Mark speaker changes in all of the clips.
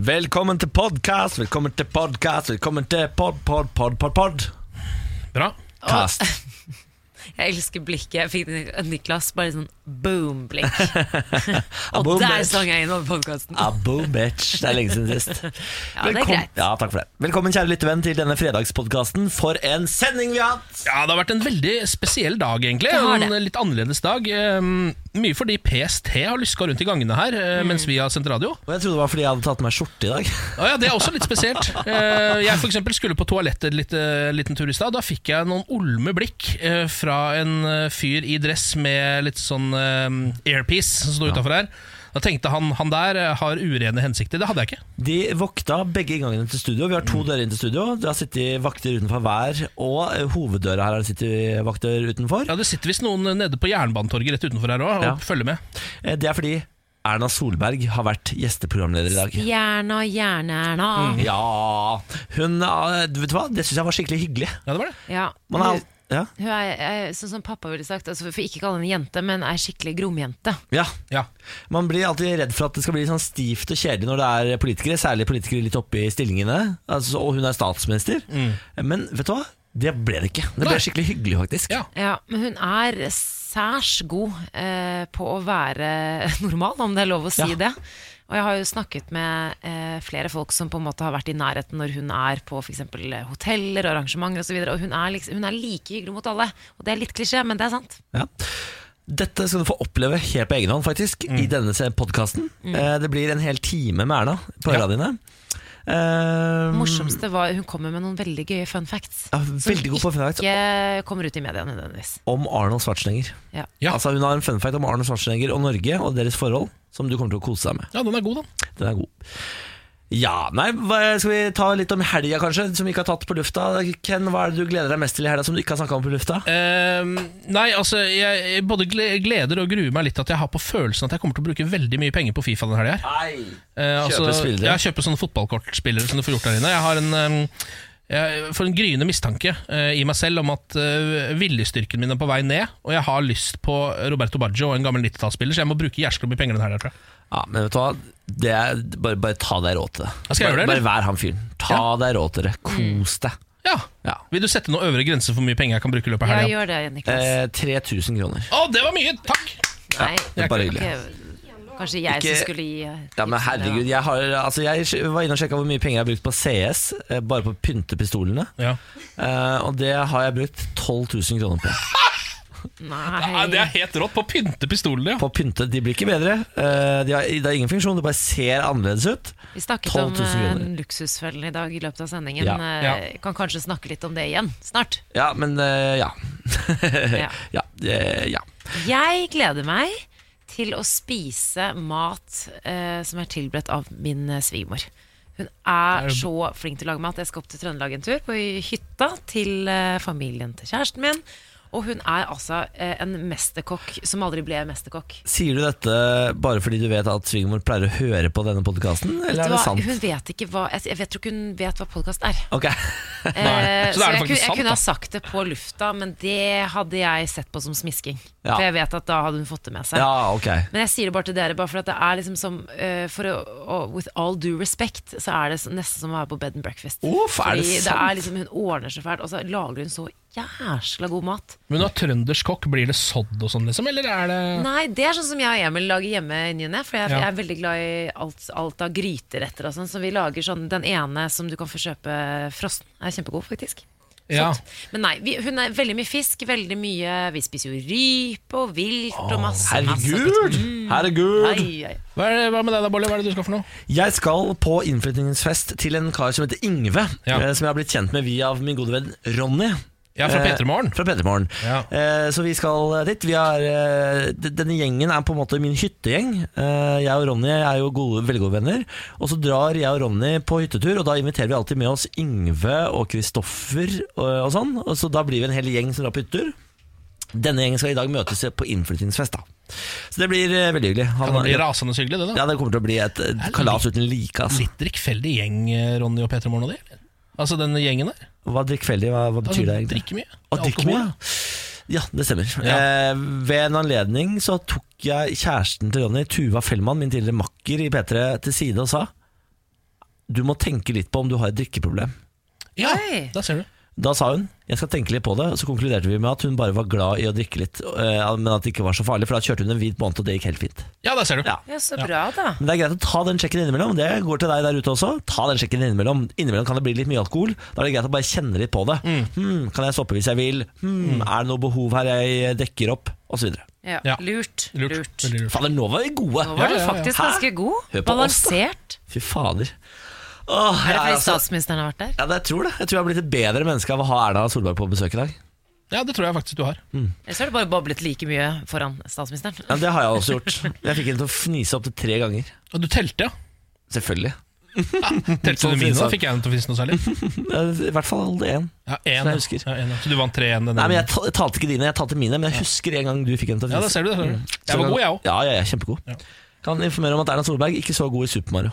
Speaker 1: Velkommen til podcast, velkommen til podcast, velkommen til pod, pod, pod, pod, pod.
Speaker 2: Bra.
Speaker 1: Cast.
Speaker 3: Jeg elsker blikket. Jeg fikk det av Niklas bare sånn boom-blikk.
Speaker 1: A
Speaker 3: Og
Speaker 1: boom
Speaker 3: der
Speaker 1: bitch.
Speaker 3: sang jeg inn over podkasten.
Speaker 1: A boom bitch. Det er lenge siden sist.
Speaker 3: Ja, det er
Speaker 1: Velkom-
Speaker 3: greit.
Speaker 1: Ja, takk for det. Velkommen, kjære lyttevenn, til denne fredagspodkasten. For en sending vi har hatt!
Speaker 2: Ja, Det har vært en veldig spesiell dag, egentlig.
Speaker 3: Det har
Speaker 2: En
Speaker 3: det.
Speaker 2: litt annerledes dag. Eh, mye fordi PST har luska rundt i gangene her
Speaker 3: Mm.
Speaker 2: eh, mens vi har sendt radio.
Speaker 1: Og jeg trodde det var fordi jeg hadde tatt meg skjorte i dag.
Speaker 2: Å ja, Det er også litt spesielt. Eh, jeg for eksempel skulle på toalettet litt, eh, liten tur i stad. Da fikk jeg noen olme blikk eh, fra en eh, fyr i dress med litt sånn eh, airpiece som sto utafor her. Da tenkte han han der eh, har urene hensikter. Det hadde jeg ikke.
Speaker 1: De vokta begge inngangene til studio. Vi har
Speaker 3: Mm.
Speaker 1: to dører inn til studio. Det har sittet vakter utenfor hver, og eh, hoveddøra her har det sittet vakter utenfor.
Speaker 2: Ja, Det sitter visst noen eh, nede på Jernbanetorget rett utenfor her òg og
Speaker 1: Ja.
Speaker 2: følger med.
Speaker 1: Eh, Det er fordi Erna Solberg har vært gjesteprogramleder i dag.
Speaker 3: Jerna, jerne-erna.
Speaker 1: Mm.
Speaker 2: Mhm.
Speaker 1: Ja Hun eh, du Vet du hva? Det syns jeg var skikkelig hyggelig.
Speaker 2: Ja, det var det.
Speaker 3: Ja.
Speaker 1: Man
Speaker 2: Mm.
Speaker 1: er,
Speaker 3: Hun,
Speaker 1: al- ja.
Speaker 3: hun er, er, sånn som pappa ville sagt, altså, for ikke kalle henne jente, men er skikkelig gromjente.
Speaker 1: ja.
Speaker 2: Ja.
Speaker 1: Man blir alltid redd for at det skal bli sånn stivt og kjedelig når det er politikere, særlig politikere litt oppe i stillingene, altså, og hun er statsminister. Men vet du hva? Det ble det ikke. Det ble
Speaker 2: Mm. Nei.
Speaker 1: skikkelig hyggelig, faktisk.
Speaker 2: Ja.
Speaker 3: Ja, men hun er særs god eh, på å være normal, om det er lov å si
Speaker 1: Ja.
Speaker 3: det. Og jeg har jo snakket med eh, flere folk som på en måte har vært i nærheten når hun er på f.eks. hoteller og arrangementer osv., og, så videre, og hun, er liksom, hun er like hyggelig mot alle. Og det er litt klisjé, men det er sant.
Speaker 1: Ja. Dette skal du få oppleve helt på egen hånd, faktisk, i
Speaker 2: Mm.
Speaker 1: denne podkasten. Det blir en hel time med Erna på
Speaker 2: Ja.
Speaker 1: øra dine. Eh,
Speaker 3: Det morsomste var hun kommer med noen veldig gøye fun facts.
Speaker 1: ja, veldig god på fun fact
Speaker 3: Ikke kommer ut i media nødvendigvis.
Speaker 1: om Arnold Schwarzenegger.
Speaker 3: Ja.
Speaker 2: Ja.
Speaker 1: Altså, hun har en fun fact om Arnold Schwarzenegger og Norge og deres forhold, som du kommer til å kose deg med.
Speaker 2: ja, den er god, da.
Speaker 1: Den er god. Ja, nei, hva- Skal vi ta litt om helga, kanskje, som vi ikke har tatt på lufta? Ken, Hva er det du gleder deg mest til i helga som du ikke har snakka om på lufta?
Speaker 2: Eh, nei, altså jeg jeg både gle- gleder og gruer meg litt at jeg har på følelsen at jeg kommer til å bruke veldig mye penger på Fifa denne helga. her.
Speaker 1: Nei.
Speaker 2: Eh, altså,
Speaker 1: Kjøpe spillere.
Speaker 2: Jeg kjøper sånne fotballkortspillere som du får gjort der inne. Jeg har en eh, jeg får en gryende mistanke eh, i meg selv om at eh, viljestyrken min er på vei ned, og jeg har lyst på Roberto Baggio, en gammel 90-tallsspiller, så jeg må bruke jæskla mye penger denne helga, tror jeg.
Speaker 1: Ja, men vet du hva? Det er, bare, bare ta deg råd til det.
Speaker 2: Skal jeg gjøre
Speaker 1: Bare,
Speaker 2: det,
Speaker 1: bare vær
Speaker 2: eller?
Speaker 1: han fyren. Ta deg råd til det. Kos deg.
Speaker 2: Ja.
Speaker 1: Ja.
Speaker 2: Vil du sette noen øvre grense for hvor mye penger jeg kan bruke i løpet av
Speaker 3: Ja,
Speaker 2: helga?
Speaker 3: gjør det, Niklas.
Speaker 1: Eh, 3000 kroner.
Speaker 2: Å, det var mye! Takk!
Speaker 3: Nei,
Speaker 1: Det er bare
Speaker 3: ok,
Speaker 1: hyggelig.
Speaker 3: Kanskje jeg
Speaker 1: Ikke-
Speaker 3: som skulle gi eh,
Speaker 1: Ja, men
Speaker 3: tipsene,
Speaker 1: herregud,
Speaker 3: da.
Speaker 1: jeg, har, altså, jeg var inne og sjekka hvor mye penger jeg har brukt på CS, eh, bare på pyntepistolene.
Speaker 2: Ja.
Speaker 1: Eh, og det har jeg brukt 12 000 kroner på.
Speaker 2: Ja, det
Speaker 3: Nei.
Speaker 2: er helt rått. På å pynte pistolene, ja.
Speaker 1: På pynte, De blir ikke bedre. Eh, de har, det har ingen funksjon, det bare ser annerledes ut.
Speaker 3: Vi snakket
Speaker 1: 12
Speaker 3: om
Speaker 1: 000
Speaker 3: eh,
Speaker 1: kroner.
Speaker 3: luksusfellen i dag i løpet av sendingen.
Speaker 1: Ja.
Speaker 3: Eh,
Speaker 2: Ja.
Speaker 3: Kan kanskje snakke litt om det igjen snart.
Speaker 1: Ja, men eh, ja.
Speaker 3: Ja.
Speaker 1: ja, eh, ja.
Speaker 3: Jeg gleder meg til å spise mat eh, som er tilberedt av min eh, svigermor. Hun er
Speaker 2: Det er
Speaker 3: så flink til å lage mat. Jeg skal opp til Trøndelag en tur, på hytta til eh, familien til kjæresten min. Og hun er altså eh, en mesterkokk som aldri ble mesterkokk.
Speaker 1: Sier du dette bare fordi du vet at svigermor pleier å høre på denne podkasten, eller
Speaker 3: Vet
Speaker 1: er
Speaker 3: du
Speaker 1: det
Speaker 3: hva?
Speaker 1: sant?
Speaker 3: Hun vet ikke hva Jeg, jeg vet, tror ikke hun vet hva podkast er.
Speaker 1: Ok,
Speaker 3: Eh,
Speaker 2: Nei. Så da er det faktisk
Speaker 3: jeg, kunne,
Speaker 2: sant,
Speaker 3: jeg
Speaker 2: da.
Speaker 3: kunne ha sagt det på lufta, men det hadde jeg sett på som smisking.
Speaker 1: Ja.
Speaker 3: For jeg vet at da hadde hun fått det med seg.
Speaker 1: ja, ok
Speaker 3: Men jeg sier det bare til dere, bare for at det er liksom som eh, for å, å- With all due respect, så er det så- nesten som å være på bed and breakfast.
Speaker 1: Uff, er det
Speaker 3: Fordi det
Speaker 1: sant?
Speaker 3: er liksom, hun ordner så fælt, og så lager hun så jæsla god mat.
Speaker 2: Men når trøndersk kokk, blir det sodd og sånn, liksom? Eller er det
Speaker 3: Nei, det er sånn som jeg og Emil lager hjemme i ny og ne. For jeg,
Speaker 2: Ja.
Speaker 3: jeg er veldig glad i alt, alt av gryteretter og sånn. Så vi lager sånn den ene som du kan få kjøpe frossen. Er kjempegod, faktisk.
Speaker 2: Ja.
Speaker 3: Sånn. Men nei, vi, hun er veldig mye fisk, veldig mye Vi spiser jo rype og vilt og liksom masse, Mm. masse
Speaker 1: Herregud! Herregud!
Speaker 3: Ai, ai.
Speaker 2: Hva, er det, hva med deg da, Bolle? Hva er det du skal for noe?
Speaker 1: Jeg skal på innflytningsfest til en kar som heter Ingve,
Speaker 2: Ja.
Speaker 1: eh, som jeg har blitt kjent med via min gode venn Ronny.
Speaker 2: Ja, fra
Speaker 1: Eh,
Speaker 2: Petremorgen.
Speaker 1: Fra Petermorgen.
Speaker 2: Ja.
Speaker 1: Eh, så vi skal dit. Vi er, eh, d- denne gjengen er på en måte min hyttegjeng. Eh, jeg og Ronny er jo gode, veldig gode venner. Og så drar jeg og Ronny på hyttetur, og da inviterer vi alltid med oss Yngve og Kristoffer og, og sånn. Og så da blir vi en hel gjeng som drar på hyttetur. Denne gjengen skal i dag møtes på innflyttingsfest. da Så det blir eh, veldig hyggelig. Han-
Speaker 2: Kan det bli rasende så hyggelig, det, da?
Speaker 1: ja, det kommer til å bli et eh,
Speaker 2: litt-
Speaker 1: kalas uten like. Altså.
Speaker 2: Litt drikkfeldig gjeng, eh, Ronny og Petremorgen og de? eller? Altså den gjengen der?
Speaker 1: Hva drikkfeldig, hva, hva
Speaker 2: Altså,
Speaker 1: betyr det egentlig?
Speaker 2: drikker mye.
Speaker 1: Å, drikke
Speaker 2: Alkohol.
Speaker 1: mye? ja. Ja, det stemmer.
Speaker 2: Ja.
Speaker 1: Eh, ved en anledning så tok jeg kjæresten til Ronny, Tuva Fellmann, min tidligere makker i P3, til side og sa du må tenke litt på om du har et drikkeproblem.
Speaker 2: Ja,
Speaker 3: Oi.
Speaker 2: da ser du.
Speaker 1: Da sa hun jeg skal tenke litt på det, og så konkluderte vi med at hun bare var glad i å drikke litt, eh, men at det ikke var så farlig, for da kjørte hun en hvit måned, og det gikk helt fint.
Speaker 2: Ja, da ser du.
Speaker 1: Ja.
Speaker 3: Ja, så bra, da.
Speaker 1: Men det er greit å ta den sjekken innimellom. Det går til deg der ute også. Ta den sjekken innimellom. Innimellom kan det bli litt mye alkohol. Da er det greit å bare kjenne litt på det.
Speaker 3: Mm.
Speaker 1: Hmm, kan jeg stoppe hvis jeg vil? Hmm, er det noe behov her jeg dekker opp? Og så videre.
Speaker 3: Ja.
Speaker 2: Ja.
Speaker 3: Lurt.
Speaker 2: Lurt.
Speaker 3: Lurt.
Speaker 2: Veldig lurt.
Speaker 1: Fader, nå var vi gode!
Speaker 3: Nå
Speaker 2: Ja,
Speaker 3: var du
Speaker 2: ja, ja.
Speaker 3: faktisk
Speaker 1: Hæ?
Speaker 3: ganske god.
Speaker 1: Hør på oss, da.
Speaker 3: Balansert.
Speaker 1: Fy fader. Åh,
Speaker 3: Er
Speaker 1: jeg
Speaker 3: det
Speaker 1: er
Speaker 3: fordi
Speaker 1: altså,
Speaker 3: statsministeren har vært der?
Speaker 1: ja, det- jeg tror det. Jeg tror jeg har blitt et bedre menneske av å ha Erna Solberg på besøk i dag.
Speaker 2: Ja, det tror jeg faktisk du har.
Speaker 3: Eller så har du bare bablet like mye foran statsministeren?
Speaker 1: Ja, det har jeg også gjort. Jeg fikk henne til å fnise opptil tre ganger.
Speaker 2: Og du telte, ja.
Speaker 1: Selvfølgelig.
Speaker 2: Telte
Speaker 1: Sånn
Speaker 2: du mine,
Speaker 1: finnes
Speaker 2: da
Speaker 1: det.
Speaker 2: fikk jeg den til å finnes noe særlig.
Speaker 1: I hvert fall én.
Speaker 2: Ja, en,
Speaker 1: Så jeg husker.
Speaker 2: Ja, en, ja. Så du vant 3-1 den
Speaker 1: Nei, men
Speaker 2: ene.
Speaker 1: jeg ta- jeg talte ikke dine, jeg talte mine. Men jeg husker en gang du fikk henne til å
Speaker 2: Ja, da
Speaker 1: fnise.
Speaker 2: ser du det. ser du.
Speaker 1: Mm. Så
Speaker 2: Jeg var
Speaker 1: kan-
Speaker 2: god, jeg òg.
Speaker 1: Ja, ja, ja, kjempegod.
Speaker 2: Ja.
Speaker 1: Kan informere om at Erna Solberg ikke så god i Super Mario.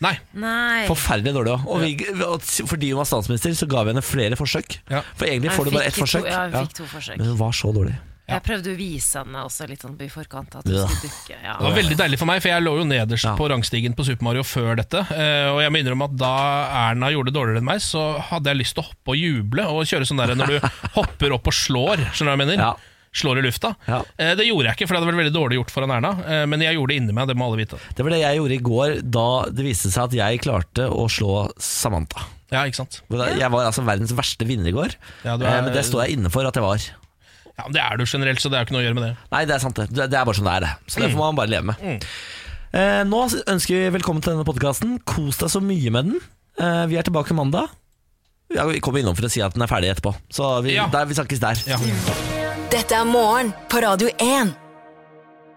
Speaker 2: Nei.
Speaker 3: Nei.
Speaker 1: Forferdelig dårlig òg. Og vi- og s- fordi hun var statsminister, så ga vi henne flere forsøk.
Speaker 2: Ja.
Speaker 1: For egentlig
Speaker 3: Jeg
Speaker 1: får du bare
Speaker 3: fikk
Speaker 1: ett
Speaker 3: to-
Speaker 1: forsøk.
Speaker 3: Ja,
Speaker 1: Ja.
Speaker 3: jeg fikk to forsøk.
Speaker 1: Men hun var så dårlig.
Speaker 2: Ja.
Speaker 3: Jeg prøvde å vise henne også litt sånn i forkant at hun
Speaker 1: Ja.
Speaker 3: skulle dukke. Ja.
Speaker 2: Det var veldig deilig for meg, for jeg lå jo nederst på rangstigen på Super Mario før dette. eh, Og jeg må innrømme at da Erna gjorde det dårligere enn meg, så hadde jeg lyst til å hoppe og juble og kjøre sånn der når du hopper opp og slår. Skjønner du hva jeg mener?
Speaker 1: Ja.
Speaker 2: Slår i lufta.
Speaker 1: Ja.
Speaker 2: Eh, Det gjorde jeg ikke, for det hadde vært veldig dårlig gjort foran Erna. eh, Men jeg gjorde det inni meg, det må alle vite.
Speaker 1: Det var det jeg gjorde i går da det viste seg at jeg klarte å slå Samantha.
Speaker 2: Ja, ikke sant?
Speaker 1: Men da- Jeg var altså verdens verste vinner i går,
Speaker 2: Ja, du
Speaker 1: Eh,
Speaker 2: er-
Speaker 1: men det står jeg inne for at jeg var.
Speaker 2: Ja, men Det er du generelt, så det er jo ikke noe å gjøre med det.
Speaker 1: Nei, det er sant det. Det det er bare sånn det er, det. Så det får man bare leve med. Eh, nå ønsker vi velkommen til denne podkasten. Kos deg så mye med den. Eh, vi er tilbake mandag. Ja, vi kommer innom for å si at den er ferdig etterpå. Så vi,
Speaker 2: Ja.
Speaker 1: der, vi snakkes der.
Speaker 2: Ja.
Speaker 4: Dette er morgen på Radio 1.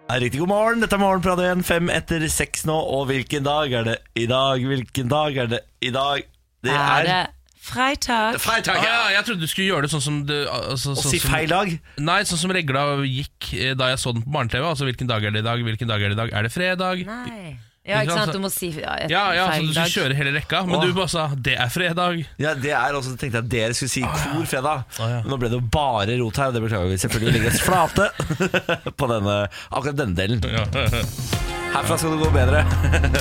Speaker 1: Ja, Riktig god morgen. Dette er Morgen på Radio 1, fem etter seks nå. Og hvilken dag er det i dag? Hvilken dag er det i dag? Det
Speaker 3: Er det freitag?
Speaker 1: Freitag,
Speaker 2: Ah,
Speaker 1: ja.
Speaker 2: ja, jeg trodde du skulle gjøre det sånn som det, altså,
Speaker 1: Å
Speaker 2: sånn
Speaker 1: si
Speaker 2: som-
Speaker 1: feil dag?
Speaker 2: Nei, sånn som regla gikk eh, da jeg så den på barne-TV. Altså hvilken dag er det i dag? Hvilken dag er det i dag? Er det fredag?
Speaker 3: Nei. Ja, ikke sant? Du må si ja, et
Speaker 2: Ja, ja, så
Speaker 3: feil
Speaker 2: du
Speaker 3: dag.
Speaker 2: skulle kjøre hele rekka, men
Speaker 1: Åh.
Speaker 2: du bare sa 'det er fredag'.
Speaker 1: Ja, det er også, tenkte jeg at dere skulle si kor fredag.
Speaker 2: Å, ja.
Speaker 1: Men Nå ble det jo bare rot her, og det beklager vi selvfølgelig. Vi legger oss flate på denne, akkurat denne delen.
Speaker 2: Ja,
Speaker 1: Herfra skal det gå bedre.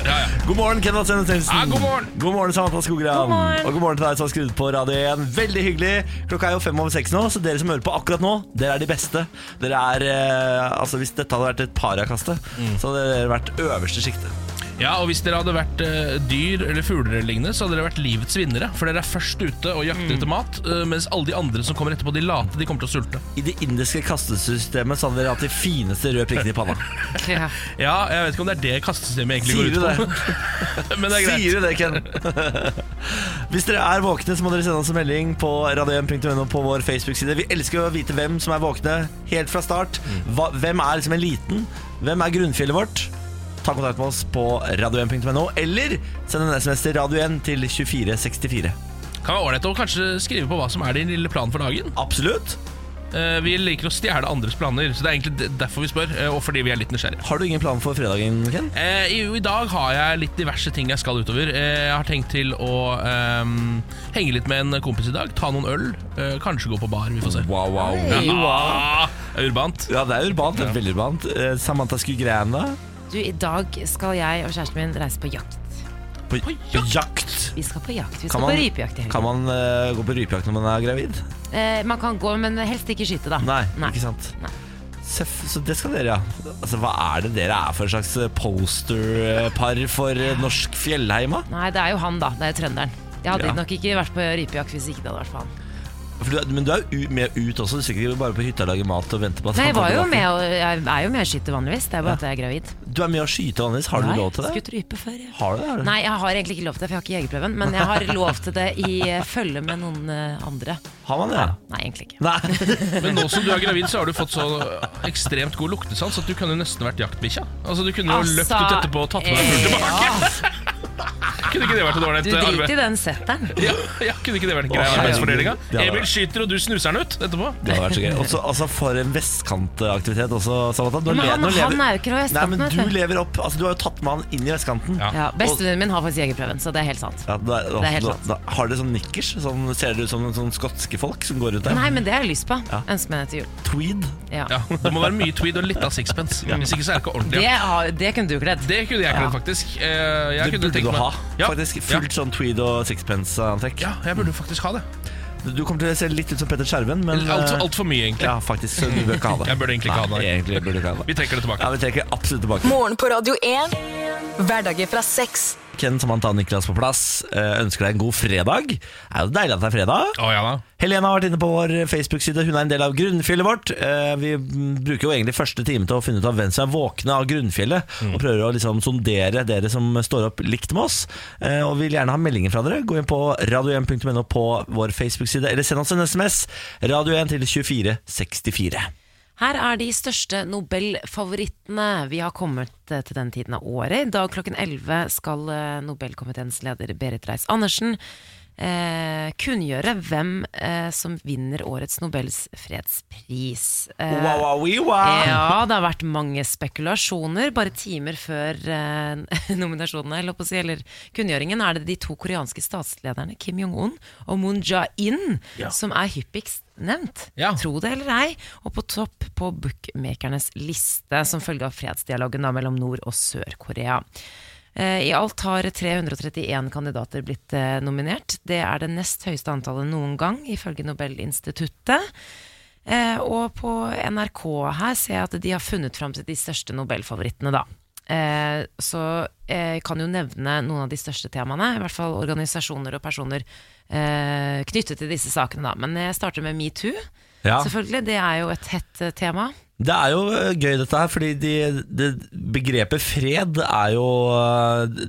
Speaker 2: ja, ja.
Speaker 1: God morgen, Kenneth Sennes Nilsen.
Speaker 2: Ja, god morgen.
Speaker 1: God morgen, Samantha Skogran.
Speaker 3: God morgen.
Speaker 1: Og god morgen til deg som har skrudd på Radio 1. Veldig hyggelig. Klokka er jo fem over seks nå, så dere som hører på akkurat nå, dere er de beste. Dere er eh, Altså, hvis dette hadde vært et parakaste,
Speaker 2: Mm.
Speaker 1: så hadde dere vært øverste sjiktet.
Speaker 2: ja, og hvis dere hadde vært eh, dyr eller fugler eller lignende, så hadde dere vært livets vinnere. For dere er først ute og
Speaker 1: Mm.
Speaker 2: jakter etter mat, eh, mens alle de andre som kommer etterpå, de late, de kommer til å sulte.
Speaker 1: I det indiske kastesystemet så hadde dere hatt de fineste røde prikkene i panna.
Speaker 3: Ja.
Speaker 2: Ja, jeg vet ikke om det er det kastesystemet egentlig
Speaker 1: Sier du
Speaker 2: går
Speaker 1: det?
Speaker 2: ut på, men det er greit.
Speaker 1: Sier du det, Ken? Hvis dere er våkne, så må dere sende oss en melding på radio1.no på vår Facebook-side. Vi elsker å vite hvem som er våkne helt fra start.
Speaker 2: Mm.
Speaker 1: Hva, hvem er liksom eliten? Hvem er grunnfjellet vårt? Ta kontakt med oss på radio1.no, eller send en SMS til radio1 til 2464.
Speaker 2: Kan være ålreit å kanskje skrive på hva som er din lille plan for dagen.
Speaker 1: Absolutt.
Speaker 2: Eh, Vi liker å stjele andres planer, så det er egentlig d- derfor vi spør, eh, og fordi vi er litt nysgjerrige.
Speaker 1: Har du ingen plan for fredagen, Ken?
Speaker 2: Eh, i, I dag har jeg litt diverse ting jeg skal utover. Eh, jeg har tenkt til å ehm, henge litt med en kompis i dag, ta noen øl, eh, kanskje gå på bar. Vi får se.
Speaker 1: Wow, wow.
Speaker 2: Ah, urbant.
Speaker 1: Ja, det er urbant. det er Veldig urbant. Eh, Samantha Skugran, da?
Speaker 3: Du, i dag skal jeg og kjæresten min reise på jakt.
Speaker 1: På, på jakt.
Speaker 3: Vi skal på jakt. Vi
Speaker 1: Kan
Speaker 3: skal
Speaker 1: man-
Speaker 3: på rypejakt i helgen.
Speaker 1: Kan man eh, gå på rypejakt når man er gravid?
Speaker 3: Eh, man kan gå, men helst ikke skyte, da.
Speaker 1: Nei, ikke sant
Speaker 3: Nei.
Speaker 1: Seff, Så det skal dere, ja Altså, hva er det dere er for en slags eh, posterpar for eh, norsk fjellheima?
Speaker 3: Nei, det er jo han, da. Det er jo trønderen. Jeg hadde
Speaker 1: Ja.
Speaker 3: nok ikke vært på rypejakt hvis ikke det hadde vært for han.
Speaker 1: For du, men du er jo u- med ut også, du stikker ikke bare på hytta og lager mat og venter på at
Speaker 3: Nei,
Speaker 1: han
Speaker 3: jeg,
Speaker 1: kommer
Speaker 3: var jo
Speaker 1: tilbake.
Speaker 3: med, og jeg er jo med og skyter vanligvis. Det er bare at jeg er gravid.
Speaker 1: Du er med å skyte, Anders, har du
Speaker 3: Nei,
Speaker 1: lov til det?
Speaker 3: Skutt rype før, ja.
Speaker 1: Har du det? Har du?
Speaker 3: Nei, jeg har egentlig ikke lov til det, for jeg har ikke jegerprøven. Men jeg har lov til det i eh, følge med noen eh, andre.
Speaker 1: Har man det?
Speaker 3: Nei, egentlig ikke.
Speaker 1: Nei,
Speaker 2: Men nå som du er gravid, så har du fått så ekstremt god luktesans at du kunne nesten vært jaktbikkja. Altså, du kunne jo løpt
Speaker 3: Altså,
Speaker 2: ut etterpå og tatt med deg fugl tilbake.
Speaker 3: ja,
Speaker 2: Kunne ikke det vært et
Speaker 3: Du
Speaker 2: ålreit eh,
Speaker 3: driter
Speaker 2: arbeid?
Speaker 3: i den setteren.
Speaker 2: Ja, ja, kunne ikke det vært en grei
Speaker 1: Å, herregud.
Speaker 2: arbeidsfordelinga?
Speaker 1: Det hadde
Speaker 2: Emil
Speaker 1: vært-
Speaker 2: skyter, og du snuser han ut etterpå.
Speaker 1: det hadde vært så gøy også, Altså, for en vestkantaktivitet også, Samantha Nå
Speaker 3: Men
Speaker 1: le-
Speaker 3: han-
Speaker 1: nå lever-
Speaker 3: han er jo ikke noe i
Speaker 1: Nei,
Speaker 3: vestkanten,
Speaker 1: men
Speaker 3: vet
Speaker 1: du
Speaker 3: du.
Speaker 1: lever opp Altså, du har jo tatt med han inn i vestkanten
Speaker 2: Ja.
Speaker 3: Ja, Bestevennen min har faktisk jegerprøven, så det er helt sant.
Speaker 1: Ja, da, da,
Speaker 3: Det er helt
Speaker 1: da,
Speaker 3: sant.
Speaker 1: da, har dere sånn nikkers? Sånn, ser dere ut som noen sånn skotske folk som går rundt der?
Speaker 3: Nei, men det har jeg lyst på.
Speaker 1: Ja.
Speaker 3: Ønsker meg det til jul.
Speaker 1: Tweed?
Speaker 3: Ja.
Speaker 2: Ja, det må være mye tweed og litt av sixpence. Hvis ikke så er det ikke ordentlig.
Speaker 3: Det, har, det kunne du kledd.
Speaker 2: Det kunne jeg kledd, faktisk. Eh, Jeg
Speaker 1: Det
Speaker 2: kunne
Speaker 1: burde
Speaker 2: tenkt
Speaker 1: du
Speaker 2: meg,
Speaker 1: ha.
Speaker 2: Ja.
Speaker 1: Faktisk Fullt sånn tweed og sixpence-antrekk.
Speaker 2: Ja, jeg burde jo faktisk ha det.
Speaker 1: Du kommer til å se litt ut som Petter Skjerven, men
Speaker 2: Altfor
Speaker 1: eh,
Speaker 2: alt for mye, egentlig.
Speaker 1: Ja, faktisk. Så du bør ikke ha det.
Speaker 2: Jeg burde egentlig ikke ha det.
Speaker 1: Nei, egentlig burde du ikke ha
Speaker 2: Vi
Speaker 1: det.
Speaker 2: trekker det tilbake.
Speaker 1: Ja, Vi trekker absolutt tilbake.
Speaker 4: Morgen på Radio 1. Hverdager fra seks.
Speaker 1: Ken Samantha og Niklas på plass eh, ønsker deg en god fredag. Det er jo deilig at det er fredag.
Speaker 2: Å ja da.
Speaker 1: Helena har vært inne på vår Facebook-side. Hun er en del av grunnfjellet vårt. Eh, Vi mm, bruker jo egentlig første time til å finne ut av hvem som er våkne av grunnfjellet, og prøver å liksom sondere dere som står opp likt med oss. Eh, Og vil gjerne ha meldinger fra dere. Gå inn på radio1.no på vår Facebook-side, eller send oss en SMS. Radio1 til 2464.
Speaker 3: Her er de største Nobelfavorittene. Vi har kommet eh, til den tiden av året. I dag klokken 11 skal eh, Nobelkomiteens leder Berit Reiss-Andersen eh, kunngjøre hvem eh, som vinner årets Nobels fredspris. Eh,
Speaker 1: Wow, wow, wee, wow.
Speaker 3: Ja, det har vært mange spekulasjoner. Bare timer før eh, nominasjonene, eller, på å si, eller kunngjøringen, er det de to koreanske statslederne Kim Jong-un og Moon Jae-in som er hyppigst nevnt.
Speaker 2: Ja.
Speaker 3: Tro det eller ei. Og på topp på bookmakernes liste som følge av fredsdialogen da, mellom Nord- og Sør-Korea. Eh, I alt har 331 kandidater blitt eh, nominert. Det er det nest høyeste antallet noen gang, ifølge Nobelinstituttet. Eh, og på NRK her ser jeg at de har funnet fram til de største Nobelfavorittene, da. Eh, så eh, jeg kan jo nevne noen av de største temaene, i hvert fall organisasjoner og personer eh, knyttet til disse sakene, da. Men jeg starter med metoo,
Speaker 1: Ja.
Speaker 3: selvfølgelig. Det er jo et hett eh, tema.
Speaker 1: Det er jo eh, gøy dette her, fordi de, det, begrepet fred er jo eh,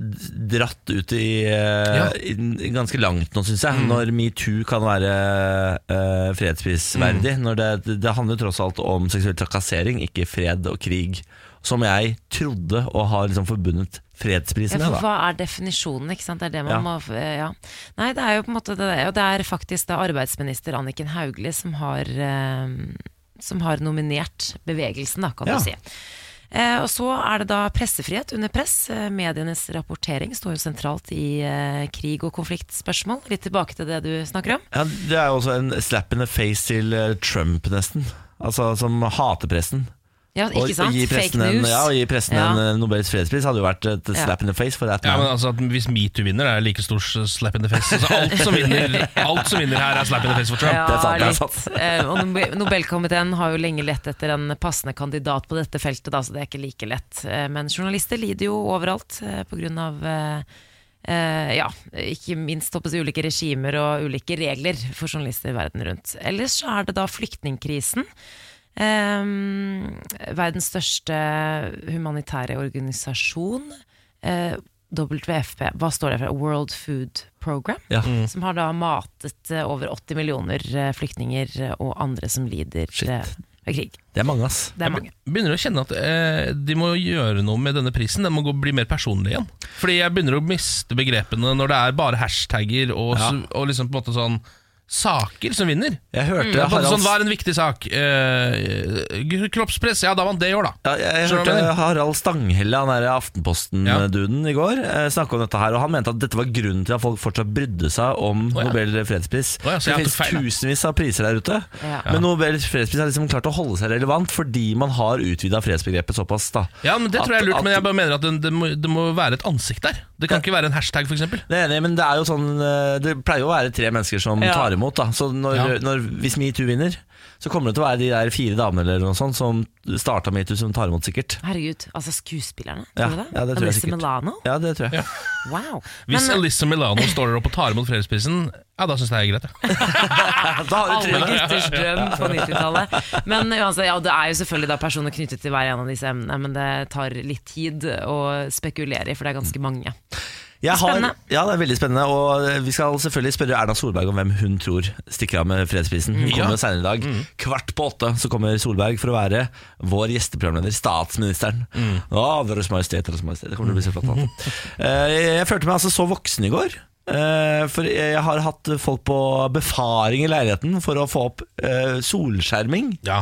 Speaker 1: dratt ut i, eh,
Speaker 2: Ja.
Speaker 1: i, i ganske langt nå, syns
Speaker 3: Mm.
Speaker 1: jeg. Når metoo kan være eh, fredsprisverdig.
Speaker 3: Mm.
Speaker 1: Når det, det handler jo tross alt om seksuell trakassering, ikke fred og krig. Som jeg trodde og har liksom forbundet fredspris
Speaker 3: Ja,
Speaker 1: med.
Speaker 3: for
Speaker 1: Da.
Speaker 3: hva er definisjonen, ikke sant? Det er det
Speaker 1: Ja.
Speaker 3: man må eh, ja. Nei, det er jo på en måte det, og det er faktisk da arbeidsminister Anniken Hauglie som har eh, som har nominert bevegelsen, da, kan
Speaker 1: Ja.
Speaker 3: du si. Eh, og så er det da pressefrihet under press. Eh, medienes rapportering står jo sentralt i eh, krig- og konfliktspørsmål. Litt tilbake til det du snakker om.
Speaker 1: Ja, det er jo også en slap in the face til eh, Trump, nesten. Altså Som hater pressen.
Speaker 3: Ja,
Speaker 1: Og-
Speaker 3: ikke sant?
Speaker 1: Og gi
Speaker 3: Fake
Speaker 1: pressen, en,
Speaker 3: news.
Speaker 1: ja, og gi pressen
Speaker 3: Ja.
Speaker 1: en eh, Nobels fredspris hadde jo vært et slap in the face. For that
Speaker 2: Ja,
Speaker 1: man.
Speaker 2: men altså at Hvis metoo vinner, er det like stor slap in the face. Altså, alt, som vinner, alt som vinner her, er slap in the face for Trump.
Speaker 3: Ja,
Speaker 1: Det er sant, det er
Speaker 3: litt. Eh, og Nobe- Nobelkomiteen har jo lenge lett etter en passende kandidat på dette feltet, da, så det er ikke like lett. Eh, Men journalister lider jo overalt eh, på grunn av eh, eh, ja, ikke minst håper jeg, ulike regimer og ulike regler for journalister verden rundt. Ellers så er det da flyktningkrisen. Ehm, verdens største humanitære organisasjon, eh, WFP, hva står det for? World Food Program,
Speaker 1: Ja.
Speaker 2: Mm.
Speaker 3: som har da matet eh, over 80 millioner eh, flyktninger eh, og andre som lider
Speaker 1: Shit.
Speaker 3: eh, av krig.
Speaker 1: Det er mange, ass.
Speaker 3: Det er mange.
Speaker 2: begynner å kjenne at eh, de må gjøre noe med denne prisen. Den må gå, bli mer personlig igjen. Fordi jeg begynner å miste begrepene når det er bare hashtagger og, s- og liksom på en måte sånn saker som vinner.
Speaker 1: Jeg hørte
Speaker 2: Det er på en måte
Speaker 1: Harald,
Speaker 2: sånn, Hva er en viktig sak? Eh, kroppspress, ja da vant det i år, da.
Speaker 1: ja, jeg
Speaker 2: Skjønner du
Speaker 1: hørte
Speaker 2: hva jeg
Speaker 1: Harald Stanghelle, han der Aftenposten-duden, i går eh, snakke om dette her. Og han mente at dette var grunnen til at folk fortsatt brydde seg om
Speaker 2: Å, ja.
Speaker 1: Nobel fredspris.
Speaker 2: Å, ja, så
Speaker 1: det
Speaker 2: jeg
Speaker 1: finnes
Speaker 2: tok feil, da.
Speaker 1: tusenvis av priser der ute,
Speaker 3: Ja.
Speaker 1: men Nobel fredspris har liksom klart å holde seg relevant fordi man har utvida fredsbegrepet såpass. da
Speaker 2: Ja, men Det tror jeg er
Speaker 1: At-
Speaker 2: lurt, men
Speaker 1: at-
Speaker 2: jeg bare mener at det, det, må, det må være et ansikt der. Det kan ikke være en hashtag, f.eks.
Speaker 1: Det er enig, men det er jo sånn eh, Det pleier jo å være tre mennesker som
Speaker 3: Ja.
Speaker 1: tar imot da. Så når,
Speaker 2: Ja.
Speaker 1: når, hvis MeToo vinner Så kommer det til å være de der fire damene Eller noe sånt som startet MeToo som tar imot sikkert
Speaker 3: Herregud, altså skuespillerne,
Speaker 1: Ja,
Speaker 3: tror du det?
Speaker 1: ja, det tror jeg
Speaker 3: Alyssa
Speaker 1: sikkert.
Speaker 3: Milano?
Speaker 1: Ja, det tror jeg
Speaker 3: Wow.
Speaker 2: Hvis
Speaker 3: Men,
Speaker 2: Elissa Milano står der oppe og tar imot fredsprisen, ja, da syns jeg det er greit. Ja.
Speaker 1: Da har du
Speaker 3: Alle
Speaker 1: tre
Speaker 3: gutters drøm på 90-tallet. Men uansett, ja, det er jo selvfølgelig da personer knyttet til hver en av disse emnene, men det tar litt tid å spekulere i, for det er ganske mange.
Speaker 1: Jeg har,
Speaker 3: Spennende.
Speaker 1: Ja, det er veldig spennende Og eh, vi skal selvfølgelig spørre Erna Solberg om hvem hun tror Stikker av med fredsprisen Hun kommer jo senere i dag Kvart på åtte så kommer Solberg for å være Vår gjesteprogramleder, statsministeren Å, deres majestet, deres majestet Det kommer til å bli så flott da. Eh, Jeg følte meg altså så voksen i går Eh, For jeg har hatt folk på befaring i leiligheten For å få opp eh, solskjerming
Speaker 2: Ja.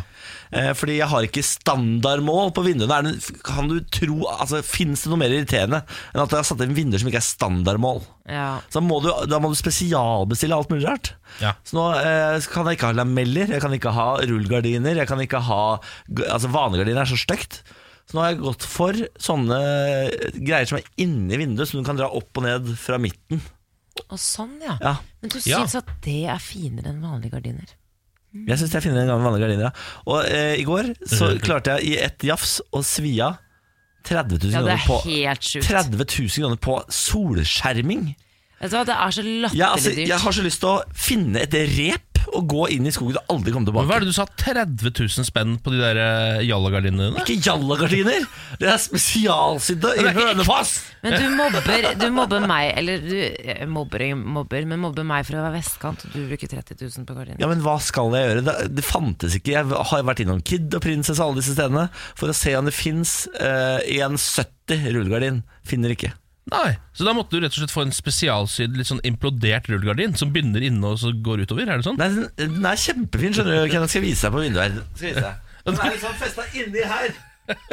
Speaker 1: Eh, Fordi jeg har ikke standardmål på vinduene. Er det, kan du tro, altså, Fins det noe mer irriterende enn at jeg har satt inn vinduer som ikke er standardmål?
Speaker 3: Ja.
Speaker 1: Så da må du, da må du spesialbestille alt mulig rart.
Speaker 2: Ja.
Speaker 1: Så nå eh, kan jeg ikke ha lameller, jeg kan ikke ha rullegardiner, jeg kan ikke ha g- Altså, vanegardiner er så stygt. Så nå har jeg gått for sånne eh, greier som er inni vinduet, som du kan dra opp og ned fra midten.
Speaker 3: Og sånn, ja.
Speaker 1: Ja,
Speaker 3: Men du
Speaker 2: Ja.
Speaker 3: syns at det er finere enn vanlige gardiner?
Speaker 1: Jeg syns jeg finner en gammel vanlig gardiner. ja. Og eh, i går så klarte jeg i ett jafs å svi av 30 000
Speaker 3: Ja,
Speaker 1: kroner
Speaker 3: det er
Speaker 1: på
Speaker 3: helt sjukt.
Speaker 1: 30 000 kroner på solskjerming.
Speaker 3: Vet du hva, det er så
Speaker 1: Jeg,
Speaker 3: latterlig
Speaker 1: altså,
Speaker 3: dyrt.
Speaker 1: jeg har så lyst til å finne et rep og gå inn i skogen og aldri komme
Speaker 2: Men Hva
Speaker 1: tilbake.
Speaker 2: er det du sa? 30 000 spenn på de der eh, jallagardinene dine?
Speaker 1: Ikke jallagardiner! Det er spesialsydde i Hønefoss!
Speaker 3: Men du mobber, du mobber meg, eller du eh, mobber, mobber, men mobber meg for å være vestkant, og du bruker 30 000 på gardiner.
Speaker 1: Ja, men hva skal jeg gjøre? Det, det fantes ikke. Jeg har vært innom Kid og Prinsesse og alle disse stedene for å se om det fins eh, 1,70 rullegardin. Finner ikke.
Speaker 2: Nei, så da måtte du rett og slett få en spesialsydd, litt sånn implodert rullegardin som begynner inne og så går utover, er det sånn?
Speaker 1: Nei, den, den er kjempefin, skjønner du. Kenneth skal vise deg på vinduet her. Skal vise deg. Den er liksom festa inni her.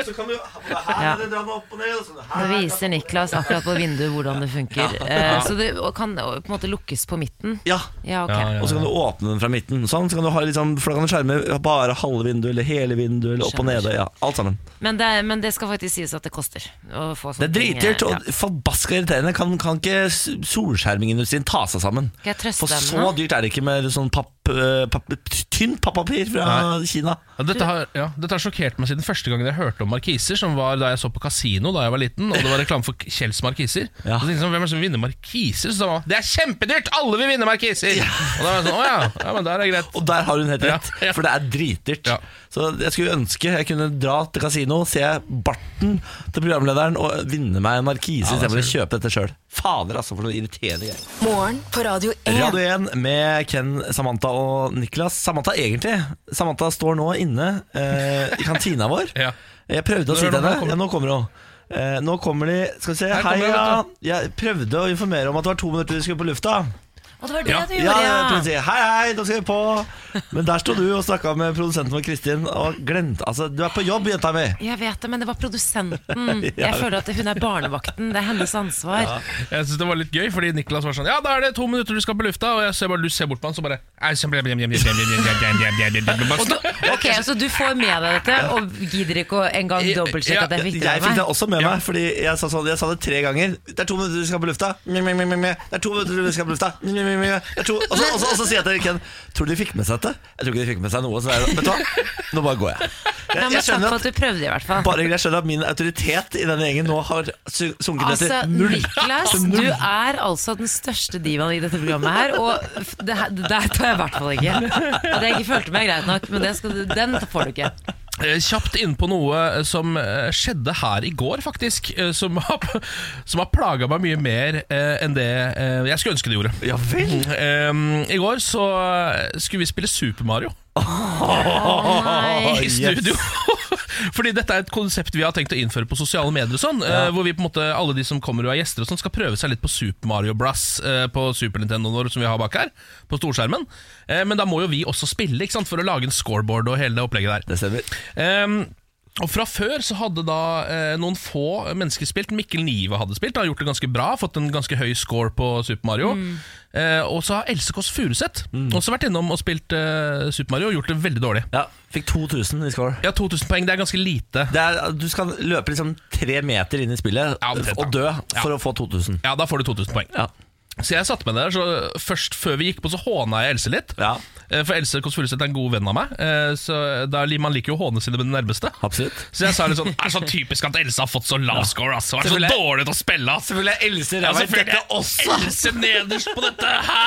Speaker 1: Så kan du her
Speaker 3: Ja.
Speaker 1: er det dra den opp og ned. Og sånn.
Speaker 3: Nå
Speaker 1: her,
Speaker 3: viser Niklas akkurat på vinduet hvordan det funker. Eh, Så det og kan og på en måte lukkes på midten.
Speaker 1: Ja.
Speaker 3: Ja, ok.
Speaker 2: Ja, ja.
Speaker 1: Og så kan du åpne den fra midten. Sånn, så kan du ha liksom, for da kan du skjerme bare halve vinduet eller hele vinduet eller opp og
Speaker 3: Skjønner.
Speaker 1: nede. Ja, alt sammen.
Speaker 3: Men, det, er- men det skal faktisk sies at det koster. Å få
Speaker 1: Det
Speaker 3: sånne
Speaker 1: er
Speaker 3: ting, eh,
Speaker 1: dritdyrt
Speaker 3: ja.
Speaker 1: og forbaska irriterende. Kan, kan ikke s- solskjermingindustrien ta seg sammen?
Speaker 3: Skal jeg trøste
Speaker 1: For
Speaker 3: dem
Speaker 1: så
Speaker 3: nå?
Speaker 1: dyrt er det ikke med sånn papp, eh, papp, tynt pappapir fra Kina.
Speaker 2: Ja, dette, har, ja, dette har sjokkert meg siden første gangen jeg hørte om markiser, som var da jeg så på Casino da jeg var liten, og det var reklame for Kjells markiser.
Speaker 1: Ja.
Speaker 2: Så tenkte jeg sånn, hvem er det som vinner markiser? Så sa mamma, det er kjempedyrt, alle vil vinne markiser! Og da var jeg sånn, åja, ja, men da er det greit.
Speaker 1: Og der har hun helt
Speaker 2: Ja,
Speaker 1: rett,
Speaker 2: ja.
Speaker 1: for det er dritdyrt.
Speaker 2: Ja.
Speaker 1: Så jeg skulle ønske jeg kunne dra til kasino, se barten til programlederen og vinne meg en markise
Speaker 2: Ja, det
Speaker 1: istedenfor å kjøpe dette sjøl. Fader, altså, for noe irriterende greier.
Speaker 4: Morgen på Radio 1.
Speaker 1: Radio 1 med Ken, Samantha og Niklas. Samantha egentlig. Samantha står nå inne eh, i kantina vår.
Speaker 2: Ja.
Speaker 1: Jeg prøvde å si
Speaker 2: Nå
Speaker 1: til
Speaker 2: er det-
Speaker 1: henne
Speaker 2: nå kommer-
Speaker 1: Ja, nå kommer hun. Eh, nå kommer de Skal vi se.
Speaker 2: Her
Speaker 1: Hei,
Speaker 2: kommer hun,
Speaker 1: ja.
Speaker 2: vet
Speaker 1: Jeg prøvde å informere om at det var to minutter til vi skulle på lufta.
Speaker 3: Å, det var det
Speaker 2: Ja.
Speaker 3: du
Speaker 1: Ja,
Speaker 3: gjorde,
Speaker 1: ja.
Speaker 3: ja!
Speaker 1: prøvde å Si, hei, hei, da skal vi på. Men der sto du og snakka med produsenten vår, Kristin, og glemte Altså, du er på jobb, jenta mi.
Speaker 3: Jeg vet det, men det var produsenten.
Speaker 1: Ja.
Speaker 3: Jeg føler at hun er barnevakten. Det er hennes ansvar.
Speaker 2: Jeg synes det var litt gøy, fordi Niklas var sånn, ja, da er det to minutter du skal på lufta, og jeg ser bare, du ser bort på han, så bare, «Ei, så ble- ble- ble- ble- ble- ble- ble- ble- ble- ble- ble- ble- ble- ble-
Speaker 3: Ok, Så du får med deg dette, og gidder ikke å engang dobbeltsjekke at jeg fikk det
Speaker 1: Jeg fikk det
Speaker 3: med meg?
Speaker 1: også med
Speaker 2: Ja.
Speaker 1: meg, fordi jeg sa, sånn, jeg sa det tre ganger. Det er to minutter til vi skal på lufta. Mjau, mjau, mjau, mjau, mjau. Det er to minutter til vi skal på lufta. Mjau, mjau, mjau, mjau. Det er to- Og så og så- og så sier jeg til Ken Tror du de fikk med seg dette? Jeg tror ikke de fikk med seg noe. Så jeg, vet du hva, nå bare går jeg.
Speaker 3: Nei,
Speaker 1: Jeg, jeg
Speaker 3: men takk
Speaker 1: skjønner
Speaker 3: for
Speaker 1: at
Speaker 3: at du prøvde, i hvert fall.
Speaker 1: bare jeg skjønner at min autoritet i denne gjengen nå har su- sunket
Speaker 3: Altså,
Speaker 1: etter null.
Speaker 3: Niklas,
Speaker 2: Altså,
Speaker 1: Til
Speaker 3: du
Speaker 1: null.
Speaker 3: er altså den største divaen i dette programmet her, og f- det her, det der tar jeg i hvert fall ikke. At jeg ikke følte meg greit nok, men det skal, du- den får du ikke.
Speaker 2: Eh, Kjapt inn på noe eh, som eh, skjedde her i går, faktisk. eh, Som har, som har plaga meg mye mer eh, enn det eh, jeg skulle ønske det gjorde.
Speaker 1: Ja vel.
Speaker 2: Eh, I går så eh, skulle vi spille Super Mario
Speaker 3: Nei.
Speaker 2: i studio. Fordi dette er et konsept vi har tenkt å innføre på sosiale medier. og sånn eh, Hvor vi på en måte alle de som kommer og er gjester, og sånn skal prøve seg litt på Super Mario Bros. eh, på Super Nintendo vår, som vi har bak her, på storskjermen. Eh, Men da må jo vi også spille ikke sant, for å lage en scoreboard og hele det opplegget der.
Speaker 1: Det stemmer.
Speaker 2: Ehm, og Fra før så hadde da eh, noen få mennesker spilt. Mikkel Nive hadde spilt, har gjort det ganske bra, fått en ganske høy score på Super Mario. Eh, og så har Else Kåss Furuseth også vært innom og spilt eh, Super Mario og gjort det veldig dårlig.
Speaker 1: Ja, fikk 2000 i score.
Speaker 2: Ja, 2000 poeng, det er ganske lite.
Speaker 1: Det er, du skal løpe liksom tre meter inn i spillet
Speaker 2: Ja, omtrent,
Speaker 1: og dø
Speaker 2: ja.
Speaker 1: for å få 2000.
Speaker 2: Ja, da får du 2000 poeng.
Speaker 1: Ja.
Speaker 2: Så jeg satte meg der, så først før vi gikk på så håna jeg Else litt.
Speaker 1: Ja.
Speaker 2: Eh, For Else Kåss Furuseth er en god venn av meg, eh, så da, man liker jo å håne sine nærmeste.
Speaker 1: Absolutt.
Speaker 2: Så jeg sa litt sånn, er så typisk at Else har fått så lav score, ass. Hun er så
Speaker 1: Selvfølgelig.
Speaker 2: dårlig til å spille, ass.
Speaker 1: Selvfølgelig er Else
Speaker 2: Ja,
Speaker 1: ræva i
Speaker 2: selvfølgelig.
Speaker 1: dette også!
Speaker 2: Else nederst på dette, Hæ?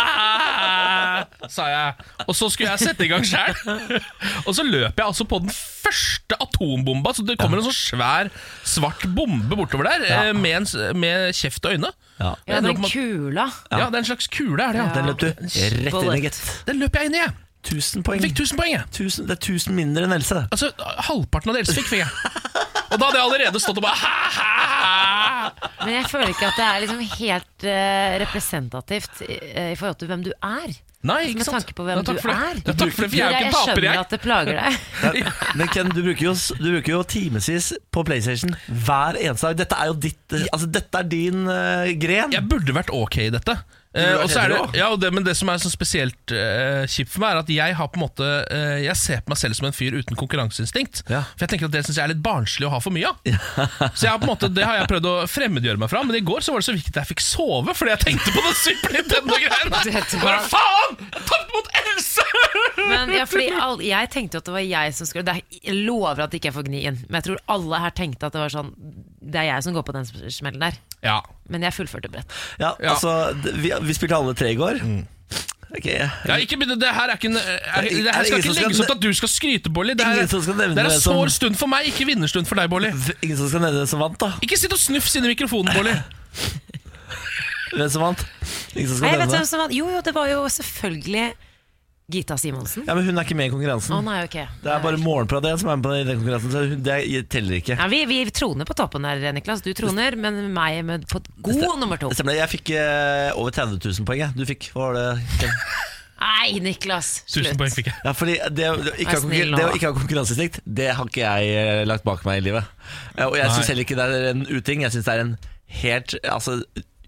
Speaker 2: sa jeg. Og så skulle jeg sette i gang sjæl. Og så løp jeg altså på den første atombomba. Så det kommer en sånn svær, svart bombe bortover der, eh, med, en, s- med kjeft og øyne.
Speaker 1: Ja.
Speaker 3: Ja,
Speaker 2: Jeg ender
Speaker 3: den
Speaker 2: opp med-
Speaker 3: kula.
Speaker 2: ja, det er en slags kule, er det, ja.
Speaker 1: Den løp du rett inn i, gitt.
Speaker 2: Den løp jeg inn i, jeg.
Speaker 1: 1000 poeng.
Speaker 2: Fikk 1000 poeng, jeg.
Speaker 1: Tusen- det er 1000 mindre enn Else.
Speaker 2: Altså, halvparten av det Else fikk, fikk jeg. Og da hadde jeg allerede stått og bare ha, ha, ha.
Speaker 3: Men jeg føler ikke at det er liksom helt eh, representativt i, eh, i forhold til hvem du er.
Speaker 2: Nei, ikke
Speaker 3: Med
Speaker 2: sant?
Speaker 3: tanke på hvem
Speaker 2: Ja, takk
Speaker 3: du
Speaker 2: for det.
Speaker 3: er.
Speaker 2: Ja, takk for det, for jeg er jo ikke en taper,
Speaker 3: skjønner
Speaker 2: jeg.
Speaker 3: at det plager deg.
Speaker 1: Men Ken, du bruker, jo, s- du bruker jo timevis på PlayStation hver eneste dag. Dette er jo ditt eh, Altså, dette er din eh, gren.
Speaker 2: Jeg burde vært ok i dette. Eh,
Speaker 1: vært
Speaker 2: og så er det,
Speaker 1: edru også?
Speaker 2: ja, og det, men det som er så spesielt eh, kjipt for meg, er at jeg har på en måte eh, Jeg ser på meg selv som en fyr uten konkurranseinstinkt.
Speaker 1: Ja.
Speaker 2: For jeg tenker at det syns jeg er litt barnslig å ha for mye av. Så jeg har på en måte, det har jeg prøvd å fremmedgjøre meg fra, men i går så var det så viktig at jeg fikk sove fordi jeg tenkte på den Super Nintendo-greien.
Speaker 3: Dette
Speaker 2: Hva
Speaker 3: var-
Speaker 2: faen?! Tapt mot Else!
Speaker 3: Men ja, fordi all, Jeg tenkte jo at det var jeg som skulle det er, Jeg lover at ikke jeg får gnien, men jeg tror alle her tenkte at det var sånn Det er jeg som går på den smellen der.
Speaker 2: Ja.
Speaker 3: Men jeg fullførte brett.
Speaker 1: Ja,
Speaker 2: Ja.
Speaker 1: altså, d- vi, vi spilte alle tre i går. Ok,
Speaker 2: ja ikke, begynne- det her er ikke en, er,
Speaker 1: ingen-
Speaker 2: Det her
Speaker 1: ingen
Speaker 2: skal
Speaker 1: som
Speaker 2: ikke
Speaker 1: skal
Speaker 2: legges opp til
Speaker 1: ne-
Speaker 2: at du skal skryte, Bolli. Det, her
Speaker 1: Ingen
Speaker 2: er-
Speaker 1: som skal nevne
Speaker 2: det er en
Speaker 1: det som-
Speaker 2: sår stund for meg, ikke vinnerstund for deg, Bolli.
Speaker 1: Ingen som skal nevne hvem som vant, da.
Speaker 2: Ikke sitt og snufs inn i mikrofonen, Bolli.
Speaker 1: Hvem som vant? Ingen som skal
Speaker 3: Nei, jeg vet
Speaker 1: nevne
Speaker 3: hvem som vant. Jo, jo, det var jo selvfølgelig Gita Simonsen. Å
Speaker 1: Ja, men Hun er ikke med i konkurransen.
Speaker 3: nei, ok.
Speaker 1: Det er bare Morgenpradet som er med på den- i den konkurransen. Så hun- det teller ikke.
Speaker 3: ja, vi, vi troner på toppen her, Niklas. Du troner, men meg med på god nummer to.
Speaker 1: Det stemmer, det. Jeg fikk eh, over 30 000 poeng. Jeg. Du fikk, hva var det? Ken?
Speaker 3: Nei, Niklas! Slutt.
Speaker 2: 1000 poeng fikk jeg.
Speaker 1: Ja, fordi det, å- det, å ikke
Speaker 3: Vær
Speaker 1: ha
Speaker 3: snill
Speaker 1: konkur-
Speaker 3: nå,
Speaker 1: det å
Speaker 3: da.
Speaker 1: ikke ha konkurranseinstinkt, det har ikke jeg eh, lagt bak meg i livet. Eh, Og jeg
Speaker 2: Nei.
Speaker 1: syns heller ikke det er en uting. Jeg syns det er en helt altså,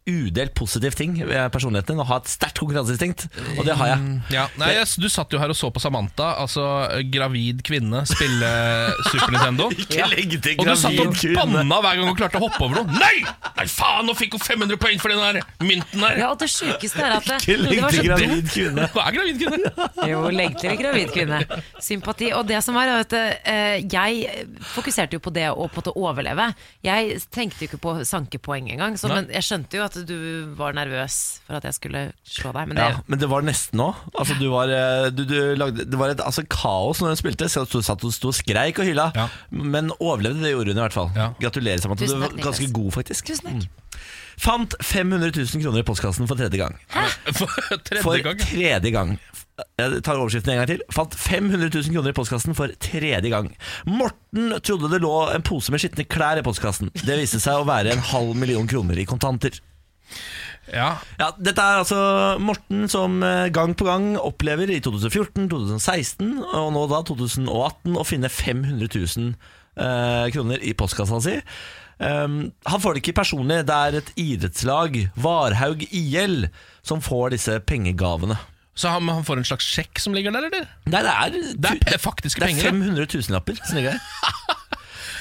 Speaker 1: udelt positiv ting ved personligheten din å ha et sterkt konkurranseinstinkt, og det har jeg.
Speaker 2: Mm, Ja, nei, jeg, Du satt jo her og så på Samantha, altså gravid kvinne, spille Super Nintendo.
Speaker 1: Ikke legg til
Speaker 2: Og du satt og
Speaker 1: gravid kvinne.
Speaker 2: banna hver gang hun klarte å hoppe over noe. Nei! Nei, faen, nå fikk hun 500 poeng for den der mynten der!
Speaker 3: Ja, og det sjukeste er at det,
Speaker 1: Ikke
Speaker 3: det
Speaker 1: legg
Speaker 3: var så
Speaker 1: til
Speaker 3: dumt.
Speaker 1: gravid kvinne.
Speaker 2: Hun er gravid kvinne.
Speaker 3: Jo, legg til gravid kvinne. Sympati. Og det som var, var at eh, jeg fokuserte jo på det å på en måte overleve. Jeg tenkte jo ikke på sankepoeng engang, så,
Speaker 2: Nei.
Speaker 3: men jeg skjønte jo at du var nervøs for at jeg skulle slå deg. Men det,
Speaker 1: Ja, men det var nesten òg. Altså, du var, eh, du, du lagde- det var et altså, kaos når hun spilte. Så du satt og sto og skreik og hyla,
Speaker 2: Ja.
Speaker 1: men overlevde det gjorde hun i hvert fall.
Speaker 2: Ja.
Speaker 1: Gratulerer, Samantha. Du
Speaker 3: Tusen
Speaker 1: var
Speaker 3: takk, Niklas.
Speaker 1: ganske god, faktisk. Mm.
Speaker 3: Tusen takk.
Speaker 1: Fant 500 000 kroner i postkassen for tredje gang.
Speaker 2: For
Speaker 1: For
Speaker 2: tredje gang.
Speaker 1: tredje gang. Jeg tar overskriften en gang til. Fant 500 000 kroner i postkassen for tredje gang. Morten trodde det lå en pose med skitne klær i postkassen. Det viste seg å være en halv million kroner i kontanter.
Speaker 2: Ja.
Speaker 1: Ja, Dette er altså Morten som eh, gang på gang opplever i 2014, 2016 og nå da 2018 å finne 500 000 eh, kroner i postkassa si. Um, han får det ikke personlig. Det er et idrettslag, Varhaug IL, som får disse pengegavene.
Speaker 2: Så han, han får en slags sjekk som ligger der, eller?
Speaker 1: Nei, det er,
Speaker 2: Det er pe- faktiske
Speaker 1: det er
Speaker 2: penger.
Speaker 1: 500 000-lapper som ligger der.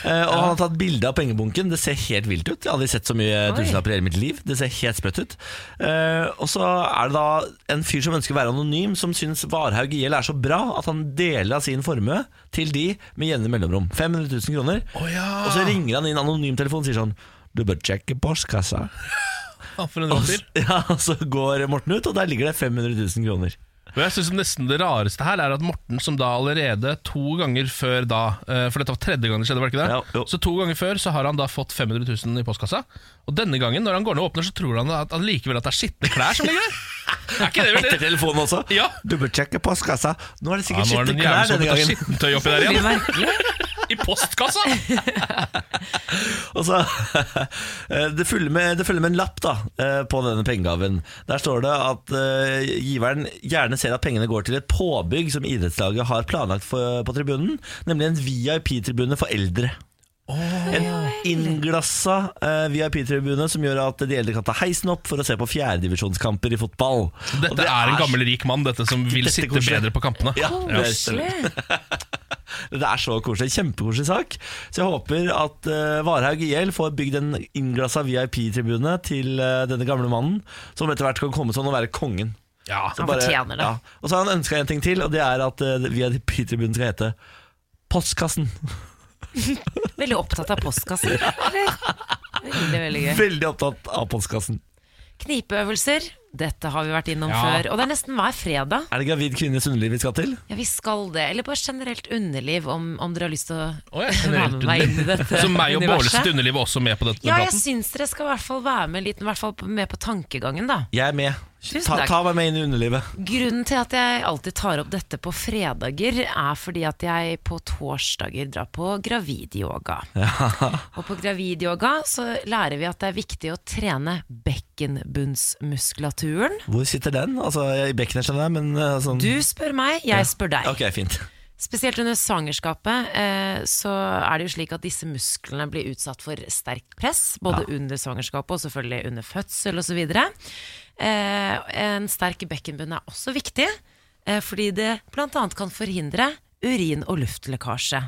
Speaker 1: Eh, og han har tatt bilde av pengebunken. Det ser helt vilt ut. Jeg har aldri sett så mye tusenlapper i hele mitt liv. Det ser helt sprøtt ut. Eh, og så er det da en fyr som ønsker å være anonym, som syns Varhaug IL er så bra at han deler av sin formue til de med jevne mellomrom. 500 000 kroner.
Speaker 2: Å ja.
Speaker 1: Og så ringer han inn anonym-telefonen og sier sånn Du bør sjekke postkassa.
Speaker 2: Han får en
Speaker 1: Og
Speaker 2: rund
Speaker 1: så,
Speaker 2: til.
Speaker 1: ja, og så går Morten ut, og der ligger det 500 000 kroner.
Speaker 2: Men jeg synes nesten Det rareste her er at Morten, som da allerede to ganger før da eh, For dette var tredje gang det skjedde, var det ikke
Speaker 1: Ja,
Speaker 2: det?
Speaker 1: jo.
Speaker 2: så to ganger før så har han da fått 500 000 i postkassa. Og denne gangen, når han går ned og åpner, så tror han at, at likevel at det er skitne klær som ligger der. Er ikke det
Speaker 1: Etter
Speaker 2: vel?
Speaker 1: telefonen også.
Speaker 2: Ja.
Speaker 1: Du bør sjekke postkassa. Nå er det
Speaker 2: Ja,
Speaker 1: sikkert
Speaker 2: nå er det
Speaker 1: skitne
Speaker 2: en
Speaker 1: klær
Speaker 2: sånn jævel som
Speaker 1: denne
Speaker 2: putter
Speaker 1: gangen.
Speaker 2: skittentøy oppi der
Speaker 3: det
Speaker 2: igjen.
Speaker 3: blir merkelig.
Speaker 2: I postkassa!
Speaker 1: Og så, eh, det, følger med, det følger med en lapp da, eh, på denne pengegaven. Der står det at eh, giveren gjerne ser at pengene går til et påbygg som idrettslaget har planlagt for, på tribunen, nemlig en VIP-tribune for eldre. en innglassa eh, VIP-tribune som gjør at de eldre kan ta heisen opp for å se på fjerdedivisjonskamper i fotball. Og
Speaker 2: Dette
Speaker 1: det
Speaker 2: er en
Speaker 1: så-
Speaker 2: gammel rik mann dette som vil
Speaker 1: Dette
Speaker 2: sitte
Speaker 1: koselig.
Speaker 2: bedre på kampene.
Speaker 1: Ja, det stemmer.
Speaker 3: Koselig.
Speaker 1: Det er så koselig. Kjempekoselig sak. Så jeg håper at eh, Varhaug IL får bygd en innglassa VIP-tribune til eh, denne gamle mannen, som etter hvert kan komme sånn og være kongen.
Speaker 2: Ja.
Speaker 1: Så
Speaker 3: Han fortjener det.
Speaker 1: Ja. Og så har han ønska en ting til, og det er at eh, VIP-tribunen skal hete Postkassen.
Speaker 3: Veldig opptatt av postkasser. Eller? Veldig, veldig gøy.
Speaker 1: Veldig opptatt av postkassen.
Speaker 3: Knipeøvelser. Dette har vi vært innom
Speaker 2: Ja.
Speaker 3: før. Og det er nesten hver fredag.
Speaker 1: Er det gravid kvinnes underliv vi skal til?
Speaker 3: Ja, vi skal det. Eller bare generelt underliv, om, om dere har lyst til
Speaker 2: Å,
Speaker 3: å
Speaker 2: jeg er
Speaker 3: være
Speaker 2: generelt
Speaker 3: med meg inn i
Speaker 2: underlig.
Speaker 3: dette
Speaker 2: Så meg og Bårles
Speaker 3: universet.
Speaker 2: sitt underliv var også med på dette
Speaker 3: Ja, jeg
Speaker 2: praten.
Speaker 3: syns dere skal i hvert fall være med litt, i hvert fall med på tankegangen, da.
Speaker 1: Jeg er med.
Speaker 3: Tusen
Speaker 1: Ta,
Speaker 3: takk.
Speaker 1: ta meg med inn i underlivet.
Speaker 3: Grunnen til at jeg alltid tar opp dette på fredager, er fordi at jeg på torsdager drar på gravidyoga. Og på gravidyoga så lærer vi at det er viktig å trene bekkenbunnsmuskulaturen.
Speaker 1: Hvor sitter den? Altså, jeg, I bekkenet, skjønner jeg, men eh, sånn
Speaker 3: Du spør meg, jeg spør deg.
Speaker 1: Ok, fint.
Speaker 3: Spesielt under svangerskapet eh, så er det jo slik at disse musklene blir utsatt for sterkt press, både under svangerskapet og selvfølgelig under fødsel osv. Eh, en sterk bekkenbunn er også viktig, eh, fordi det bl.a. kan forhindre urin- og luftlekkasje.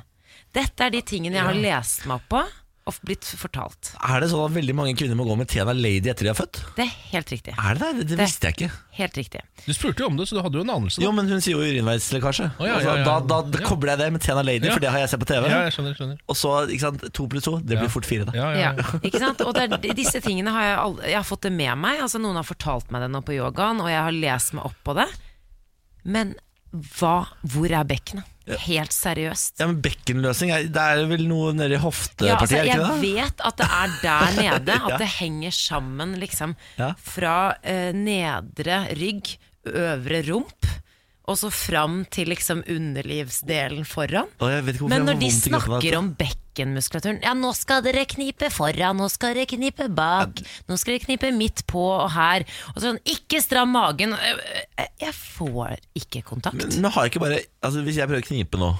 Speaker 3: Dette er de tingene jeg har lest meg opp på og blitt fortalt.
Speaker 1: Er det sånn at veldig mange kvinner må gå med Tena Lady etter de er født?
Speaker 3: Det er helt riktig.
Speaker 1: Er det det? Det visste jeg ikke.
Speaker 3: Helt riktig.
Speaker 2: Du spurte jo om det, så du hadde jo en anelse.
Speaker 1: Jo,
Speaker 2: Da.
Speaker 1: men hun sier jo urinveislekkasje.
Speaker 2: Å, ja,
Speaker 1: Altså,
Speaker 2: ja, ja.
Speaker 1: Da, da
Speaker 2: Ja.
Speaker 1: kobler jeg det med Tena Lady,
Speaker 2: Ja.
Speaker 1: for det har jeg sett på TV.
Speaker 2: Ja, jeg skjønner, jeg skjønner.
Speaker 1: Og så, ikke sant, to pluss to, det blir
Speaker 2: Ja.
Speaker 1: fort fire, da.
Speaker 2: Ja, ja,
Speaker 3: Ja, ikke sant? Og det er, de- disse tingene har jeg, all, jeg har fått det med meg. Altså, noen har fortalt meg det nå på yogaen, og jeg har lest meg opp på det. Men hva, hvor er bekkenet? Helt seriøst.
Speaker 1: Ja, men Bekkenløsning, er- det er vel noe nede i hoftepartiet,
Speaker 3: Ja, altså,
Speaker 1: er det
Speaker 3: jeg
Speaker 1: ikke det?
Speaker 3: vet at det er der nede, at
Speaker 1: Ja.
Speaker 3: det henger sammen liksom
Speaker 1: Ja.
Speaker 3: fra eh, nedre rygg, øvre rump, og så fram til liksom underlivsdelen foran.
Speaker 1: Å, jeg vet ikke hvorfor
Speaker 3: Men
Speaker 1: jeg
Speaker 3: når
Speaker 1: får
Speaker 3: de
Speaker 1: vondt i kroppen av
Speaker 3: snakker
Speaker 1: dette.
Speaker 3: om bekkenmuskulaturen Ja, nå skal dere knipe foran, nå skal dere knipe bak, nå skal dere knipe midt på og her. Og sånn, ikke stram magen. Øh, øh, Jeg får ikke
Speaker 1: Men,
Speaker 3: kontakt.
Speaker 1: men har jeg ikke bare Altså, hvis jeg prøver å knipe nå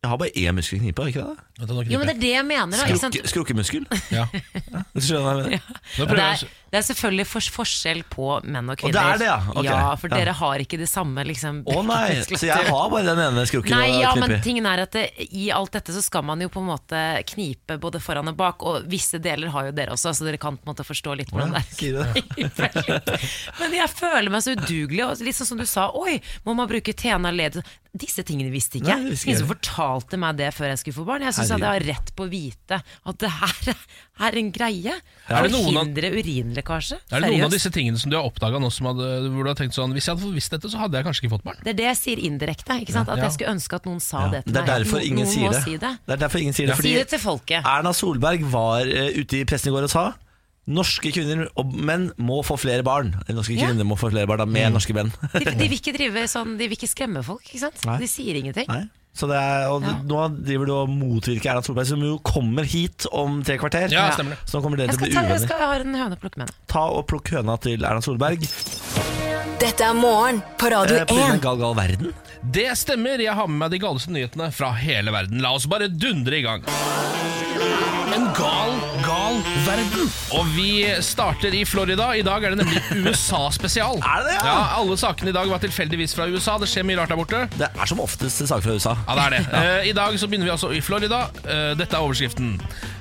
Speaker 1: Jeg har bare én muskel å knipe, har jeg ikke det?
Speaker 2: Vent, nå kniper
Speaker 3: Jo, men det er det jeg mener. da, ikke sant?
Speaker 1: Skrukke, skrukkemuskel?
Speaker 2: jeg. ja.
Speaker 1: Skjønner du hva jeg mener?
Speaker 2: Nå
Speaker 3: Det
Speaker 2: prøver
Speaker 3: er,
Speaker 2: jeg å-
Speaker 3: det er selvfølgelig fors forskjell på menn og
Speaker 1: Og
Speaker 3: kvinner.
Speaker 1: det er det, ja? Ok.
Speaker 3: Ja, For
Speaker 1: Ja.
Speaker 3: dere har ikke det samme liksom,
Speaker 1: Å nei, så jeg har bare den ene skrukken
Speaker 3: Nei,
Speaker 1: å
Speaker 3: ja,
Speaker 1: knipe
Speaker 3: men
Speaker 1: i.
Speaker 3: tingen er at det, i alt dette så skal man jo på en måte knipe både foran og bak, og visse deler har jo dere også, så dere kan på en måte forstå litt hvordan
Speaker 1: Ja,
Speaker 3: det er.
Speaker 1: sier du det?
Speaker 3: Men jeg føler meg så udugelig. Og litt sånn som du sa, oi, må man bruke tena led? Disse tingene visste
Speaker 1: Nei,
Speaker 3: ikke jeg.
Speaker 1: det visste ikke
Speaker 3: Ingen som
Speaker 1: jeg.
Speaker 3: fortalte meg det før jeg skulle få barn. Jeg syns jeg
Speaker 1: Herregud.
Speaker 3: har rett på å vite at det her er en greie.
Speaker 2: Er det noen av-
Speaker 3: Forhindre urinlekkasje.
Speaker 2: Er det noen av
Speaker 3: Seriøst.
Speaker 2: disse tingene som du har oppdaga nå, som hadde, hvor du har tenkt sånn Hvis jeg hadde visst dette, så hadde jeg kanskje ikke fått barn.
Speaker 3: Det er det jeg sier indirekte. Ikke sant? At
Speaker 2: Ja.
Speaker 3: jeg skulle ønske at noen sa det til
Speaker 1: Det er
Speaker 3: meg. at
Speaker 1: derfor
Speaker 3: no-
Speaker 1: ingen
Speaker 3: noen
Speaker 1: sier
Speaker 3: må
Speaker 1: det.
Speaker 3: Si det.
Speaker 1: Det er derfor ingen sier det.
Speaker 3: Si
Speaker 1: Fordi
Speaker 3: det til folket.
Speaker 1: Erna Solberg var eh, ute i pressen i går og sa Norske kvinner og menn må få flere barn. Eller, Norske
Speaker 3: Ja.
Speaker 1: kvinner må få flere barn da,
Speaker 2: Mm.
Speaker 1: med norske menn.
Speaker 3: De, de, vil ikke drive sånn, de vil ikke skremme folk. Ikke sant?
Speaker 1: Nei.
Speaker 3: De sier ingenting.
Speaker 1: Nei. Så det er, og
Speaker 3: Ja.
Speaker 1: Nå driver du og motvirker Erna Solberg, som jo kommer hit om tre kvarter.
Speaker 2: Ja, stemmer det.
Speaker 1: Så nå kommer dere
Speaker 3: Jeg
Speaker 1: til å
Speaker 3: skal,
Speaker 1: bli
Speaker 3: ta, jeg
Speaker 1: uvenner.
Speaker 3: skal ha en høne å plukke med. henne.
Speaker 1: Ta og Plukk høna til Erna Solberg.
Speaker 4: Dette er morgen på Radio
Speaker 1: eh, på grunn av
Speaker 4: 1.
Speaker 1: Gal Gal Verden.
Speaker 2: Det stemmer, jeg har med meg de galeste nyhetene fra hele verden. La oss bare dundre i gang. En gal, gal verden. Og vi starter i Florida. I dag er det nemlig USA-spesial.
Speaker 1: Er det det, ja?
Speaker 2: Ja, Alle sakene i dag var tilfeldigvis fra USA. Det skjer mye rart der borte.
Speaker 1: Det er som oftest saker fra USA.
Speaker 2: Ja, det er det. Eh, I dag så begynner vi altså i Florida. Eh, dette er overskriften.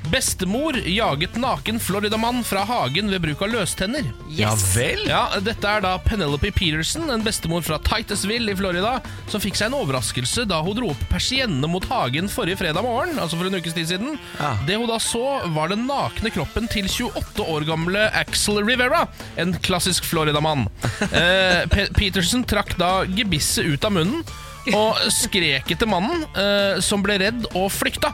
Speaker 2: Bestemor jaget naken Floridamann fra hagen ved bruk av løstenner.
Speaker 1: Ja vel?
Speaker 2: Ja, Dette er da Penelope Peterson, en bestemor fra Titusville i Florida, som fikk seg en overraskelse da hun dro opp persiennene mot hagen forrige fredag morgen. altså for en ukes tid siden.
Speaker 1: Ja.
Speaker 2: Det hun da så, var den nakne kroppen til 28 år gamle Axel Rivera, en klassisk Florida-mann. Eh, Pe Peterson trakk da gebisset ut av munnen og skrek etter mannen, eh, som ble redd og flykta.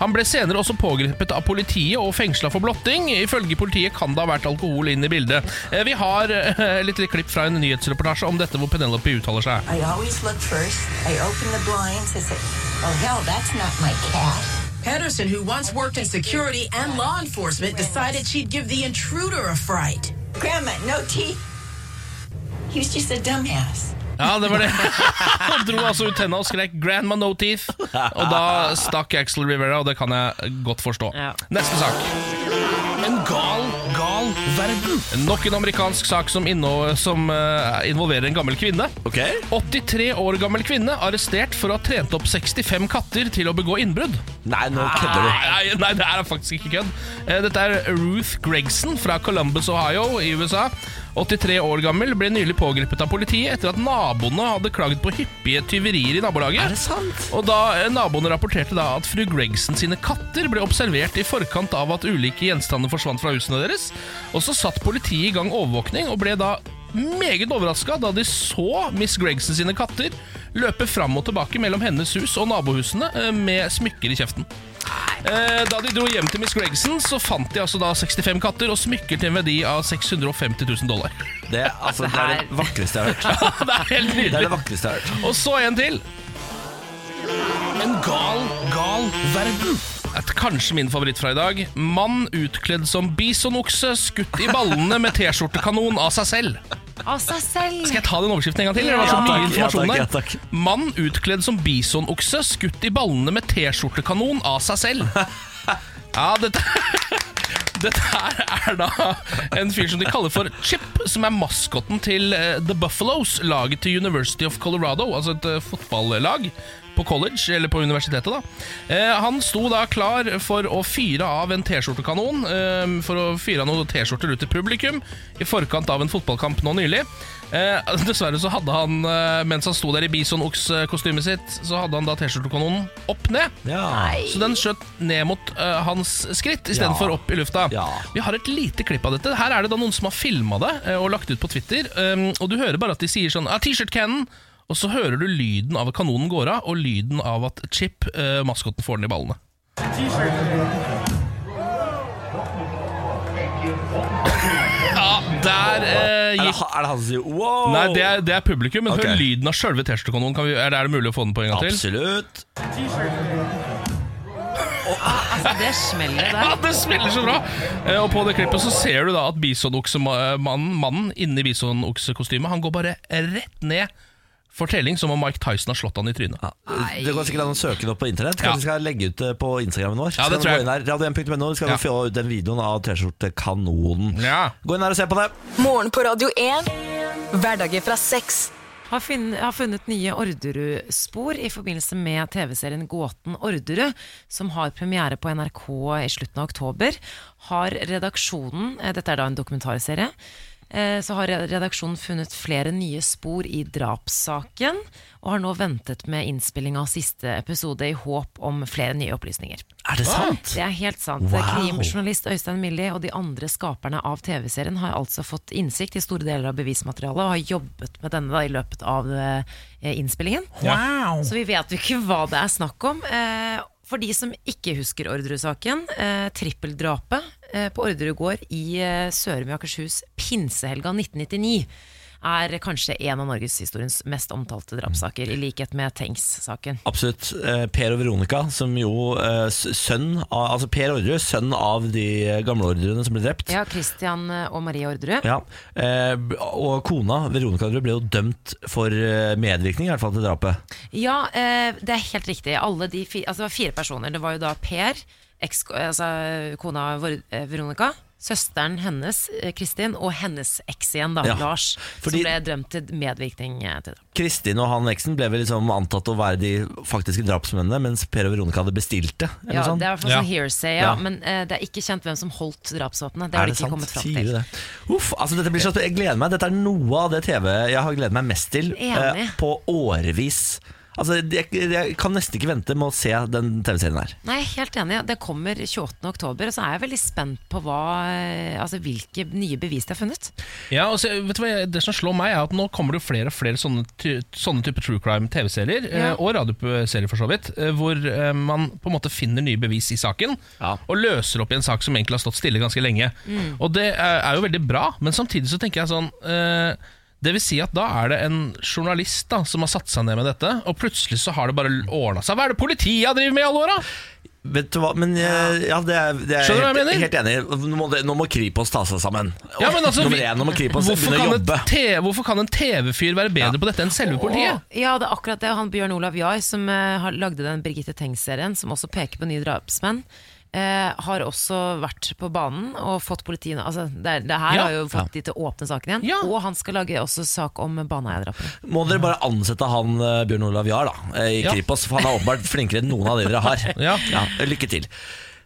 Speaker 2: Han ble senere også pågrepet av politiet og fengsla for blotting. Ifølge politiet kan det ha vært alkohol inn i bildet. Eh, Vi har eh, litt klipp fra en nyhetsreportasje om dette hvor Penelope uttaler seg.
Speaker 5: I always look first. I open the blinds. I say, oh, hell, that's not my cat.
Speaker 6: Pedersen, who once worked in security and law enforcement, decided she'd give the intruder a fright.
Speaker 5: Grandma, no teeth. He was just a dumbass.
Speaker 2: Ja, det var det. Han dro altså ut tenna og skrek 'Grandma no teeth'. Og da stakk Axel Rivera, og det kan jeg godt forstå.
Speaker 3: Ja.
Speaker 2: Neste sak. En gal, gal verden. Nok en amerikansk sak som, inno, som eh, involverer en gammel kvinne.
Speaker 1: Ok?
Speaker 2: 83 år gammel kvinne arrestert for å ha trent opp 65 katter til å begå innbrudd.
Speaker 1: Nei, nå kødder du.
Speaker 2: Nei, nei, det her er faktisk ikke kødd. Eh, Dette er Ruth Gregson fra Columbus, Ohio i USA. 83 år gammel ble nylig pågrepet av politiet etter at naboene hadde klaget på hyppige tyverier i
Speaker 1: Er det
Speaker 2: nabolaget.
Speaker 1: sant?
Speaker 2: Og da eh, Naboene rapporterte da at fru Gregson sine katter ble observert i forkant av at ulike gjenstander forsvant fra husene deres. Og så satt politiet i gang overvåkning og ble da meget overraska da de så Miss Gregson sine katter løpe fram og tilbake mellom hennes hus og nabohusene eh, med smykker i kjeften. Eh, Da de dro hjem til Miss Gregson, så fant de altså da 65 katter og smykker til en verdi av 650 000 dollar.
Speaker 1: Det, altså, det er det vakreste jeg har hørt.
Speaker 2: det er helt
Speaker 1: Det er
Speaker 2: nydelig.
Speaker 1: det vakreste jeg har hørt.
Speaker 2: Og så en til. En gal, gal verden. Et, kanskje min favoritt fra i dag. Mann utkledd som bisonokse, skutt i ballene med T-skjortekanon av seg selv.
Speaker 3: Av seg selv!
Speaker 2: Skal jeg ta den overskriften en gang til? Det var så
Speaker 1: Ja,
Speaker 2: mye
Speaker 1: takk, ja,
Speaker 2: informasjon
Speaker 1: takk, ja,
Speaker 2: der.
Speaker 1: takk.
Speaker 2: Mann utkledd som bisonokse, skutt i ballene med T-skjortekanon av seg selv. Ja, dette Dette her er da en fyr som de kaller for Chip, som er maskotten til eh, The Buffaloes, laget til University of Colorado, altså et eh, fotballag på college, eller på universitetet da. Eh, han sto da klar for å fyre av en t-skjortekanon, eh, for å fyre av noen t-skjorter ut til publikum, i forkant av en fotballkamp nå nylig. Eh, dessverre så hadde han, eh, mens han sto der i Bison-Ox-kostymet sitt, så hadde han da t-skjortekanonen opp ned.
Speaker 1: Ja.
Speaker 2: Så den skjøt ned mot eh, hans skritt istedenfor
Speaker 1: Ja.
Speaker 2: opp i lufta.
Speaker 1: Ja.
Speaker 2: Vi har et lite klipp av dette. Her er det da noen som har filma det eh, og lagt ut på Twitter. Um, og du hører bare at de sier sånn ah, T-shirt cannon! Og så hører du lyden av at kanonen går av, og lyden av at Chip, eh, maskotten, får den i ballene. Ja, der eh,
Speaker 1: Er, det,
Speaker 2: gikk
Speaker 1: ha- er det han som sier wow?
Speaker 2: Nei, det er, det er publikum, men
Speaker 1: Ok.
Speaker 2: hør lyden av sjølve T-skjortekanonen. Kan vi- Er det er det mulig å få den på en gang til?
Speaker 1: Absolutt.
Speaker 3: Altså, det smeller
Speaker 2: Ja,
Speaker 3: der.
Speaker 2: det spiller så bra! Eh, Og på det klippet så ser du da at bisonoksemannen mannen inni bisonoksekostymet Han går bare rett ned for telling, som om Mike Tyson har slått han i trynet.
Speaker 1: Ja. Det går sikkert an å søke det opp på internett. Kanskje
Speaker 2: Ja.
Speaker 1: vi skal legge ut det på Instagrammen vår.
Speaker 2: Ja, det
Speaker 1: Så kan
Speaker 2: tror jeg.
Speaker 1: du gå inn her, Radio1.no skal
Speaker 2: Ja.
Speaker 1: vi få ut den videoen av T-skjortekanonen.
Speaker 2: Ja.
Speaker 1: Gå inn her og se på det.
Speaker 4: Morgen på Radio 1. Hverdager fra seks.
Speaker 3: Har, finn, har funnet nye Orderud-spor i forbindelse med TV-serien Gåten Orderud, som har premiere på NRK i slutten av oktober. Har redaksjonen, eh, dette er da en dokumentarserie, eh, så har redaksjonen funnet flere nye spor i drapssaken, og har nå ventet med innspilling av siste episode i håp om flere nye opplysninger.
Speaker 1: Er det sant?
Speaker 3: Det er helt sant.
Speaker 1: Wow.
Speaker 3: Krimjournalist Øystein Millie og de andre skaperne av TV-serien har altså fått innsikt i store deler av bevismaterialet og har jobbet med denne da, i løpet av eh, innspillingen. Så vi vet jo ikke hva det er snakk om. Eh, for de som ikke husker Orderud-saken, eh, trippeldrapet eh, på Orderud gård i eh, Sørum i Akershus pinsehelga 1999 er kanskje en av norgeshistoriens mest omtalte drapssaker, i likhet med Tengs-saken.
Speaker 2: Ah.
Speaker 1: Absolutt. Eh, Per og Veronica, som jo eh, s- sønn av, Altså Per Orderud, sønn av de eh, gamle ordrene som ble drept.
Speaker 3: Ja, Christian eh, og Marie Orderud.
Speaker 1: Ja, eh, Og kona, Veronica Orderud, ble jo dømt for eh, medvirkning, i hvert fall til drapet.
Speaker 3: Ja, eh, det er helt riktig. Alle de fi, altså det var fire personer. Det var jo da Per, eks, altså kona vår, eh, Veronica, søsteren hennes, eh, Kristin, og hennes eks igjen, da,
Speaker 1: Ja,
Speaker 3: Lars,
Speaker 1: fordi-
Speaker 3: som ble dømt til medvirkning eh, til det.
Speaker 1: Kristin og han eksen ble vel liksom antatt å være de faktiske drapsmennene, mens Per og Veronica hadde bestilt det. Eller
Speaker 3: Ja,
Speaker 1: noe sånt.
Speaker 3: det er i hvert fall
Speaker 2: Ja.
Speaker 3: sånn hearsay, ja,
Speaker 1: Ja.
Speaker 3: men eh, det er ikke kjent hvem som holdt drapsvåpenet. Det har de ikke kommet fram
Speaker 1: Sier du
Speaker 3: til.
Speaker 1: det? Uff, altså dette blir så Jeg gleder meg. Dette er noe av det TV jeg har gledet meg mest til eh,
Speaker 3: Enig.
Speaker 1: på årevis. Altså, jeg, jeg kan nesten ikke vente med å se den TV-serien her.
Speaker 3: Nei, jeg er helt enig. Det kommer 28. oktober, og så er jeg veldig spent på hva, eh, altså, hvilke nye bevis de har funnet.
Speaker 2: Ja, og så, vet du hva, Det som slår meg, er at nå kommer det jo flere og flere sånne, ty- sånne type true crime-TV-serier,
Speaker 3: Ja.
Speaker 2: eh, og radioserier for så vidt, eh, hvor eh, man på en måte finner nye bevis i saken,
Speaker 1: Ja.
Speaker 2: og løser opp i en sak som egentlig har stått stille ganske lenge. Og det er, er jo veldig bra, men samtidig så tenker jeg sånn eh, det vil si at Da er det en journalist da som har satt seg ned med dette, og plutselig så har det bare ordna seg. Hva er det politiet har drevet med i alle åra?!
Speaker 1: Vet du hva, men eh, ja, det er, det er
Speaker 2: Skjønner du hva
Speaker 1: helt,
Speaker 2: jeg mener?
Speaker 1: helt enig. Nå må, det, nå må Kripos ta seg sammen.
Speaker 2: Ja, men altså,
Speaker 1: Nummer
Speaker 2: vi-
Speaker 1: én, nå må Kripos
Speaker 2: Hvorfor,
Speaker 1: begynne å
Speaker 2: kan en
Speaker 1: jobbe.
Speaker 2: te- hvorfor kan en TV-fyr være bedre på dette enn selve politiet?
Speaker 3: Å, Ja, det er akkurat det. Han Bjørn Olav Jahr, som eh, har- lagde den Birgitte Tengs-serien, som også peker på nye drapsmenn, eh, har også vært på banen og fått politiet altså, det, det her
Speaker 2: Ja.
Speaker 3: har jo fått de til å åpne saken igjen.
Speaker 2: Ja.
Speaker 3: Og han skal lage også sak om baneeierdrapene.
Speaker 1: Må dere bare ansette han eh, Bjørn Olav Jahr da, eh, i
Speaker 2: Ja.
Speaker 1: Kripos, for han er åpenbart flinkere enn noen av dere har.
Speaker 2: Ja.
Speaker 1: lykke til.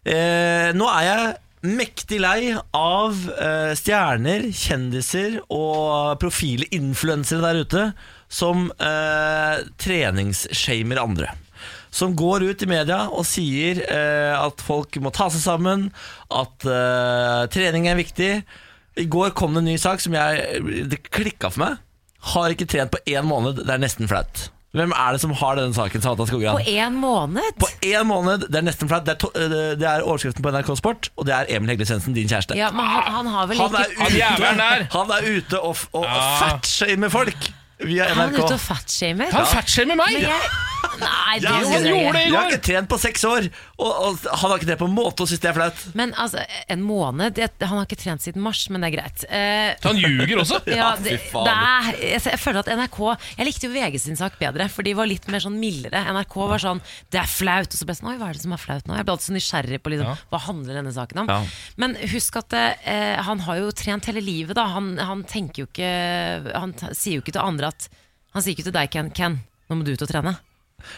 Speaker 1: Eh, nå er jeg mektig lei av eh, stjerner, kjendiser og profile influensere der ute som eh, treningsshamer andre. Som går ut i media og sier eh, at folk må ta seg sammen, at eh, trening er viktig. I går kom det en ny sak som jeg, det klikka for meg. Har ikke trent på én måned, det er nesten flaut. Hvem er det som har denne saken? Samantha Skogran?
Speaker 3: På én måned!
Speaker 1: På én måned, det er nesten flaut. Det, er to- øh, det er overskriften på NRK Sport, og det er Emil Hegle Svendsen, din kjæreste.
Speaker 3: ja, men han, han har vel
Speaker 1: Han er
Speaker 3: ikke
Speaker 2: Han jævelen der!
Speaker 1: ute, han er ute og, f- og
Speaker 2: Ja.
Speaker 1: fatshamer folk via
Speaker 3: Han er ute og
Speaker 1: NRK.
Speaker 3: fatshamer.
Speaker 2: Han fatshamer meg!
Speaker 3: Men jeg, Nei, det
Speaker 1: Jeg,
Speaker 2: han
Speaker 3: synes jeg
Speaker 2: gjorde
Speaker 3: ikke.
Speaker 2: det i
Speaker 1: jeg har
Speaker 2: går!
Speaker 1: ikke trent på seks år, og, og han har ikke trent på en måte og syns det er flaut.
Speaker 3: Men altså, en måned det, Han har ikke trent siden mars, men det er greit. Eh,
Speaker 2: Så han ljuger også.
Speaker 3: ja,
Speaker 1: fy
Speaker 3: det, det er,
Speaker 1: faen.
Speaker 3: jeg, jeg føler at NRK Jeg likte jo VG sin sak bedre, for de var litt mer sånn mildere. NRK var sånn 'det er flaut', og så ble jeg sånn 'oi, hva er det som er flaut nå?' Jeg ble alltid så nysgjerrig på liksom,
Speaker 2: Ja.
Speaker 3: hva handler denne saken om.
Speaker 1: Ja.
Speaker 3: Men husk at eh, han har jo trent hele livet, da. Han, han tenker jo ikke Han t sier jo ikke til andre at Han sier ikke til deg, Ken, Ken, nå må du ut og trene.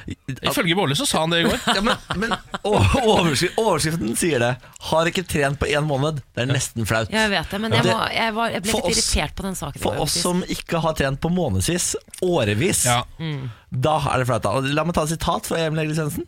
Speaker 2: Ifølge Båle så sa han det i går.
Speaker 1: Ja, men men o- overskri- overskriften sier det. Har ikke trent på én måned. Det er nesten flaut.
Speaker 3: Jeg vet det, men jeg,
Speaker 1: Det-
Speaker 3: må, jeg, var, jeg ble
Speaker 1: For
Speaker 3: litt
Speaker 1: oss-
Speaker 3: irritert på den saken. i
Speaker 1: For
Speaker 3: går,
Speaker 1: oss
Speaker 3: faktisk.
Speaker 1: som ikke har trent på månedsvis, årevis,
Speaker 2: Ja.
Speaker 1: da er det flaut. da. Og La meg ta et sitat fra Emil Egil Svendsen.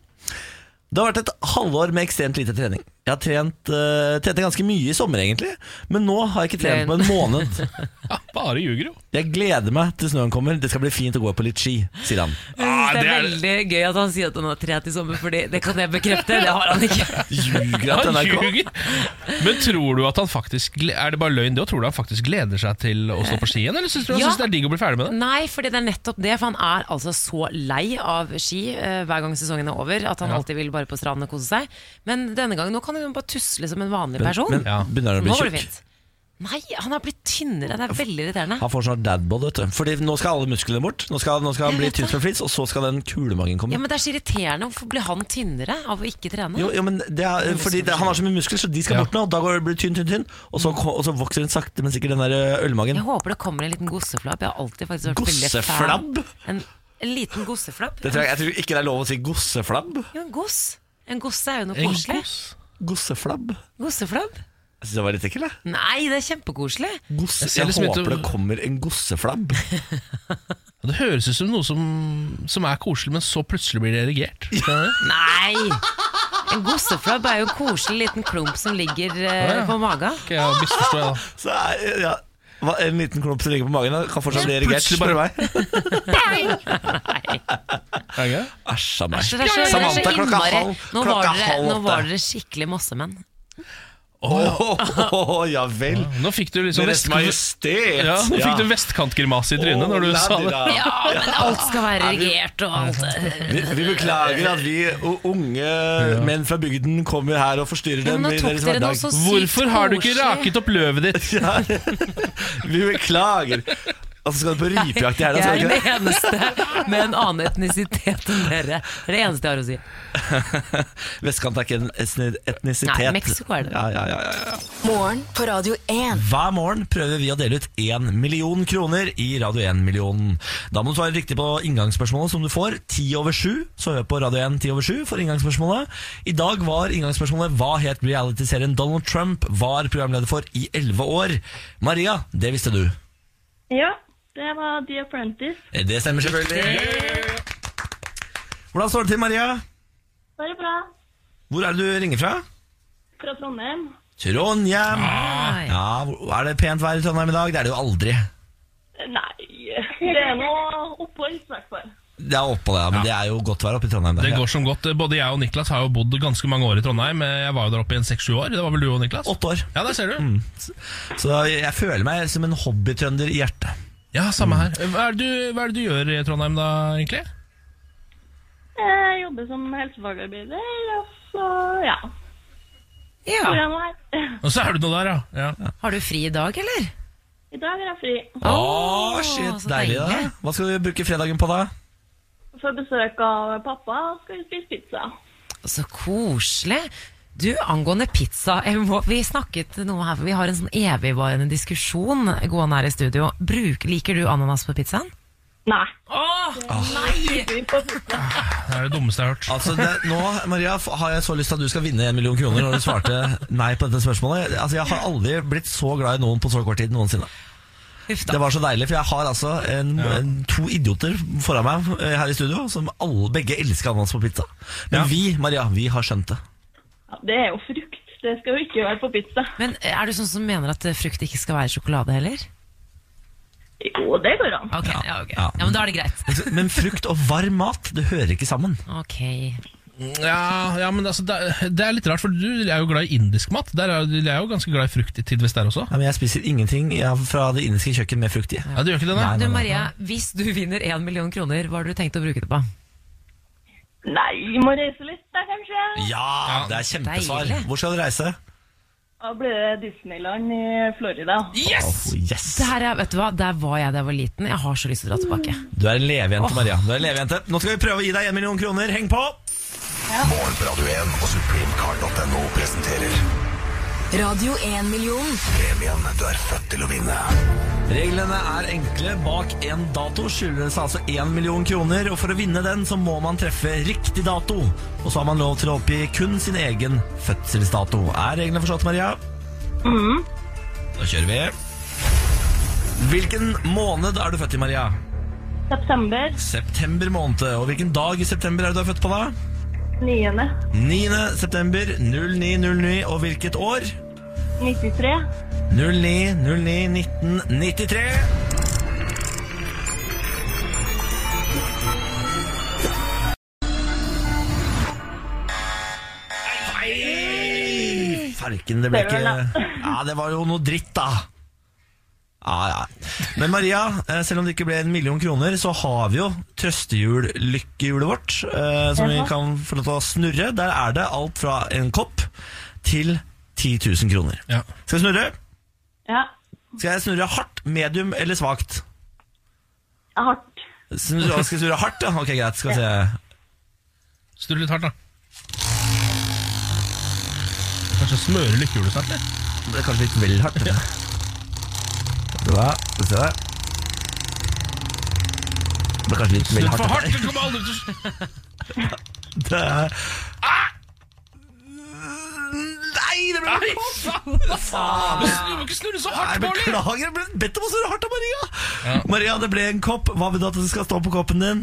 Speaker 1: Det har vært et halvår med ekstremt lite trening. Jeg har trent, eh, trente ganske mye i sommer, egentlig, men nå har jeg ikke trent på en måned.
Speaker 2: Ja, bare ljuger, jo.
Speaker 1: Jeg gleder meg til snøen kommer. Det skal bli fint å gå på litt ski, sier han.
Speaker 2: Ah,
Speaker 3: Mm, det
Speaker 2: det
Speaker 3: er
Speaker 2: er-
Speaker 3: veldig gøy at han sier at han har trent i sommer, Fordi det kan jeg bekrefte. Det har han ikke.
Speaker 1: Ljuger han til
Speaker 2: Han
Speaker 1: NRK?
Speaker 2: ljuger. Men tror du at han faktisk gle- Er det bare løgn, det? Og tror du han faktisk gleder seg til å stå på ski igjen? Eller syns du han
Speaker 3: Ja.
Speaker 2: synes det er digg å bli ferdig med det?
Speaker 3: Nei, fordi det er nettopp det. For han er altså så lei av ski eh, hver gang sesongen er over at han
Speaker 2: Ja.
Speaker 3: alltid vil bare på stranden og kose seg. Men denne gangen nå kan han jo bare tusle som en vanlig
Speaker 1: Men,
Speaker 3: person.
Speaker 1: men
Speaker 2: Ja.
Speaker 1: begynner han å
Speaker 3: nå
Speaker 1: bli
Speaker 3: går det
Speaker 1: tjukk?
Speaker 3: fint. Nei, han har blitt tynnere. Det er veldig irriterende.
Speaker 1: Han får snart dadbod, vet du. Fordi nå skal alle musklene bort. Nå skal, nå skal han bli
Speaker 3: Jeg vet
Speaker 1: tynn som flis, og så skal den kulemagen komme.
Speaker 3: Ja, men Det er så irriterende. Hvorfor blir han tynnere av å ikke trene?
Speaker 1: Jo, jo, men det er, fordi det, Han har så mye muskler, så de skal
Speaker 2: Ja.
Speaker 1: bort nå. Da går det blir det tynn, tynn, tynn. Og så, ko- og så vokser den sakte, men sikkert den der ø, ølmagen.
Speaker 3: Jeg håper det kommer en liten gosseflabb. Jeg har alltid faktisk vært veldig fan.
Speaker 1: Gosseflabb?
Speaker 3: En, en liten gosseflabb.
Speaker 1: Det tror jeg, jeg tror ikke det er lov å si gosseflabb.
Speaker 3: Jo, en goss. En gosse er jo noe koselig.
Speaker 1: Gosseflabb?
Speaker 3: Gosseflabb?
Speaker 1: Jeg syns det var litt ekkelt. jeg.
Speaker 3: Nei, det er kjempekoselig.
Speaker 1: Gosse,
Speaker 2: Jeg ser
Speaker 1: jeg
Speaker 2: liksom ut-
Speaker 1: håper det kommer en gosseflabb.
Speaker 2: Det høres ut som noe som, som er koselig, men så plutselig blir det erigert. Skjønner du?
Speaker 3: Nei! En gosseflabb er jo en koselig liten klump som ligger eh,
Speaker 2: Ja, ja.
Speaker 3: på maga.
Speaker 2: Ok, jeg misforstår, jeg, da.
Speaker 1: Så er, ja, hva, En liten klump som ligger på magen, da, kan fortsatt bli erigert.
Speaker 2: Plutselig
Speaker 1: Spør
Speaker 2: bare-
Speaker 1: meg.
Speaker 2: Er det gøy?
Speaker 1: Æsj a
Speaker 3: Så
Speaker 1: meg.
Speaker 3: det er så, det er så
Speaker 1: Samantha, klokka
Speaker 3: innmari
Speaker 1: halv-
Speaker 3: Nå var
Speaker 1: klokka
Speaker 3: dere,
Speaker 1: halv
Speaker 3: nå var
Speaker 1: åtte.
Speaker 3: dere skikkelig mossemenn.
Speaker 1: Åh, ja vel.
Speaker 2: Nå fikk du liksom
Speaker 1: Deres
Speaker 2: vestkant...
Speaker 1: Majestet.
Speaker 2: Ja, nå fikk du
Speaker 1: Ja.
Speaker 2: vestkantgrimase i trynet når du
Speaker 1: Åh,
Speaker 2: sa
Speaker 1: la de
Speaker 2: det.
Speaker 1: da.
Speaker 3: Ja, men alt skal være regert og alt. Ja,
Speaker 1: Vi, vi beklager at vi o- unge menn fra bygden kommer her og forstyrrer
Speaker 3: men
Speaker 1: dem
Speaker 3: nå
Speaker 1: i
Speaker 3: tok
Speaker 1: deres
Speaker 3: dere noe
Speaker 1: hverdag.
Speaker 3: så sykt koselig.
Speaker 2: Hvorfor har du ikke raket opp løvet ditt?
Speaker 1: Vi beklager. Og så skal du på rypejakt i helga,
Speaker 3: Jeg
Speaker 1: skal du
Speaker 3: er
Speaker 1: ikke det?
Speaker 3: den eneste med en annen etnisitet enn dere. Det er det eneste jeg har å si.
Speaker 1: Vestkant er ikke en etni- etnisitet.
Speaker 3: Nei, Mexico er det.
Speaker 1: Ja, ja, ja, ja, ja.
Speaker 4: Morgen på Radio 1.
Speaker 1: Hver morgen prøver vi å dele ut 1 million kroner i Radio 1-millionen. Da må du svare riktig på inngangsspørsmålet som du får. 10 over 7, så hør på Radio 1 10 over 7 for inngangsspørsmålet. I dag var inngangsspørsmålet hva het realityserien Donald Trump var programleder for i 11 år? Maria, det visste du.
Speaker 7: Ja, det var The Apprentice.
Speaker 1: Det stemmer selvfølgelig. Hvordan står det til, Maria?
Speaker 7: Bare bra.
Speaker 1: Hvor er det du ringer fra?
Speaker 7: Fra Trondheim.
Speaker 1: Trondheim.
Speaker 3: Nei.
Speaker 1: Ja, hvor- Er det pent vær i Trondheim i dag? Det er det jo aldri.
Speaker 7: Nei, det er noe opphold, i hvert fall.
Speaker 1: Det er oppå det, ja, men det er jo godt vær oppe i Trondheim. Der.
Speaker 2: Det
Speaker 1: Ja.
Speaker 2: går som godt. Både jeg og Niklas har jo bodd ganske mange år i Trondheim. Jeg var jo der oppe i en seks-sju år. Det var vel du og Niklas?
Speaker 1: Åtte år.
Speaker 2: Ja, der ser du.
Speaker 1: Så jeg føler meg som en hobbytrønder i hjertet.
Speaker 2: Ja, samme her. Hva er, det du, hva er det du gjør i Trondheim da, egentlig?
Speaker 7: Jeg jobber som helsefagarbeider, og så ja. Så
Speaker 3: Ja.
Speaker 7: jeg må her.
Speaker 2: Og så er du nå der, ja. ja.
Speaker 3: Har du fri i dag, eller?
Speaker 7: I dag er jeg fri.
Speaker 1: Å,
Speaker 3: Åh,
Speaker 1: Ah, shit,
Speaker 3: så
Speaker 1: deilig da.
Speaker 3: deilig.
Speaker 1: Hva skal du bruke fredagen på da?
Speaker 7: Får besøk av pappa, og skal vi spise pizza.
Speaker 3: Så koselig. Du, angående pizza, jeg må, vi snakket noe her, for vi har en sånn evigvarende diskusjon gående her i studio. Bruk, liker du ananas på pizzaen?
Speaker 7: Nei.
Speaker 3: Åh, nei!
Speaker 7: Vi får pizza.
Speaker 2: Det er det dummeste jeg har hørt.
Speaker 1: Altså, det, nå, Maria, f- har jeg så lyst til at du skal vinne en million kroner når du svarte nei på dette spørsmålet. Altså, Jeg har aldri blitt så glad i noen på så kort tid noensinne.
Speaker 3: Uff
Speaker 1: Det
Speaker 3: da.
Speaker 1: var så deilig, for jeg har altså en, en, to idioter foran meg eh, her i studio som alle, begge elsker ananas på pizza. Men
Speaker 2: Ja.
Speaker 1: vi, Maria, vi har skjønt det.
Speaker 7: Ja, det er jo frukt. Det skal jo ikke være på pizza.
Speaker 3: Men er du sånn som mener at eh, frukt ikke skal være sjokolade heller?
Speaker 7: Jo, det går an.
Speaker 3: Ok, ja, ok.
Speaker 1: ja.
Speaker 3: ja men da er det greit.
Speaker 1: Altså, Men frukt og varm mat, det hører ikke sammen.
Speaker 3: Ok.
Speaker 2: Ja, ja men altså, det, er- det er litt rart, for du er jo glad i indisk mat. Der er, jeg er jo ganske glad i frukt i tidvis der også.
Speaker 1: Ja, men jeg spiser ingenting ja, fra det indiske kjøkken med frukt i.
Speaker 2: Ja, du gjør ikke det,
Speaker 1: Nei,
Speaker 2: nei?
Speaker 1: nei,
Speaker 3: Du
Speaker 1: nei.
Speaker 3: Maria, hvis du vinner en million kroner, hva har du tenkt å bruke det på?
Speaker 7: Nei, må reise litt da, kanskje.
Speaker 1: Ja, det er kjempesvar.
Speaker 3: Deilig.
Speaker 1: Hvor skal du reise? Oh,
Speaker 7: Da blir det Disneyland i Florida.
Speaker 2: Yes!
Speaker 1: Oh, yes!
Speaker 3: Det her er, vet du hva, Der var jeg da jeg var liten. Jeg har så lyst til å dra tilbake.
Speaker 1: Du er en levejente, Maria. Du er en levejente. Nå skal vi prøve å gi deg en million kroner. Heng på!
Speaker 8: Morgen på Radio 1 og supremecard.no presenterer
Speaker 4: Radio 1-million.
Speaker 8: premien du er født til å vinne.
Speaker 1: Reglene er enkle. Bak en dato skylder det seg altså 1 million kroner, og for å vinne den så må man treffe riktig dato. Og så har man lov til å oppgi kun sin egen fødselsdato. Er reglene forstått, Maria? Da kjører vi. Hvilken måned er du født i, Maria?
Speaker 7: September
Speaker 1: September måned. Og hvilken dag i september er det du er født på, da?
Speaker 7: 9.
Speaker 1: 9. september 0909. Og hvilket år?
Speaker 7: 93.
Speaker 1: 09-09-1993. Nei, Farken, det ble
Speaker 7: Det
Speaker 1: ikke
Speaker 7: var
Speaker 1: Ja, det var jo noe dritt, da. Ja, ja. Men Maria, eh, selv om det ikke ble en million kroner, så har vi jo trøstehjul-lykkehjulet vårt, eh, som vi
Speaker 7: Jaha.
Speaker 1: kan få lov til å snurre. Der er det alt fra en kopp til 10 000 kroner.
Speaker 2: Ja.
Speaker 1: Skal vi snurre?
Speaker 7: Ja,
Speaker 1: Skal jeg snurre hardt, medium eller svakt?
Speaker 7: jeg har hardt.
Speaker 1: Snurre, skal jeg snurre hardt, ja? Ok, greit. Skal vi se.
Speaker 2: Snurr litt hardt, da. Kanskje smøre lykkehjulet snart? eller?
Speaker 1: Det er kanskje litt vel hardt. Ja. Det var, skal vi se der. Det er kanskje litt vel
Speaker 2: Snurr
Speaker 1: hardt.
Speaker 2: for hardt!
Speaker 1: dette
Speaker 2: Det kommer aldri til å
Speaker 1: her. Det er... Ah! Nei, det ble
Speaker 2: Nei, faen! Du må ikke snurre så
Speaker 1: Nei,
Speaker 2: hardt, Bårdli!
Speaker 1: beklager, jeg ble bedt om å snurre hardt av Maria. Maria, det ble en kopp. Hva vil du at det skal stå på koppen din?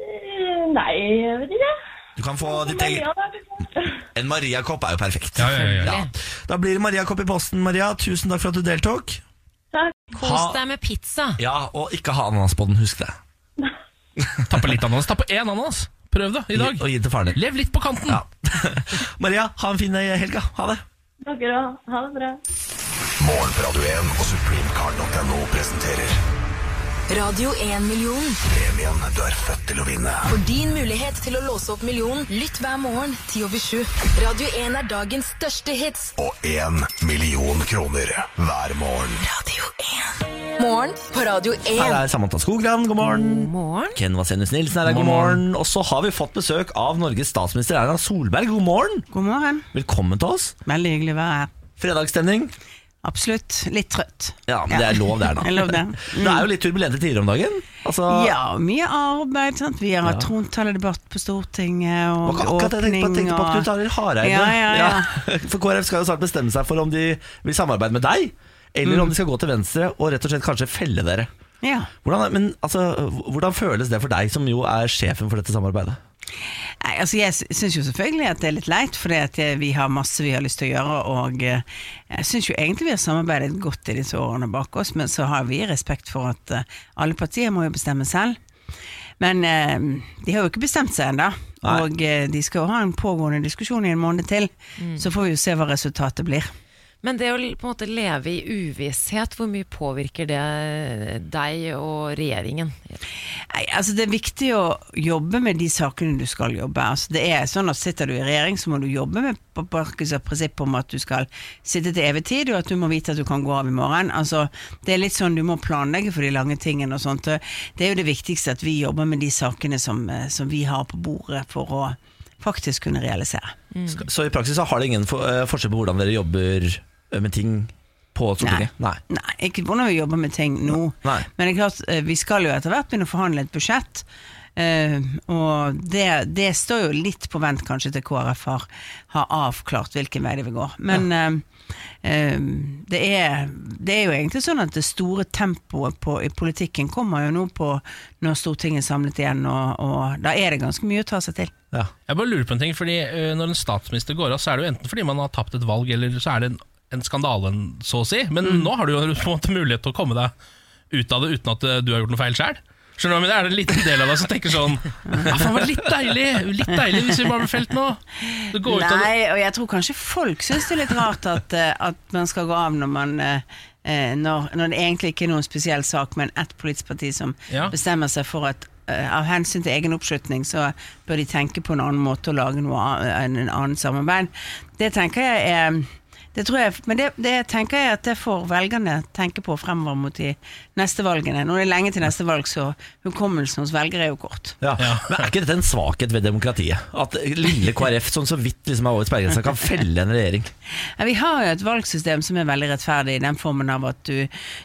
Speaker 7: Eh, Nei, jeg vet ikke.
Speaker 1: Du kan få ditt eget...
Speaker 7: Maria, da.
Speaker 1: En Maria-kopp er jo perfekt.
Speaker 2: Ja, ja, ja, ja.
Speaker 1: Ja. Da blir det Maria-kopp i posten, Maria. Tusen takk for at du deltok.
Speaker 7: Takk.
Speaker 1: Ha-
Speaker 3: Kos deg med pizza.
Speaker 1: Ja, og ikke ha ananas på den, husk det.
Speaker 2: Ta på litt ananas. Ta på én ananas. Prøv det i dag.
Speaker 1: Og gi den til faren din.
Speaker 2: Lev litt på kanten.
Speaker 1: Ja. Maria, ha en fin eh, helg. da. Ha det.
Speaker 7: Dere òg. Ha det bra.
Speaker 8: Morgen på Radio 1 og supremecard.no presenterer
Speaker 4: Radio 1-million.
Speaker 8: premien du er født til å vinne.
Speaker 4: For din mulighet til å låse opp millionen, lytt hver morgen 10 over 7. Radio 1 er dagens største hits.
Speaker 8: Og én million kroner hver morgen.
Speaker 4: Radio 1. Morgen på Radio 1.
Speaker 1: Her er Samantha Skogran, god morgen.
Speaker 3: God morgen.
Speaker 1: Ken Vasenius Nilsen er her, god morgen. Og så har vi fått besøk av Norges statsminister Erna Solberg, god morgen.
Speaker 9: God morgen.
Speaker 1: Velkommen til oss.
Speaker 9: Veldig hyggelig å være her.
Speaker 1: Fredagsstemning.
Speaker 9: Absolutt. Litt trøtt.
Speaker 1: Ja, men det er lov, det, Erna.
Speaker 9: Jeg lov det.
Speaker 1: Det er jo litt turbulente tider om dagen. Altså,
Speaker 9: Ja, mye arbeid. sant? Vi har hatt trontaledebatt på Stortinget
Speaker 1: det
Speaker 9: og
Speaker 1: var ikke akkurat det jeg tenkte på, jeg tenkte på Knut Arild Hareide.
Speaker 9: Ja, ja, ja.
Speaker 1: For KrF skal jo snart bestemme seg for om de vil samarbeide med deg, eller
Speaker 9: Mm.
Speaker 1: om de skal gå til venstre og rett og slett kanskje felle dere.
Speaker 9: Ja.
Speaker 1: Hvordan, men, altså, hvordan føles det for deg, som jo er sjefen for dette samarbeidet?
Speaker 9: Nei, altså Jeg syns jo selvfølgelig at det er litt leit, for vi har masse vi har lyst til å gjøre. Og eh, jeg syns jo egentlig vi har samarbeidet godt i disse årene bak oss, men så har vi respekt for at eh, alle partier må jo bestemme selv. Men eh, de har jo ikke bestemt seg ennå.
Speaker 1: Nei.
Speaker 9: Og eh, de skal jo ha en pågående diskusjon i en måned til. Så får vi jo se hva resultatet blir.
Speaker 3: Men det å l- på en måte leve i uvisshet, hvor mye påvirker det eh, deg og regjeringen?
Speaker 9: Nei, altså Det er viktig å jobbe med de sakene du skal jobbe. Altså det er sånn at Sitter du i regjering, så må du jobbe med på basis av prinsippet om at du skal sitte til evig tid, og at du må vite at du kan gå av i morgen. Altså Det er litt sånn du må planlegge for de lange tingene og sånt. Det er jo det viktigste at vi jobber med de sakene som, eh, som vi har på bordet for å faktisk kunne realisere.
Speaker 1: Skal- Så i praksis så har det ingen for, eh, forskjell på hvordan dere jobber eh, med ting på Stortinget? Nei.
Speaker 9: Nei, ikke hvordan vi jobber med ting nå.
Speaker 1: Nei.
Speaker 9: Men det er klart, eh, vi skal jo etter hvert begynne å forhandle et budsjett. eh, og det, det står jo litt på vent kanskje til KrF har, har avklart hvilken vei det vil gå. Men eh, eh, det, er, det er jo egentlig sånn at det store tempoet på, i politikken kommer jo nå på når Stortinget er samlet igjen, og, og da er det ganske mye å ta seg til.
Speaker 1: Ja.
Speaker 2: Jeg bare lurer på en ting, fordi ø, Når en statsminister går av, så er det jo enten fordi man har tapt et valg, eller så er det en, en skandale, så å si. Men nå har du jo på en måte mulighet til å komme deg ut av det uten at ø, du har gjort noe feil sjøl. Skjønner du hva jeg mener? Er det en liten del av deg som tenker sånn Ja, faen, det var litt deilig Litt deilig hvis vi bare ble felt nå. Det går ut av det.
Speaker 9: Nei, og jeg tror kanskje folk syns det er litt rart at, eh, at man skal gå av når man eh, eh, når, når det egentlig ikke er noen spesiell sak, men ett politisk parti som
Speaker 2: Ja.
Speaker 9: bestemmer seg for at eh, av hensyn til egen oppslutning, så bør de tenke på en annen måte å lage noe an- en, en annen samarbeid. Det tenker jeg er det tror jeg, men det, det tenker jeg at det får velgerne tenke på fremover mot de neste valgene. Nå er det lenge til neste valg, så hukommelsen hos velgere er jo kort.
Speaker 1: Ja. Men er ikke dette en svakhet ved demokratiet? At lille KrF, som så vidt liksom er over sperregrensa, kan felle en regjering?
Speaker 9: Ja, vi har jo et valgsystem som er veldig rettferdig i den formen av at du,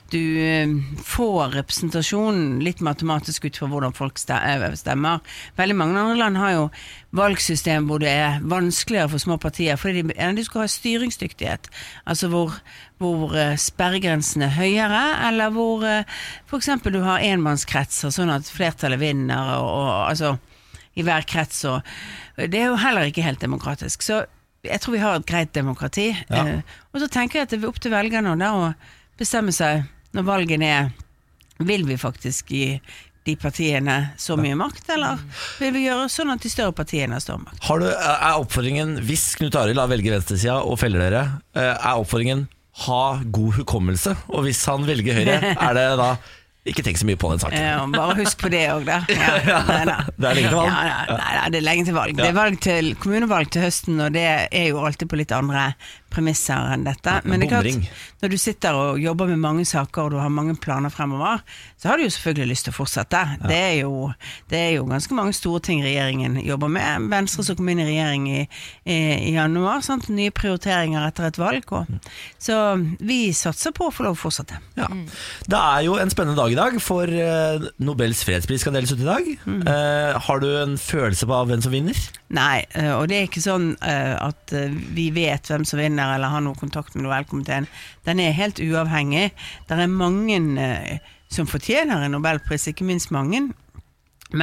Speaker 9: du eh, får representasjon litt matematisk ut fra hvordan folk ste- eh, stemmer. Veldig mange andre land har jo valgsystem hvor det er vanskeligere for små partier, fordi de, ja, de skal ha styringsdyktighet. Altså hvor, hvor eh, sperregrensen er høyere, eller hvor f.eks. du har enmannskretser, sånn at flertallet vinner. og, og altså i hver krets. Og det er jo heller ikke helt demokratisk. Så jeg tror vi har et greit demokrati. Eh, Og så tenker jeg at det er opp til velgerne da å bestemme seg når valgene er Vil vi faktisk gi de partiene så mye makt, eller vil vi gjøre sånn at de større partiene har større makt?
Speaker 1: Har du, er oppfordringen, hvis Knut Arild velger venstresida og feller dere, eh, er oppfordringen ha god hukommelse? Og hvis han velger høyre, er det da ikke tenk så mye på den saken.
Speaker 9: Eh, og bare husk på det òg, da. Ja, nei, nei.
Speaker 1: Det er lenge til valg.
Speaker 9: Ja, ja, nei, nei, det er lenge til valg. Det er valg til kommunevalg til høsten, og det er jo alltid på litt andre premisser enn dette. Men det er
Speaker 1: bomring.
Speaker 9: klart, når du sitter og jobber med mange saker og du har mange planer fremover, så har du jo selvfølgelig lyst til å fortsette. Det, er jo, det er jo ganske mange store ting regjeringen jobber med. Venstre som kom inn i regjering i, i, i januar, sant? nye prioriteringer etter et valg. Og. Så vi satser på å få lov å fortsette.
Speaker 1: Ja. Det er jo en spennende dag i dag, for eh, Nobels fredspris skal deles ut i dag.
Speaker 9: Mm.
Speaker 1: Eh, har du en følelse på hvem som vinner?
Speaker 9: Nei, eh, og det er ikke sånn eh, at eh, vi vet hvem som vinner eller har noe kontakt med Nobelkomiteen. Den er helt uavhengig. Det er mange eh, som fortjener en nobelpris, ikke minst mange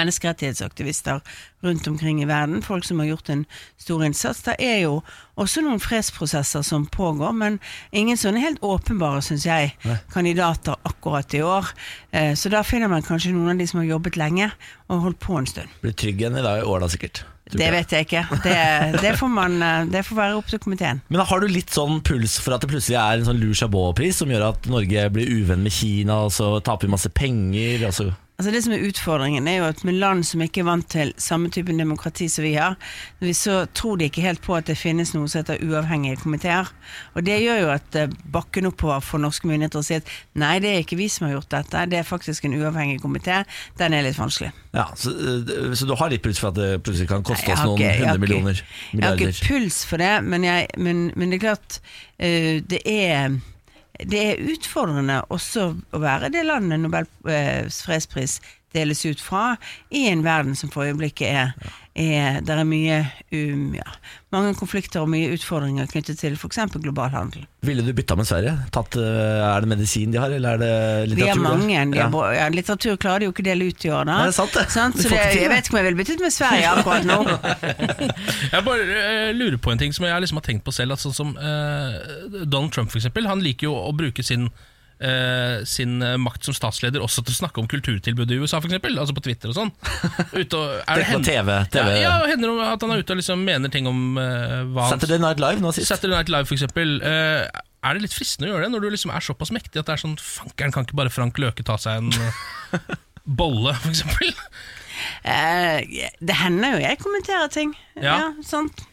Speaker 9: menneskerettighetsaktivister rundt omkring i verden, folk som har gjort en stor innsats. Det er jo også noen fredsprosesser som pågår, men ingen sånne helt åpenbare, syns jeg, kandidater akkurat i år. Eh, Så da finner man kanskje noen av de som har jobbet lenge og holdt på en stund.
Speaker 1: Blir trygg igjen i dag i år, da sikkert. tror
Speaker 9: Det
Speaker 1: jeg.
Speaker 9: vet jeg ikke. Det, det, får man, eh, det får være opp til komiteen.
Speaker 1: Men har du litt sånn puls for at det plutselig er en sånn Lou Chabot-pris som gjør at Norge blir uvenn med Kina, og så taper vi masse penger? Og så
Speaker 9: Altså Det som er utfordringen, er jo at med land som ikke er vant til samme type demokrati som vi har, så tror de ikke helt på at det finnes noe som heter uavhengige komiteer. Og det gjør jo at eh, bakken oppover for norske myndigheter å si at nei, det er ikke vi som har gjort dette, det er faktisk en uavhengig komité. Den er litt vanskelig.
Speaker 1: Ja, så, eh, så du har litt puls for at det plutselig kan koste oss
Speaker 9: Nei,
Speaker 1: noen
Speaker 9: jeg har ikke- jeg har
Speaker 1: hundre
Speaker 9: ikke-
Speaker 1: millioner?
Speaker 9: Jeg har
Speaker 1: Milliarder?
Speaker 9: ikke puls for det, men, jeg, men, men det er klart eh, det, er, det er utfordrende også å være det landet Nobels fredspris deles ut fra, i en verden som for øyeblikket er, er Der er mye um, ja, mange konflikter og mye utfordringer knyttet til f.eks. global handel.
Speaker 1: Ville du bytta med Sverige? Tatt, eh, er det medisin de har, eller er det
Speaker 9: Vi
Speaker 1: litteratur?
Speaker 9: har mange. De
Speaker 1: Ja.
Speaker 9: har, bra- ja, litteratur klarer de jo ikke å dele ut i år, da.
Speaker 1: Nei, det er sant, det.
Speaker 9: Sant?
Speaker 1: Vi
Speaker 9: Så
Speaker 1: får
Speaker 9: det,
Speaker 1: ikke til
Speaker 9: jeg
Speaker 1: det.
Speaker 9: vet ikke om jeg ville byttet med Sverige akkurat nå.
Speaker 2: Jeg bare eh, lurer på en ting som jeg liksom har tenkt på selv. At sånn som eh, Donald Trump for eksempel, Han liker jo å bruke sin, eh, sin eh, makt som statsleder også til å snakke om kulturtilbudet i USA, for eksempel, altså på Twitter og sånn. Ute og, er
Speaker 1: Det er på
Speaker 2: hen-
Speaker 1: TV, TV.
Speaker 2: Ja, ja, hender det at han er ute og liksom mener ting om eh, hva han
Speaker 1: Saturday Night Live nå sist.
Speaker 2: Saturday Night Live, for eksempel. eh, er det litt fristende å gjøre det når du liksom er såpass mektig at det er sånn Fankeren, kan ikke bare Frank Løke ta seg en eh, bolle, for eksempel?
Speaker 9: Eh, det hender jo jeg kommenterer ting.
Speaker 2: Ja.
Speaker 9: Ja, sant.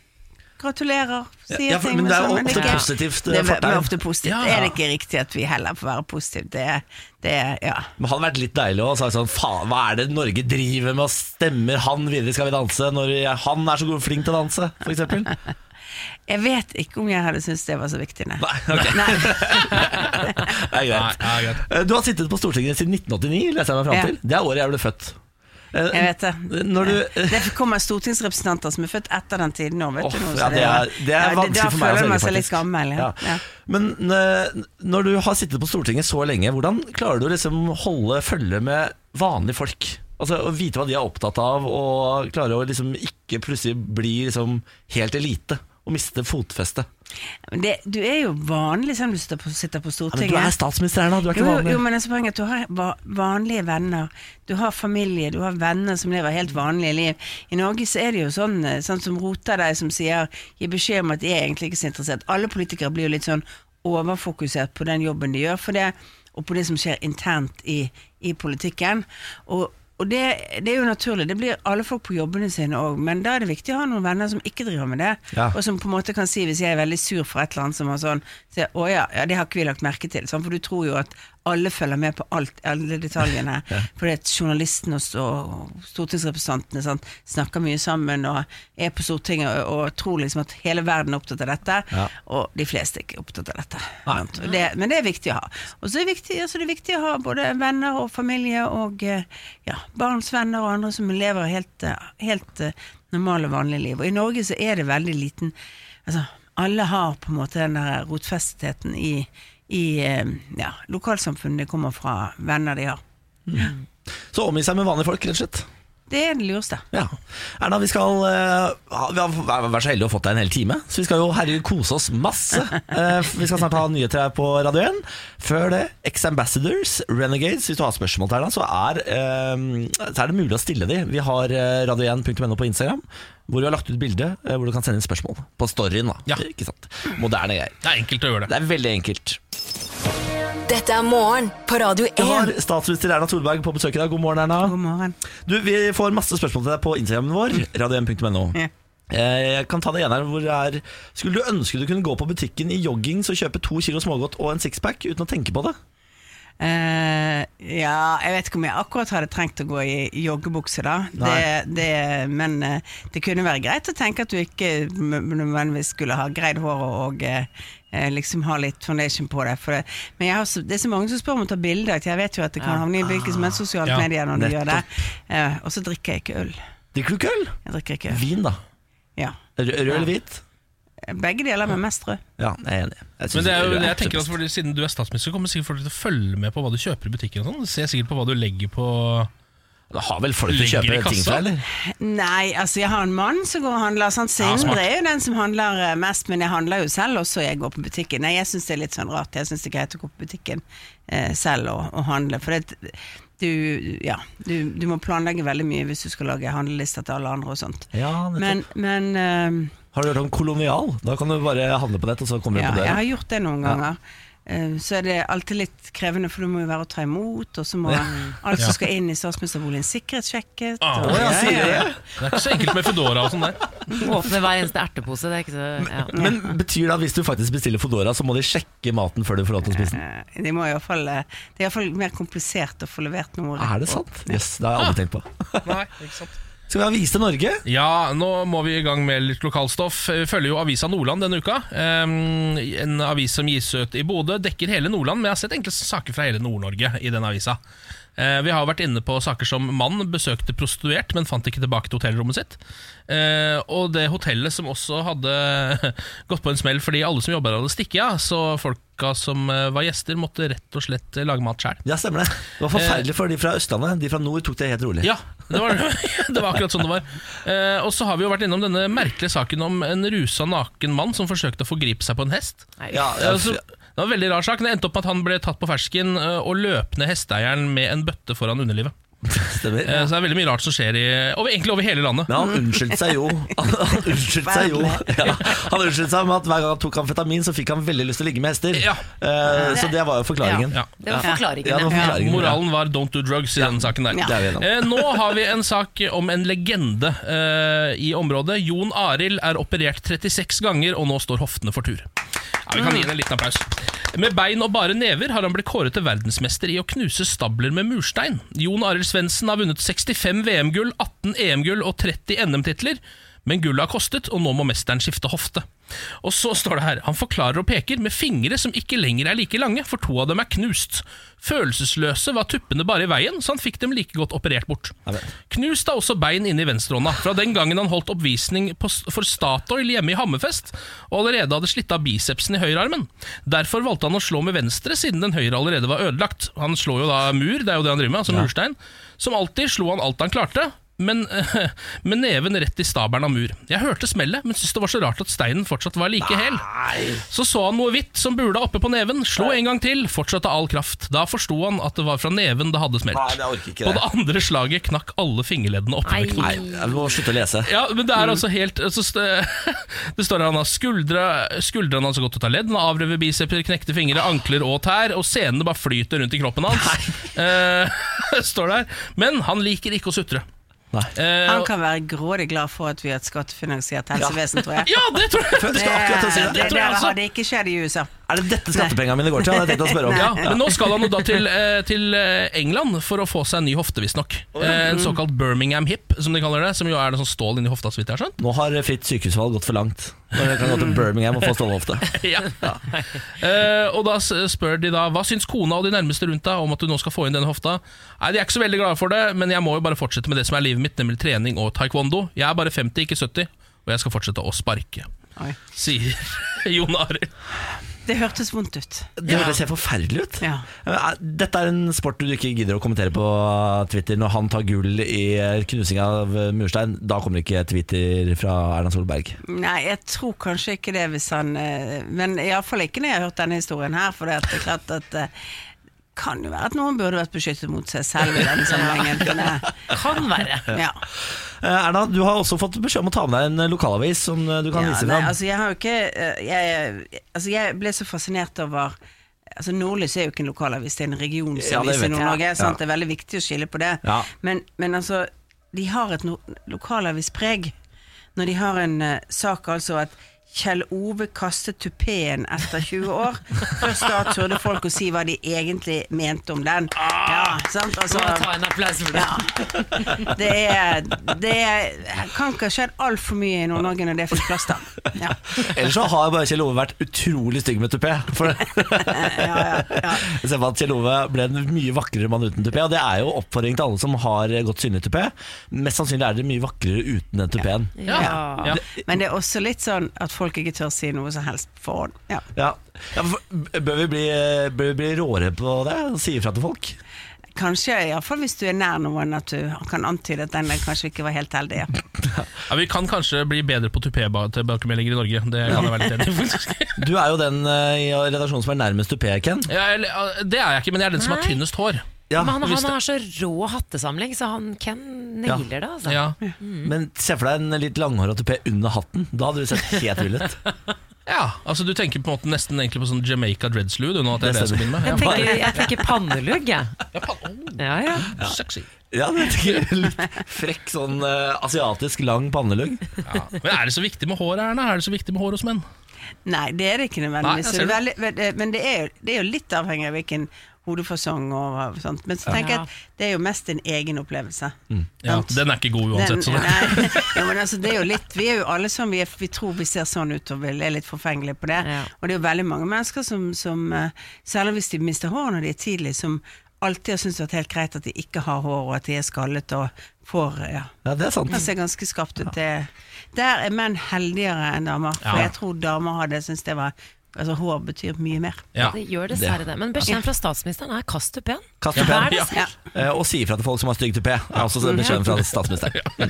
Speaker 9: Gratulerer, sier
Speaker 1: Ja, for-
Speaker 9: ting.
Speaker 1: men det er jo
Speaker 9: sånn,
Speaker 1: ofte
Speaker 9: ikke-
Speaker 1: positivt, eh,
Speaker 9: Det er ve-
Speaker 1: fortegn.
Speaker 9: men ofte positivt.
Speaker 2: Ja.
Speaker 9: Er det ikke riktig at vi heller får være positive? Det, er- det er- ja.
Speaker 1: Men hadde vært litt deilig å si sånn Faen, hva er det Norge driver med, og stemmer han videre i Skal vi danse når jeg, han er så god- flink til å danse, f.eks.?
Speaker 9: Jeg vet ikke om jeg hadde syntes det var så viktig, nei.
Speaker 1: Nei, ok. Det er greit.
Speaker 2: Nei, ja, greit.
Speaker 1: Eh, Du har sittet på Stortinget siden 1989, leser jeg meg fram
Speaker 9: Ja.
Speaker 1: til. Det er året jeg ble født. Eh,
Speaker 9: Jeg vet det.
Speaker 1: Når du,
Speaker 9: Det kommer stortingsrepresentanter som er født etter den tiden nå, vet
Speaker 1: Åh,
Speaker 9: du noe.
Speaker 1: ja,
Speaker 9: så
Speaker 1: det er, det er
Speaker 9: ja,
Speaker 1: vanskelig
Speaker 9: da
Speaker 1: for meg å
Speaker 9: føler
Speaker 1: svelge,
Speaker 9: man seg litt
Speaker 1: faktisk.
Speaker 9: gammel. Ja. Ja.
Speaker 1: Men eh, når du har sittet på Stortinget så lenge, hvordan klarer du å liksom holde følge med vanlige folk? Altså Å vite hva de er opptatt av, og klare å liksom ikke plutselig bli liksom helt elite og miste fotfestet.
Speaker 9: Men Det, du er jo vanlig selv om du sitter på, sitter på
Speaker 1: Ja, men
Speaker 9: Stortinget.
Speaker 1: du er statsminister, Erna. Du er
Speaker 9: Jo,
Speaker 1: ikke
Speaker 9: jo,
Speaker 1: vanlig.
Speaker 9: jo, men altså poenget er at du har va- vanlige venner. Du har familie, du har venner som lever helt vanlige liv. I Norge så er det jo sånn, eh, sånn som roter deg, som sier gir beskjed om at de er egentlig ikke så interessert. Alle politikere blir jo litt sånn overfokusert på den jobben de gjør, for det, og på det som skjer internt i, i politikken. Og Og det, det er jo naturlig. Det blir alle folk på jobbene sine òg. Men da er det viktig å ha noen venner som ikke driver med det.
Speaker 1: Ja.
Speaker 9: Og som på en måte kan si, hvis jeg er veldig sur for et eller annet som har sånn så jeg, Å ja, ja, det har ikke vi lagt merke til. Sånn, for du tror jo at alle følger med på alt, alle detaljene. For det at journalistene og, og stortingsrepresentantene sant, snakker mye sammen og er på Stortinget og, og tror liksom at hele verden er opptatt av dette.
Speaker 1: Ja.
Speaker 9: Og de fleste er ikke opptatt av dette. sant? Og Det, men det er viktig å ha. Og så er det viktig, altså det er viktig å ha både venner og familie og eh, ja, barns venner og andre som lever helt, eh, helt eh, normale, vanlige liv. Og i Norge så er det veldig liten altså Alle har på en måte den der rotfestheten i, i eh, ja, lokalsamfunnet de kommer fra, venner de har.
Speaker 1: Så omgi seg med vanlige folk, rett og slett.
Speaker 9: Det er det lureste.
Speaker 1: Ja. Erna, vi skal eh, ha- Vi har vært så heldige å ha fått deg en hel time, så vi skal jo herregud kose oss masse. Eh, vi skal snart ha nyheter her på Radio 1. Før det, Ex-Ambassadors, Renegades. Hvis du har spørsmål til Erna, så er, eh, så er det mulig å stille de. Vi har eh, radio1.no på Instagram, hvor vi har lagt ut bilde eh, hvor du kan sende inn spørsmål. På storyen, da.
Speaker 2: Ja.
Speaker 1: Ikke sant? Moderne greier.
Speaker 2: Det er enkelt å gjøre det.
Speaker 1: Det er veldig enkelt.
Speaker 4: Dette er morgen på Radio
Speaker 1: Vi har
Speaker 4: 1.
Speaker 1: statsminister Erna Solberg på besøk i dag. God morgen, Erna.
Speaker 9: God morgen.
Speaker 1: Du, Vi får masse spørsmål til deg på Instagramen vår, radio1.no.
Speaker 9: Ja.
Speaker 1: Eh, Jeg kan ta det ene her hvor det er Skulle du ønske du kunne gå på butikken i joggings og kjøpe to kilo smågodt og en sixpack uten å tenke på det?
Speaker 9: Eh, ja, jeg vet ikke om jeg akkurat hadde trengt å gå i joggebukse, da.
Speaker 1: Nei.
Speaker 9: Det, det, men eh, det kunne være greit å tenke at du ikke m- nødvendigvis skulle ha greid håret og eh, eh, liksom ha litt foundation på det. For det men jeg har så, det er så mange som spør om å ta bilde, at jeg vet jo at det kan havne i hvilket som helst sosialt
Speaker 2: Ja,
Speaker 9: medie når du gjør det.
Speaker 1: nettopp.
Speaker 9: Eh, og så drikker jeg ikke øl.
Speaker 1: Drikker du ikke øl?
Speaker 9: Jeg drikker ikke øl.
Speaker 1: Vin, da.
Speaker 9: Ja.
Speaker 1: Rød, rød eller hvit?
Speaker 9: Begge deler, men mest rød.
Speaker 1: Ja, jeg er enig. Jeg synes
Speaker 2: Men det er jo,
Speaker 1: rød
Speaker 2: jeg tenker
Speaker 1: absolutt
Speaker 2: at fordi, Siden du er statsminister, kommer sikkert folk til å følge med på hva du kjøper i butikken. og sånn. Du ser sikkert på hva du legger på
Speaker 1: best. Det har vel folk til å
Speaker 2: Ligger i
Speaker 1: kjøpe ting
Speaker 2: kassa?
Speaker 1: fra, eller?
Speaker 9: Nei, altså jeg har en mann som går og handler. Sant? Så
Speaker 2: Ja, smart.
Speaker 9: Indre er jo den som handler eh, mest, men jeg handler jo selv også. Jeg går på butikken. Nei, jeg syns det er litt sånn rart. Jeg syns det er greit å gå på butikken eh, selv og, og handle. For det, du, ja, du, du må planlegge veldig mye hvis du skal lage handlelister til alle andre og sånt.
Speaker 1: Ja, nettopp.
Speaker 9: Men, men eh,
Speaker 1: Har du hørt om kolonial? Da kan du bare handle på nett, og så kommer du
Speaker 9: ja,
Speaker 1: på
Speaker 9: jeg
Speaker 1: døra.
Speaker 9: har gjort det noen ganger. Eh, Så er det alltid litt krevende, for du må jo være å ta imot, og så må alt som skal inn i statsministerboligen sikkerhetssjekkes.
Speaker 2: Ah,
Speaker 9: og-
Speaker 1: ja, sier du det?
Speaker 2: Det er ikke så enkelt med Foodora og sånn der.
Speaker 3: Åpne hver eneste ertepose. Det er ikke så, ja.
Speaker 1: Men betyr det at hvis du faktisk bestiller Foodora, så må de sjekke maten før du får lov til å spise den?
Speaker 9: Eh, De må i hvert fall, eh, det er iallfall mer komplisert å få levert noe. rett
Speaker 1: Er det
Speaker 9: opp.
Speaker 1: sant? Yes, det har jeg
Speaker 2: Ah.
Speaker 1: aldri tenkt på.
Speaker 2: Nei, ikke sant
Speaker 1: Skal vi ha Vise Norge?
Speaker 2: Ja, nå må vi i gang med litt lokalstoff. Vi følger jo avisa Nordland denne uka. Ehm, en avis som gis ut i Bodø. Dekker hele Nordland, men jeg har sett enkle saker fra hele Nord-Norge i den avisa. Eh, vi har vært inne på saker som mann besøkte prostituert, men fant ikke tilbake til hotellrommet sitt. Eh, og det hotellet som også hadde gått på en smell fordi alle som jobba der, hadde stikket av. Så folka som eh, var gjester, måtte rett og slett eh, lage mat sjæl.
Speaker 1: Ja, stemmer det. Det var forferdelig for de fra Østlandet. De fra nord tok det helt rolig.
Speaker 2: Eh. Ja, det var, det var akkurat sånn det var. Eh, og så har vi jo vært innom denne merkelige saken om en rusa naken mann som forsøkte å forgripe seg på en hest.
Speaker 1: Ja,
Speaker 2: Eh,
Speaker 1: ja,
Speaker 2: altså, det var en veldig rar sak. Det endte opp med at han ble tatt på fersken eh, og løp ned hesteeieren med en bøtte foran underlivet.
Speaker 1: stemmer.
Speaker 2: Eh, så det er veldig mye rart som skjer i, over, egentlig over hele landet.
Speaker 1: Men han unnskyldte seg jo. Han, han unnskyldte seg jo ja, Han unnskyldte seg med at hver gang han tok amfetamin, så fikk han veldig lyst til å ligge med hester.
Speaker 2: Ja.
Speaker 1: Eh, så det var jo forklaringen.
Speaker 2: Ja.
Speaker 3: Det var forklaringen.
Speaker 1: Ja, det var forklaringen.
Speaker 2: Moralen var 'don't do drugs' i den saken der.
Speaker 1: Ja. Det er vi enige om.
Speaker 2: Eh, nå har vi en sak om en legende eh, i området. Jon Arild er operert 36 ganger, og nå står hoftene for tur. Ja, vi kan gi henne en liten applaus. Med bein og bare never har han blitt kåret til verdensmester i å knuse stabler med murstein. Jon Arild Svendsen har vunnet 65 VM-gull, 18 EM-gull E og 30 NM-titler. Men gullet har kostet, og nå må mesteren skifte hofte. Og så står det her Han forklarer og peker med fingre som ikke lenger er like lange, for to av dem er knust. Følelsesløse var tuppene bare i veien, så han fikk dem like godt operert bort. Knust er også bein inne i venstrehånda, fra den gangen han holdt oppvisning på, for Statoil hjemme i Hammerfest, og allerede hadde slitt av bicepsen i høyrearmen. Derfor valgte han å slå med venstre, siden den høyre allerede var ødelagt. Han slår jo da mur, det er jo det han driver med, altså murstein. Som alltid slo han alt han klarte, men, eh, med neven rett i stabelen av mur. Jeg hørte smellet, men syntes det var så rart at steinen fortsatt var like hel. Så så han noe hvitt som bula oppe på neven, slo en gang til, fortsatte all kraft. Da forsto han at det var fra neven det hadde smelt.
Speaker 1: Nei, jeg orker ikke
Speaker 2: På
Speaker 1: det.
Speaker 2: det andre slaget knakk alle fingerleddene oppover knoklene.
Speaker 1: Nei, jeg må slutte å lese.
Speaker 2: Ja, men
Speaker 1: Mm.
Speaker 2: det er altså helt altså, st- Det står at han har skuldre, skuldrene hans har gått ut av ledd, han har avrevet biceps, knekte fingre, ankler og tær, og senene bare flyter rundt i kroppen hans. Eh, står der. Men han liker ikke å sutre.
Speaker 1: Nei.
Speaker 2: Eh,
Speaker 9: Han kan være grådig glad for at vi har et skattefinansiert helsevesen, tror jeg.
Speaker 2: ja, det tror jeg!
Speaker 1: Jeg skulle akkurat til å si
Speaker 9: det,
Speaker 1: det.
Speaker 2: det tror jeg også.
Speaker 9: hadde ikke skjedd i USA.
Speaker 1: Er Eh, det dette skattepengene mine går til? Hadde jeg tenkt å spørre om.
Speaker 2: Ja, men nå skal han jo da til, eh, til eh, England for å få seg en ny hofte, visstnok. Eh, en såkalt Birmingham hip, som de kaller det. Som jo er det sånn stål inni hofta, så vidt jeg har skjønt.
Speaker 1: Nå har fritt sykehusvalg gått for langt. Nå kan jeg gå til Birmingham og få stålhofte.
Speaker 2: ja. Eh, og da s- spør de da Hva syns kona og de nærmeste rundt deg om at du nå skal få inn denne hofta? Nei, De er ikke så veldig glade for det, men jeg må jo bare fortsette med det som er livet mitt, nemlig trening og taekwondo. Jeg er bare 50, ikke 70, og jeg skal fortsette å sparke.
Speaker 9: Oi.
Speaker 2: Sier Jon Arild.
Speaker 9: Det hørtes vondt ut.
Speaker 1: Det høres helt forferdelig ut.
Speaker 9: Ja.
Speaker 1: Men er- Dette er en sport du ikke gidder å kommentere på Twitter. Når han tar gull i knusing av murstein, da kommer ikke Twitter fra Erna Solberg.
Speaker 9: Nei, jeg tror kanskje ikke det hvis han eh, Men iallfall ikke når jeg har hørt denne historien her, for det er klart at eh, kan jo være at noen burde vært beskyttet mot seg selv i denne sammenhengen. men,
Speaker 3: Kan være.
Speaker 9: eh, Ja.
Speaker 1: Eh, Erna, du har også fått beskjed om å ta med deg en lokalavis som eh, du kan
Speaker 9: Ja,
Speaker 1: vise
Speaker 9: nei,
Speaker 1: fram.
Speaker 9: altså jeg har jo ikke eh, jeg, altså jeg ble så fascinert over Altså Nordlys er jo ikke en lokalavis, det er en
Speaker 1: Ja, det
Speaker 9: regionsavis
Speaker 1: vet
Speaker 9: i
Speaker 1: jeg.
Speaker 9: Nord-Norge.
Speaker 1: Ja.
Speaker 9: sant? Det er veldig viktig å skille på det.
Speaker 1: Ja.
Speaker 9: Men, men altså, de har et no lokalavispreg når de har en eh, sak altså at Kjell Ove kastet tupeen etter 20 år. Først da turde folk å si hva de egentlig mente om den.
Speaker 1: Ah!
Speaker 9: Ja, sant? Altså,
Speaker 3: Må ta en applaus for det.
Speaker 9: det er, det er, kan ikke ha skjedd altfor mye i Nord-Norge når det fikk plass til. Ja.
Speaker 1: Ellers så har bare Kjell Ove vært utrolig stygg med tupé. For Jeg ser på at Kjell Ove ble en mye vakrere mann uten tupé, og det er jo oppfordring til alle som har godt synlig tupé. Mest sannsynlig er dere mye vakrere uten den tupéen.
Speaker 2: Ja.
Speaker 3: Ja.
Speaker 2: Ja.
Speaker 9: Men det er også litt sånn at folk ikke tør si noe som helst på forhånd. Ja.
Speaker 1: Ja. Ja, for- bør, vi bli, bør vi bli råere på det og si ifra til folk?
Speaker 9: Kanskje, iallfall hvis du er nær noen, at du kan antyde at den der kanskje ikke var helt heldig. Ja.
Speaker 2: Ja, vi kan kanskje bli bedre på tupé-tilbakemeldinger i Norge. Det kan jeg være litt enig i. faktisk.
Speaker 1: Du er jo den eh, i redaksjonen som er nærmest tupé, Ken.
Speaker 2: Ja, eller, eh, det er jeg ikke, men jeg er den som har
Speaker 3: Nei.
Speaker 2: tynnest hår.
Speaker 1: Ja,
Speaker 3: Men han,
Speaker 2: hvis
Speaker 3: han
Speaker 2: det-
Speaker 3: har så rå hattesamling, så han Ken nailer det. Altså.
Speaker 2: Ja.
Speaker 1: Men se for deg en litt langhåra tupé under hatten. Da hadde du sett helt vill ut.
Speaker 2: ja, altså Du tenker på en måte nesten egentlig på sånn Jamaica dreadslude. Nå at det er det jeg skal begynne med.
Speaker 3: Jeg tenker, jeg tenker pannelugg, jeg.
Speaker 2: Ja, faen.
Speaker 3: Ja, ja.
Speaker 2: Å, Sexy.
Speaker 1: Ja, det tenker jeg. Litt Frekk sånn eh, asiatisk lang pannelugg.
Speaker 2: Ja. Men er det så viktig med hår, Erna? Er det så viktig med hår hos menn?
Speaker 9: Nei, det er det ikke
Speaker 2: Nei, jeg
Speaker 9: nødvendigvis.
Speaker 2: ser
Speaker 9: det er veldig, men det er, jo, det er jo litt avhengig av hvilken hodefasong og hva- sånt. Men så tenker jeg at det er jo mest din egen opplevelse.
Speaker 2: Mm. Ja,
Speaker 9: Sant?
Speaker 2: den er ikke god uansett. Så
Speaker 9: Den-
Speaker 2: det.
Speaker 9: nei, ja, men altså, det er jo litt, vi er jo alle sånn, vi, er, vi tror vi ser sånn ut og vi er litt forfengelige på det.
Speaker 3: Ja.
Speaker 9: Og det er jo veldig mange mennesker som, som eh, særlig hvis de mister hår når de er tidlig, som alltid har syntes det har vært helt greit at de ikke har hår, og at de er skallet og får ja,
Speaker 1: Ja, det er sant.
Speaker 9: kan se ganske skarpt ut. Det, der er menn heldigere enn damer, for
Speaker 2: Ja.
Speaker 9: jeg tror damer hadde syntes det var Altså, hår betyr mye mer.
Speaker 2: Ja.
Speaker 3: Det gjør dessverre det. Men beskjeden fra statsministeren er kast tupeen.
Speaker 1: Kast tupéen.
Speaker 3: Ja,
Speaker 9: Ja.
Speaker 1: Eh, Og si ifra til folk som har stygg tupé, er også beskjeden fra statsministeren.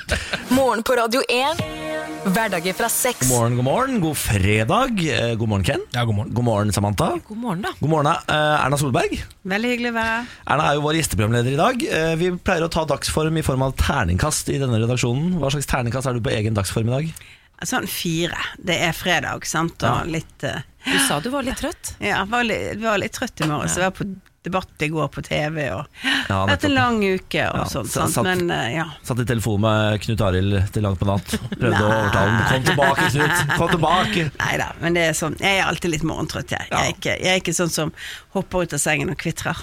Speaker 4: Morgen på Radio 1. Hverdager fra seks.
Speaker 1: God morgen, god morgen. God fredag. Eh, God morgen, Ken.
Speaker 2: Ja, god morgen.
Speaker 1: God morgen, Samantha.
Speaker 3: God morgen, da.
Speaker 1: God morgen, eh, Erna Solberg.
Speaker 9: Veldig hyggelig å være her.
Speaker 1: Erna er jo vår gjesteprogramleder i dag. Eh, Vi pleier å ta dagsform i form av terningkast i denne redaksjonen. Hva slags terningkast er du på egen dagsform i dag?
Speaker 9: Sånn fire. Det er fredag, sant, og litt eh,
Speaker 3: Du sa du var litt trøtt.
Speaker 9: Ja, jeg var litt, var litt trøtt i morges. Jeg var på debatt i går på TV. Og
Speaker 1: Ja,
Speaker 9: hatt en
Speaker 1: nettopp.
Speaker 9: lang uke og
Speaker 1: Ja,
Speaker 9: sånt.
Speaker 1: sa-
Speaker 9: Sant?
Speaker 1: satt-
Speaker 9: Men eh, ja.
Speaker 1: Satt i telefon med Knut Arild til langt på natt. Prøvde å overtale ham. Kom tilbake, Knut! Kom tilbake!
Speaker 9: Nei da, men det er sånn, jeg er alltid litt morgentrøtt, jeg. Jeg er, ikke, jeg er ikke sånn som hopper ut av sengen og kvitrer.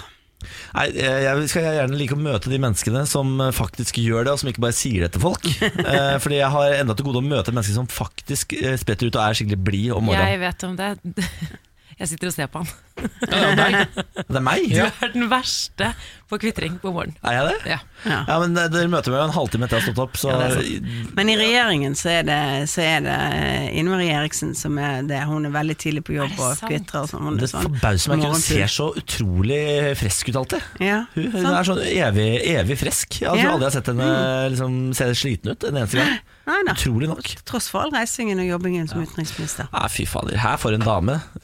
Speaker 1: Nei, eh, jeg skal gjerne like å møte de menneskene som eh, faktisk gjør det, og som ikke bare sier det til folk. Eh, Fordi jeg har enda til gode å møte mennesker som faktisk eh, spretter ut og er skikkelig blid om
Speaker 3: Jeg
Speaker 1: morgenen.
Speaker 3: vet om det. Jeg sitter og ser på han.
Speaker 1: Det er meg?
Speaker 3: Du er den verste på kvitring på morgenen.
Speaker 1: Er jeg det?
Speaker 3: Ja.
Speaker 9: Ja.
Speaker 1: Ja, men eh, Dere møter meg jo en halvtime etter jeg har stått opp, så
Speaker 9: Men i regjeringen så er det, så er det eh, Ine Marie Eriksen som er det. Hun er veldig tidlig på jobb
Speaker 3: det
Speaker 9: og
Speaker 3: sant?
Speaker 9: kvitrer og sånn. Hun er
Speaker 1: det
Speaker 9: sånn
Speaker 1: forbauser meg ikke. Hun
Speaker 9: morgenfugl.
Speaker 1: ser så utrolig frisk ut alltid.
Speaker 9: Ja,
Speaker 1: Hun, hun
Speaker 9: sant.
Speaker 1: er sånn evig, evig frisk. Jeg tror
Speaker 9: Ja. Mm.
Speaker 1: aldri jeg har sett henne liksom, se sliten ut en eneste gang.
Speaker 9: Nei, nei.
Speaker 1: Utrolig nok.
Speaker 9: Til tross for all reisingen og jobbingen som utenriksminister.
Speaker 1: Nei, fy fader, her for en dame.
Speaker 9: Mm.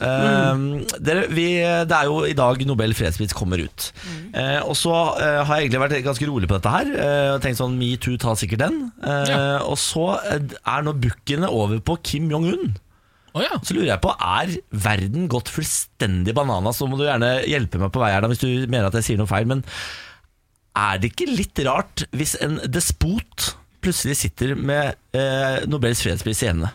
Speaker 1: Eh, dere, vi, det er jo i dag Nobel fredspris kommer ut.
Speaker 9: Mm.
Speaker 1: Eh, og så eh, har jeg egentlig vært ganske rolig på dette her. eh, og tenkt sånn, Metoo tar sikkert den. Eh, Og så eh, er nå bookene over på Kim Jong-un.
Speaker 2: Å ja.
Speaker 1: Så lurer jeg på, er verden gått fullstendig banana? Så må du gjerne hjelpe meg på vei her da, hvis du mener at jeg sier noe feil. Men er det ikke litt rart hvis en despot plutselig sitter med eh, Nobels fredspris i hendene?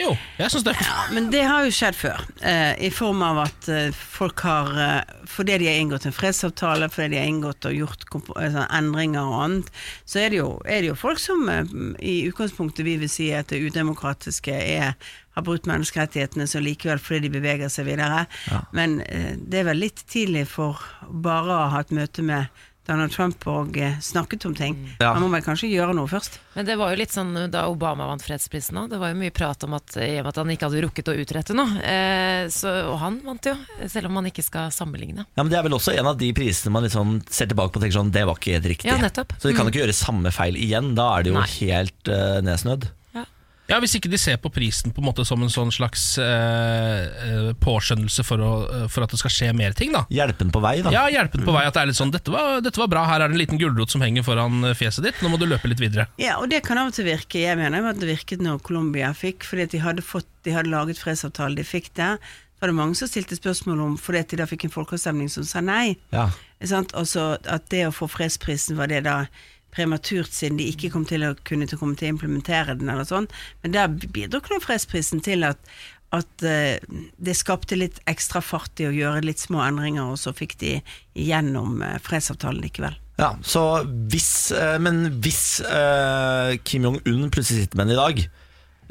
Speaker 2: Jo, jeg syns det.
Speaker 9: Men det har jo skjedd før, eh, i form av at eh, folk har eh, Fordi de har inngått en fredsavtale, fordi de har inngått og gjort komp- eh, sånn endringer og annet, så er det jo, er det jo folk som eh, i utgangspunktet vi vil si at det udemokratiske er har brutt menneskerettighetene så likevel fordi de beveger seg videre. Men eh, det er vel litt tidlig for bare å ha et møte med Donald Trump og eh, snakket om ting.
Speaker 1: Ja.
Speaker 9: Han må vel kanskje gjøre noe først.
Speaker 3: Men det var jo litt sånn da Obama vant fredsprisen òg. Det var jo mye prat om at, i og med at han ikke hadde rukket å utrette noe. Eh, så, og han vant jo, selv om man ikke skal sammenligne.
Speaker 1: Ja, men Det er vel også en av de prisene man litt sånn ser tilbake på og tenker sånn, det var ikke helt riktig.
Speaker 3: Ja, nettopp. Mm.
Speaker 1: Så de kan ikke gjøre samme feil igjen. Da er det jo
Speaker 3: Nei.
Speaker 1: helt eh, nedsnødd.
Speaker 2: Ja, Hvis ikke de ser på prisen på en måte som en sånn slags eh, eh, påskjønnelse for, å, eh, for at det skal skje mer ting, da.
Speaker 1: Hjelpen på vei, da.
Speaker 2: Ja, hjelpen på vei at det er litt sånn dette var, dette var bra, her er det en liten gulrot som henger foran eh, fjeset ditt, nå må du løpe litt videre.
Speaker 9: Ja, og det kan av og til virke. Jeg mener at det virket når Colombia fikk, fordi at de hadde, fått, de hadde laget fredsavtale, de fikk det. Så var det mange som stilte spørsmål om, fordi at de da fikk en folkeavstemning som sa nei.
Speaker 1: Ja.
Speaker 9: Ikke Sant? Og så at det å få fredsprisen var det da prematurt, siden de ikke kom til å kunne til å komme til å implementere den eller sånn. Men der bidro nå fredsprisen til at at eh, det skapte litt ekstra fart i å gjøre litt små endringer, og så fikk de igjennom eh, fredsavtalen likevel.
Speaker 1: Ja, så hvis, eh, men hvis eh, Kim Jong-un plutselig sitter med den i dag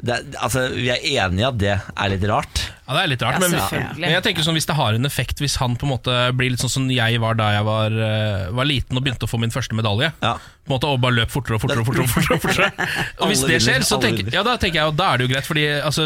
Speaker 1: det, er- altså, Vi er enige at det er litt rart.
Speaker 2: Ja, Det er litt rart,
Speaker 3: Ja,
Speaker 2: men,
Speaker 3: selvfølgelig.
Speaker 2: men jeg tenker sånn hvis det har en effekt hvis han på en måte blir litt sånn som jeg var da jeg var, eh, var liten og begynte å få min første medalje.
Speaker 1: Ja.
Speaker 2: På en måte Og bare løp fortere og fortere. Og fortere, og fortere, og fortere. Og hvis
Speaker 1: Alle
Speaker 2: det
Speaker 1: vinner,
Speaker 2: skjer, så
Speaker 1: alle
Speaker 2: tenker,
Speaker 1: vinner.
Speaker 2: ja, da tenker jeg jo da er det jo greit, Fordi altså,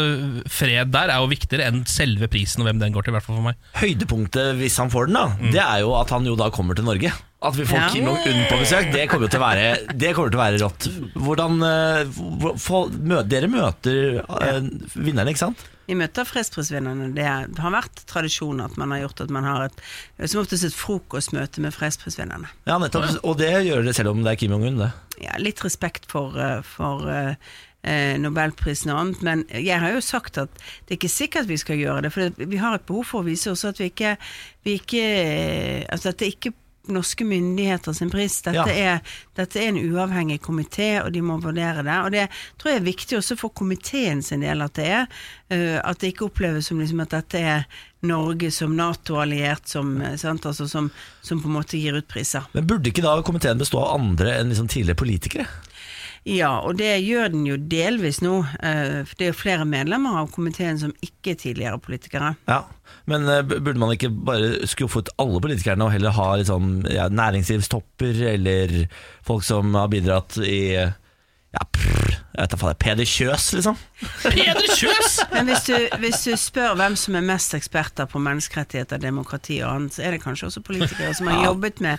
Speaker 2: fred der er jo viktigere enn selve prisen og hvem den går til, i hvert fall for meg.
Speaker 1: Høydepunktet hvis han får den, da det er jo at han jo da kommer til Norge. At vi får
Speaker 9: Ja.
Speaker 1: Kim Jong-un på besøk, det kommer jo til å være, det kommer til å være rått. Hvordan, eh, hvor- få- mø, dere møter eh, vinnerne, ikke sant?
Speaker 9: Vi møter fredsprisvinnerne. Det har vært tradisjon at man har gjort at man har et, som oftest et frokostmøte med fredsprisvinnerne.
Speaker 1: Ja, nettopp. Og det gjør dere selv om det er Kim Jong-un, det.
Speaker 9: Ja, litt respekt for, eh, for eh, eh, Nobelprisen og annet, men jeg har jo sagt at det er ikke sikkert vi skal gjøre det. For det- vi har et behov for å vise også at vi ikke, vi ikke Altså dette er ikke norske myndigheter sin pris. Dette,
Speaker 1: Ja.
Speaker 9: er, dette er en uavhengig komité, og de må vurdere det. Og det tror jeg er viktig også for komiteen sin del at det er. eh, at det ikke oppleves som liksom at dette er Norge som Nato-alliert som, eh, sant, altså som, som på en måte gir ut priser.
Speaker 1: Men burde ikke da komiteen bestå av andre enn liksom tidligere politikere?
Speaker 9: Ja, og det gjør den jo delvis nå. eh, For det er jo flere medlemmer av komiteen som ikke er tidligere politikere.
Speaker 1: Ja, Men eh, b- burde man ikke bare skuffet alle politikerne og heller ha litt sånn, ja, næringslivstopper eller folk som har bidratt i ja, prr, jeg vet da faen, Peder Kjøs, liksom?
Speaker 2: Peder Kjøs!
Speaker 9: Men hvis du, hvis du spør hvem som er mest eksperter på menneskerettigheter, demokrati og annet, så er det kanskje også politikere som har jobbet med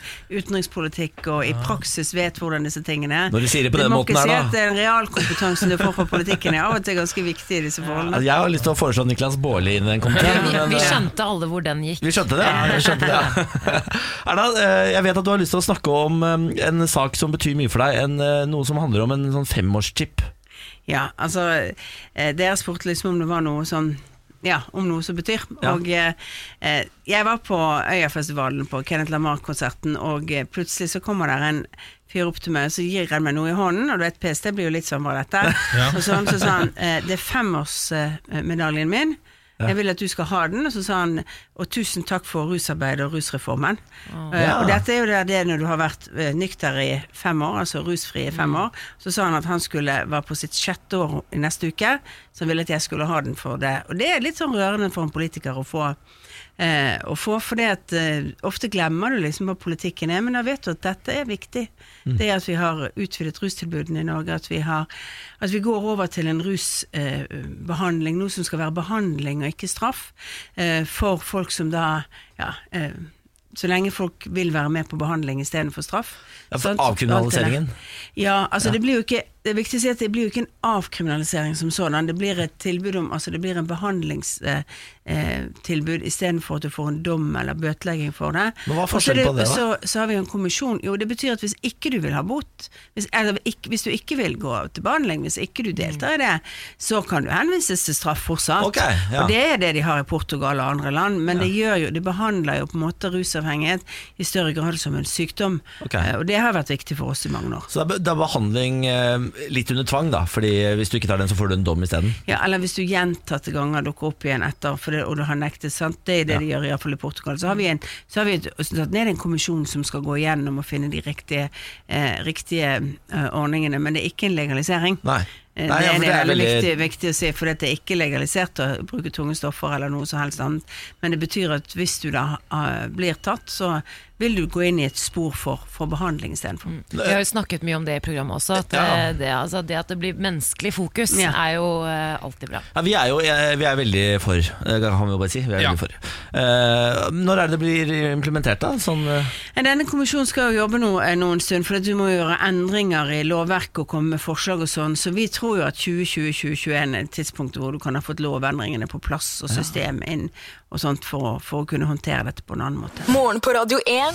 Speaker 9: utenrikspolitikk og i praksis vet hvordan disse tingene er.
Speaker 1: Når du sier det på den
Speaker 9: må
Speaker 1: måten
Speaker 9: ikke
Speaker 1: her, da.
Speaker 9: si at den realkompetansen du får fra politikken er av og til ganske viktig i disse
Speaker 1: Altså,
Speaker 9: forholdene.
Speaker 1: Jeg har lyst til å foreslå Niklas Baarli inn i den komiteen.
Speaker 3: Vi,
Speaker 1: men,
Speaker 3: vi
Speaker 1: eh,
Speaker 3: skjønte alle hvor den gikk.
Speaker 1: Vi skjønte det. Ja, vi skjønte det ja. Erna, eh, jeg vet at du har lyst til å snakke om eh, en sak som betyr mye for deg. En, eh, noe som handler om en sånn femårschip.
Speaker 9: Ja, altså eh, Dere spurte liksom om det var noe sånn ja, om noe som betyr.
Speaker 1: Ja.
Speaker 9: Og eh, eh, jeg var på Øyafestivalen, på Kenneth Lamarck-konserten, og eh, plutselig så kommer der en fyr opp til meg, og så gir han meg noe i hånden, og du vet PST blir jo litt sånn, hva er dette? Og sånn, så sa han eh, det er femårsmedaljen min. Jeg vil at du skal ha den. Og så sa han og tusen takk for rusarbeidet og rusreformen. Eh, og dette er jo det, det er når du har vært eh, nykter i fem år, altså rusfri i fem år. Så sa han at han skulle være på sitt sjette år i neste uke, så han ville at jeg skulle ha den for det. Og det er litt sånn rørende for en politiker å få. Eh, å få for det at eh, Ofte glemmer du liksom hva politikken er, men da vet du at dette er viktig. Det at vi har utvidet rustilbudene i Norge, at vi, har, at vi går over til en rusbehandling, noe som skal være behandling og ikke straff, eh, for folk som da ja, eh, så lenge folk vil være med på behandling istedenfor straff.
Speaker 1: Ja, for
Speaker 9: sant? Alt det der.
Speaker 1: avkriminaliseringen.
Speaker 9: Ja, altså Det blir jo ikke Det er viktig å si at det blir jo ikke en avkriminalisering som sådan. Det blir et tilbud om Altså det blir en behandlingstilbud eh, tilbud istedenfor at du får en dom eller bøtelegging for det.
Speaker 1: Men hva er
Speaker 9: Og så
Speaker 1: forskjellen
Speaker 9: er
Speaker 1: på det, da?
Speaker 9: Så, så har vi jo en kommisjon. Jo, det betyr at hvis ikke du vil ha bot, hvis, eller ikke, hvis du ikke vil gå til behandling, hvis ikke du deltar i det, så kan du henvises til straff fortsatt.
Speaker 1: Ok, ja.
Speaker 9: Og det er det de har i Portugal og andre land, men det gjør jo Det behandler jo på en måte rusavhengighet i større grad som en sykdom.
Speaker 1: Ok.
Speaker 9: Eh, Og det har vært viktig for oss i mange år.
Speaker 1: Så det er, be- det er behandling eh, litt under tvang, da. Fordi hvis du ikke tar den, så får du en dom isteden.
Speaker 9: Ja, Eller hvis du gjentatte ganger dukker opp igjen etter for det, og du har nektet. sant? Det er det de gjør i hvert fall i Portugal. Så har vi, en, så har vi et, satt ned en kommisjon som skal gå igjennom og finne de riktige, eh, riktige eh, ordningene, men det er ikke en legalisering.
Speaker 1: Nei.
Speaker 9: Eh,
Speaker 1: Nei,
Speaker 9: det,
Speaker 1: ja, for
Speaker 9: er det
Speaker 1: det
Speaker 9: er
Speaker 1: er
Speaker 9: veldig
Speaker 1: veldig-
Speaker 9: viktig, viktig å si, for det er ikke legalisert å bruke tunge stoffer eller noe som helst annet. Men det betyr at hvis du da eh, blir tatt, så vil du gå inn i et spor for, for behandling
Speaker 1: Mm.
Speaker 9: istedenfor.
Speaker 3: Vi har jo snakket mye om det i programmet også. At
Speaker 1: Ja.
Speaker 3: eh, det, altså, det at det blir menneskelig fokus,
Speaker 9: Ja.
Speaker 3: er jo eh, alltid bra.
Speaker 1: Ja, vi er jo eh, vi er veldig for, det kan vi jo bare si. Vi er
Speaker 2: Ja.
Speaker 1: veldig for. Eh, når er det det blir implementert, da? Sånn, eh,
Speaker 9: Men Denne kommisjonen skal jo jobbe nå, eh, noen stund, for du må jo gjøre endringer i lovverket og komme med forslag og sånn, så vi tror jo at 2020-2021 er tidspunktet hvor du kan ha fått lovendringene på plass og system inn og sånt for, å- for å kunne håndtere dette på en annen måte.
Speaker 4: Morgen på Radio 1.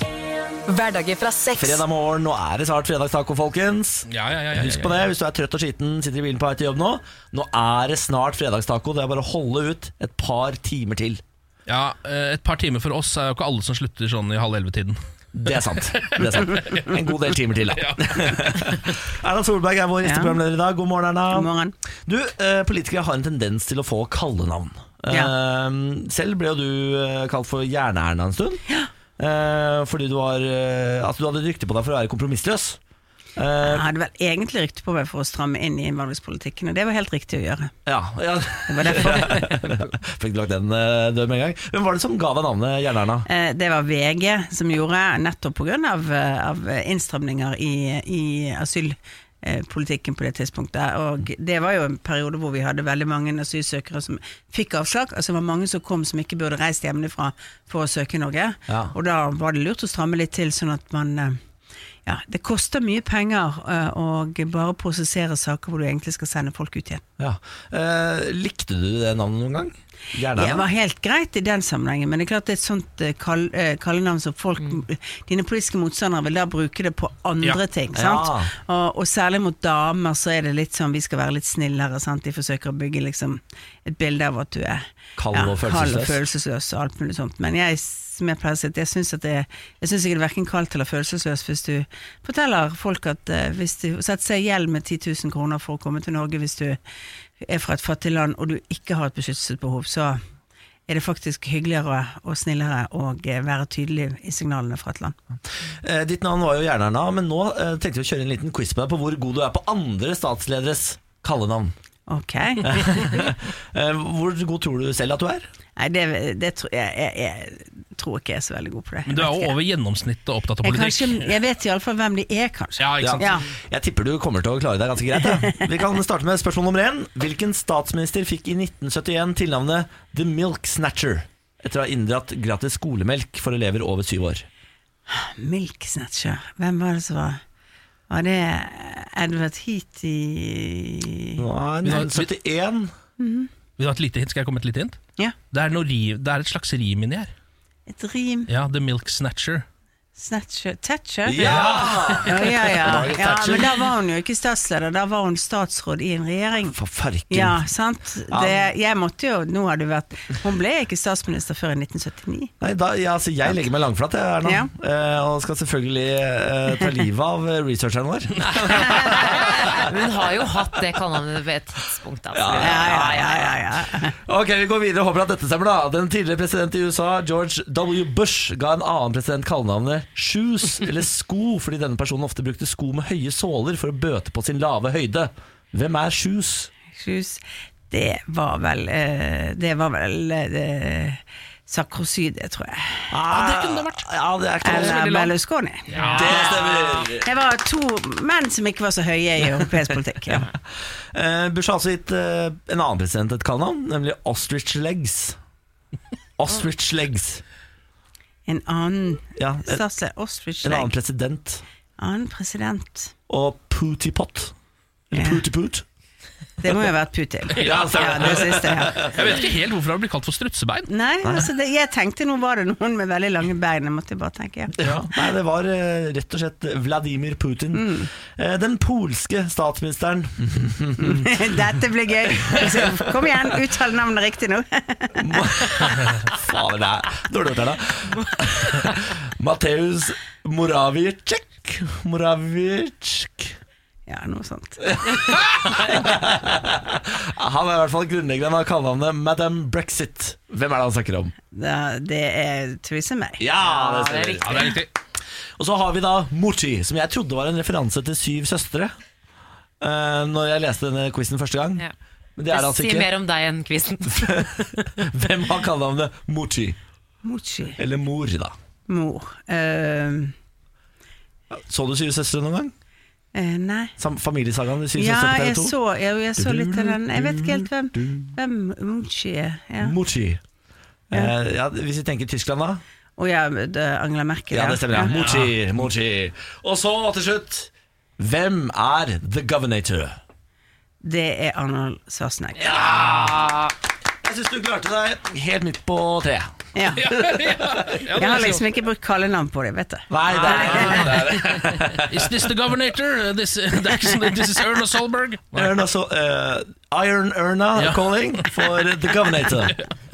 Speaker 4: Hverdager fra seks.
Speaker 1: fredag morgen, nå er det snart fredagstaco, folkens.
Speaker 2: Ja, ja, ja, ja,
Speaker 1: Husk på
Speaker 2: ja,
Speaker 1: det hvis du er trøtt og skiten, sitter i bilen på vei til jobb nå. Nå er det snart fredagstaco. Det er bare å holde ut et par timer til.
Speaker 2: ja. eh, Et par timer for oss er jo ikke alle som slutter sånn i halv elleve-tiden.
Speaker 1: Det er sant. Det er sant. En god del timer til, da.
Speaker 2: Ja.
Speaker 1: Erna Solberg er vår gjeste
Speaker 9: Ja.
Speaker 1: programleder i dag. God morgen, Erna.
Speaker 9: God morgen.
Speaker 1: Du, eh, Politikere har en tendens til å få kallenavn.
Speaker 9: Ja.
Speaker 1: Eh, selv ble jo du eh, kalt for Jerne-Erna en stund. Eh, fordi du, var, eh, altså, du hadde et rykte på deg for å være kompromissløs. Eh,
Speaker 9: Jeg hadde vel egentlig rykte på meg for å stramme inn i innvandringspolitikken, og det var helt riktig å gjøre.
Speaker 1: ja, ja.
Speaker 9: Det var derfor.
Speaker 1: Fikk lagt den eh, død med en gang. Hvem var det som ga deg navnet Jerne-Erna?
Speaker 9: Eh, Det var VG som gjorde, nettopp pga. Av, eh, av innstramninger i, i asylpolitikken på det tidspunktet. Og det var jo en periode hvor vi hadde veldig mange asylsøkere som fikk avslag. Altså det var mange som kom som ikke burde reist hjemmefra for å søke i Norge.
Speaker 1: Ja.
Speaker 9: Og da var det lurt å stramme litt til, sånn at man eh, ja, Det koster mye penger eh, å bare prosessere saker hvor du egentlig skal sende folk ut igjen.
Speaker 1: Ja. Eh, likte du det navnet noen gang?
Speaker 9: Det var
Speaker 1: Jerne-Erna?
Speaker 9: helt greit i den sammenhengen, men det er klart det er et sånt eh, kall, eh, kallenavn som folk Dine politiske motstandere vil da bruke det på
Speaker 2: Ja.
Speaker 9: andre ting, sant?
Speaker 1: Ja.
Speaker 9: Og, og særlig mot damer så er det litt sånn vi skal være litt snillere, sant? De forsøker å bygge liksom et bilde av at du er
Speaker 1: Kald og
Speaker 9: kald og
Speaker 1: følelsesløs.
Speaker 9: følelsesløs og alt mulig sånt. Men jeg, som jeg pleier å si, at jeg syns at det Jeg syns ikke det er verken kaldt eller følelsesløs hvis du forteller folk at eh, hvis du setter seg i gjeld med 10 000 kroner for å komme til Norge hvis du er fra et fattig land og du ikke har et beskyttelsesbehov, så er det faktisk hyggeligere og snillere å eh, være tydelig i signalene fra et land.
Speaker 1: Eh, ditt navn var jo Jerne-Erna, men nå eh, tenkte vi å kjøre en liten quiz på deg på hvor god du er på andre statslederes kallenavn.
Speaker 9: Ok.
Speaker 1: Eh, hvor god tror du selv at du er?
Speaker 9: Nei, det, det tror jeg, jeg, jeg tror ikke jeg er så veldig god på det.
Speaker 2: Men du er jo over gjennomsnittet opptatt av
Speaker 9: jeg,
Speaker 2: politikk.
Speaker 9: kanskje, jeg vet iallfall hvem de er, kanskje.
Speaker 2: Ja, ikke sant?
Speaker 9: Ja.
Speaker 1: Jeg tipper du kommer til å klare deg ganske greit. Ja. Vi kan starte med spørsmål nummer én. Hvilken statsminister fikk i 1971 tilnavnet The Milk Snatcher? Etter å ha inndratt gratis skolemelk for elever over syv år.
Speaker 9: Milk Snatcher. Hvem var det som var Var det Edward Heaty
Speaker 1: Nei, 71
Speaker 2: Vil du ha et lite hint? Skal jeg komme med et lite hint?
Speaker 9: Ja,
Speaker 2: Det er, noe rim, det er et slags rim inni her.
Speaker 9: et rim.
Speaker 2: Ja, The Milk Snatcher.
Speaker 9: Snatcher Thatcher?
Speaker 1: Ja!
Speaker 9: Ja, ja, ja.
Speaker 1: Margaret
Speaker 9: ja,
Speaker 1: Thatcher.
Speaker 9: men da var hun jo ikke statsleder, da var hun statsråd i en regjering.
Speaker 1: For farken.
Speaker 9: Ja, sant? Det, jeg måtte jo, nå har du vært Hun ble ikke statsminister før i 1979.
Speaker 1: Nei, da, ja, altså, jeg legger meg langflat, jeg, Erna.
Speaker 9: Ja.
Speaker 1: Eh, og skal selvfølgelig eh, ta livet av eh, researcheren vår.
Speaker 3: Hun har jo hatt det kallenavnet ved et tidspunkt. Altså.
Speaker 9: Ja, ja, ja, ja, ja.
Speaker 1: Ok, Vi går videre og håper at dette stemmer. da Den tidligere president i USA, George W. Bush, ga en annen president kallenavnet Shoes, eller Sko, fordi denne personen ofte brukte sko med høye såler for å bøte på sin lave høyde. Hvem er Shoes?
Speaker 9: Sjus, det var vel eh, Det var vel eh, Sarkozy, det tror jeg.
Speaker 1: Ah, det kunne det vært. Ah, Ja, det er ikke noe
Speaker 9: Eller
Speaker 1: veldig langt.
Speaker 9: Berlusconi.
Speaker 1: Det stemmer.
Speaker 9: Det var to menn som ikke var så høye i europeisk politikk. Ja.
Speaker 1: Eh, Bush har altså gitt eh, en annen president et kallenavn, nemlig Ostrich Legs. Ostrich Legs.
Speaker 9: En annen
Speaker 1: Ja, en,
Speaker 9: statsleder, Ostrich,
Speaker 1: en annen
Speaker 9: annen,
Speaker 1: president.
Speaker 9: annen president.
Speaker 1: Og Pootypot.
Speaker 9: Ja.
Speaker 1: Eller Pootypoot.
Speaker 9: Det må jo ha vært Putin.
Speaker 1: Ja,
Speaker 9: Ja, det siste, ja.
Speaker 2: Jeg vet ikke helt hvorfor han blir kalt for strutsebein.
Speaker 9: Nei, altså det, jeg tenkte nå var det noen med veldig lange bein. Jeg måtte bare tenke. Ja.
Speaker 1: Ja. Nei, det var eh, rett og slett Vladimir Putin. Eh, Den polske statsministeren
Speaker 9: Dette blir gøy. Så, kom igjen, uttal navnet riktig nå.
Speaker 1: Fader, det er dårlig gjort her, da. Mateus Moravicek. Moravicek.
Speaker 9: Ja, noe sånt.
Speaker 1: Han er i hvert fall grunnleggeren av kallenavnet Madam Brexit. Hvem er det han snakker om?
Speaker 9: Da, det er Theresa May.
Speaker 1: Ja, det
Speaker 3: det er
Speaker 1: stemmer.
Speaker 2: Ja, det er riktig.
Speaker 1: Og så har vi da Mutti, som jeg trodde var en referanse til Syv søstre. Uh, når jeg leste denne quizen første gang.
Speaker 3: Ja.
Speaker 1: Men det er det altså
Speaker 3: Sier
Speaker 1: ikke.
Speaker 3: mer om deg enn quizen.
Speaker 1: Hvem har kallenavnet Mutti?
Speaker 9: Mochi.
Speaker 1: Eller Mor, da.
Speaker 9: Mor. Eh,
Speaker 1: Så du Syv søstre noen gang?
Speaker 9: eh, nei.
Speaker 1: Sam familiesagaen de Syv
Speaker 9: Ja,
Speaker 1: søstre
Speaker 9: jeg
Speaker 1: på TV 2?
Speaker 9: så, jeg, jeg så litt av den. Jeg vet ikke helt hvem, hvem Mochi er. Ja.
Speaker 1: Mutti. Eh, ja, hvis vi tenker Tyskland, da.
Speaker 9: Og ja, det er Angela Merkel.
Speaker 1: Ja, det stemmer. ja Mutti, Mutti. Og så til slutt Hvem er The Governator?
Speaker 9: Det er Arnold Schwarzenegger.
Speaker 1: Jeg syns du klarte deg helt midt på treet.
Speaker 9: Ja.
Speaker 2: Ja, ja,
Speaker 9: Jeg
Speaker 2: det
Speaker 9: har
Speaker 2: er
Speaker 9: liksom ikke brukt kallenavn på dem, vet du.
Speaker 1: Nei, det er
Speaker 2: Is this the governator? This, det er ikke sånn, this is Erna Solberg.
Speaker 1: Erna så, eh, Iron Erna
Speaker 2: Ja.
Speaker 1: calling for The Governator.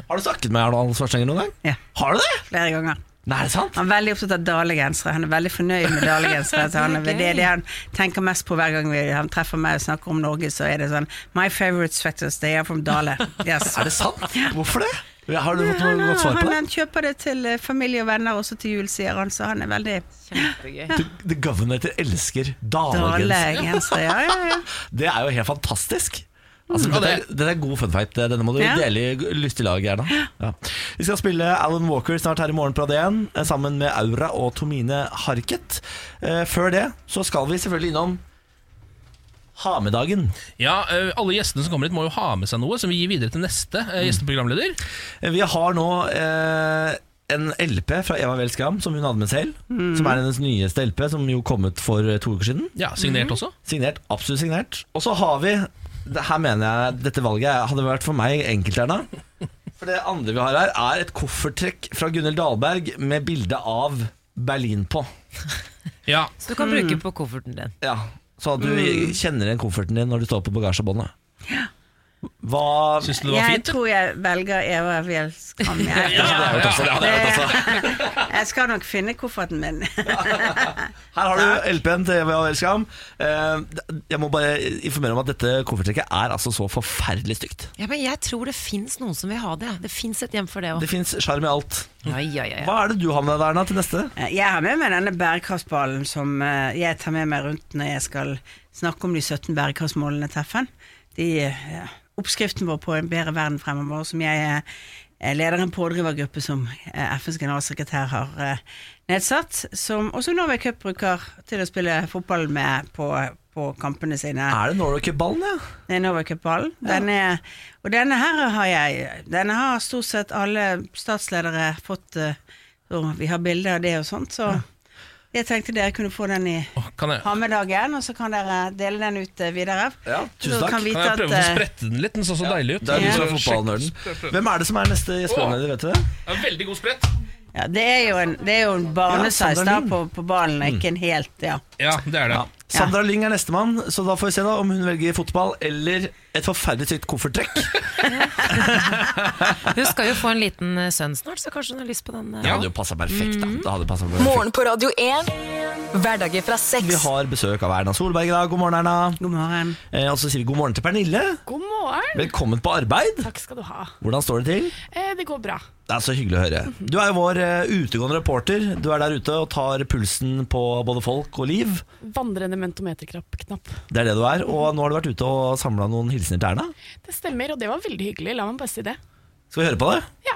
Speaker 1: Har du snakket med Erna Svartsenger noen gang?
Speaker 9: Ja.
Speaker 1: Har du det?
Speaker 9: Flere ganger.
Speaker 1: Nei, er det sant?
Speaker 9: Han er veldig opptatt av dalegensere. Han er veldig fornøyd med dalegensere. Så han, er- det er det han tenker mest på hver gang vi, han treffer meg og snakker om Norge, så er det sånn My favorite sweaters, they are from Dale. Yes.
Speaker 1: Er det sant? Hvorfor det? Har du fått
Speaker 9: Han,
Speaker 1: noe
Speaker 9: har-
Speaker 1: godt svar på
Speaker 9: han,
Speaker 1: det?
Speaker 9: han kjøper det til eh, familie og venner også til jul, sier han, så han er veldig
Speaker 3: Kjempegøy.
Speaker 1: The, the Governator elsker dalegenser.
Speaker 9: dalegenser. Ja, ja, ja.
Speaker 1: Det er jo helt fantastisk. Altså,
Speaker 2: Ja,
Speaker 1: dette, er, dette er god fun fight. Denne må du
Speaker 9: Ja.
Speaker 1: dele i lystig lag. Erna. Ja. Vi skal spille Alan Walker snart her i morgen på AD1, eh, sammen med Aura og Tomine Harket. Eh, Før det så skal vi selvfølgelig innom ha med dagen.
Speaker 2: Ja, eh, Alle gjestene som kommer hit, må jo ha med seg noe som vi gir videre til neste eh,
Speaker 1: Mm.
Speaker 2: gjesteprogramleder.
Speaker 1: Eh, Vi har nå eh, en LP fra Eva Weel Skram som hun hadde med selv. Som er hennes nyeste LP, som jo kom ut for eh, to uker siden.
Speaker 2: Ja, Signert
Speaker 1: Mm.
Speaker 2: også.
Speaker 1: Signert, absolutt signert. Og så har vi det Her mener jeg dette valget hadde vært for meg enkelt, Erna. For det andre vi har her, er et koffertrekk fra Gunhild Dahlberg med bilde av Berlin på.
Speaker 2: Ja,
Speaker 3: Så du kan bruke på kofferten din.
Speaker 1: Ja, Mm. Så at du kjenner igjen kofferten din når du står på bagasjebåndet. Hva
Speaker 2: Syns du det var
Speaker 9: Jeg
Speaker 2: fint?
Speaker 9: tror jeg velger Eva Wjelskram. Jeg,
Speaker 1: Ja, det er jo tøft, det er jo tøft, altså.
Speaker 9: jeg skal nok finne kofferten min.
Speaker 1: Her har du LP-en til Eva Weel Skram. Eh, Jeg må bare informere om at dette koffertrekket er altså så forferdelig stygt.
Speaker 3: Ja, men jeg tror det fins noen som vil ha det. Det fins et hjem for det òg.
Speaker 1: Det fins sjarm i alt.
Speaker 3: Ja, ja, ja, ja.
Speaker 1: Hva er det du har med deg, Erna, til neste?
Speaker 9: Eh, Jeg har med meg denne bærekraftballen som eh, jeg tar med meg rundt når jeg skal snakke om de 17 bærekraftsmålene til FN. De, ja, oppskriften vår på en bedre verden fremover, som jeg eh, er leder en pådrivergruppe som eh, FNs generalsekretær har eh, nedsatt, som også Norway Cup bruker til å spille fotball med på, på kampene sine.
Speaker 1: Er det Norway Cup-ballen, ja?
Speaker 9: Det er Norway Cup-ballen. Den er- Og denne her har jeg Denne har stort sett alle statsledere fått, eh, og vi har bilder av det og sånt, så jeg tenkte dere kunne få den i
Speaker 2: Åh, Kan jeg,
Speaker 9: ha med dagen, og så kan dere dele den ut eh, videre.
Speaker 1: Ja, tusen
Speaker 9: Så
Speaker 1: takk.
Speaker 9: kan vi
Speaker 2: kan
Speaker 9: vite
Speaker 2: jeg prøve å
Speaker 9: at, eh,
Speaker 2: sprette den litt? Den så så deilig ut.
Speaker 1: uh, Det er du
Speaker 9: Ja.
Speaker 1: som er fotballnerden. Hvem er det som er neste gjesteanmelder, vet du det?
Speaker 2: Ja, Veldig god sprett.
Speaker 9: eh, Ja, det er jo en, det er jo en barnesize
Speaker 1: Sandra
Speaker 9: da
Speaker 1: Lyng.
Speaker 9: på, på ballen, ikke en helt ja.
Speaker 10: Ja, det er det.
Speaker 1: Ja. Sandra Lyng er nestemann, så da får vi se da om hun velger fotball eller et forferdelig tykt kofferttrekk.
Speaker 3: Hun skal jo få en liten eh, sønn snart, så kanskje hun har lyst på den. eh.
Speaker 1: Det hadde jo passa perfekt. da Det hadde passet perfekt.
Speaker 4: Morgen på Radio 1. Hverdager fra seks.
Speaker 1: Vi har besøk av Erna Solberg i dag. God morgen, Erna.
Speaker 9: God morgen.
Speaker 1: Eh, og så sier vi god morgen til Pernille.
Speaker 7: God morgen.
Speaker 1: Velkommen på arbeid.
Speaker 7: Takk skal du ha.
Speaker 1: Hvordan står det til?
Speaker 7: Eh, det går bra.
Speaker 1: Det er så hyggelig å høre. Du er jo vår eh, utegående reporter. Du er der ute og tar pulsen på både folk og liv.
Speaker 7: Vandrende mentometerknapp. knapp.
Speaker 1: Det er det du er. Og nå har du vært ute og samla noen hilsener til Erna.
Speaker 7: Det stemmer, og det var veldig hyggelig. La meg bare si det.
Speaker 1: Skal vi høre på det?
Speaker 7: Ja.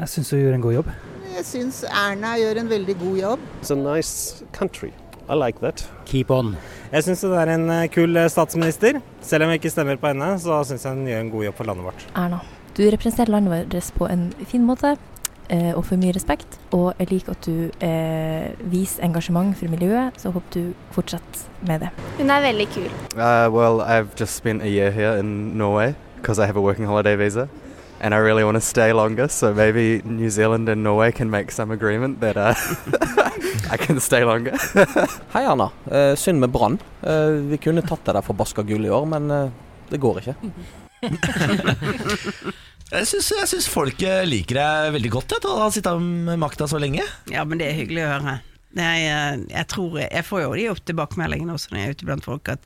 Speaker 11: Jeg syns hun gjør en god jobb.
Speaker 12: Jeg syns Erna gjør en veldig god jobb.
Speaker 13: It's a nice country. I like that. Keep on. Jeg syns hun er en eh, kul eh, statsminister. Selv om jeg ikke stemmer på henne, så syns jeg hun gjør en god jobb for landet vårt.
Speaker 14: Erna. Du representerer landet vårt på en fin måte eh, og får mye respekt. Og jeg liker at du eh, viser engasjement for miljøet, så jeg håper du fortsetter med det.
Speaker 15: Hun er veldig kul.
Speaker 16: Uh, well, I've just spent a year here in Norway because I have a working holiday visa, and I really want to stay longer. So maybe New Zealand and Norway can make some agreement that uh, I can stay longer.
Speaker 17: Hei, Erna. Eh, synd med Brann. Eh, vi kunne tatt det der forbaska gullet i år, men eh, det går ikke.
Speaker 1: Jeg syns, jeg syns folket liker deg veldig godt, jeg, til å ha sittet med makta så lenge.
Speaker 9: Ja, men det er hyggelig å høre. Jeg, jeg, tror, jeg får jo de opp tilbakemeldingene også når jeg er ute blant folk, at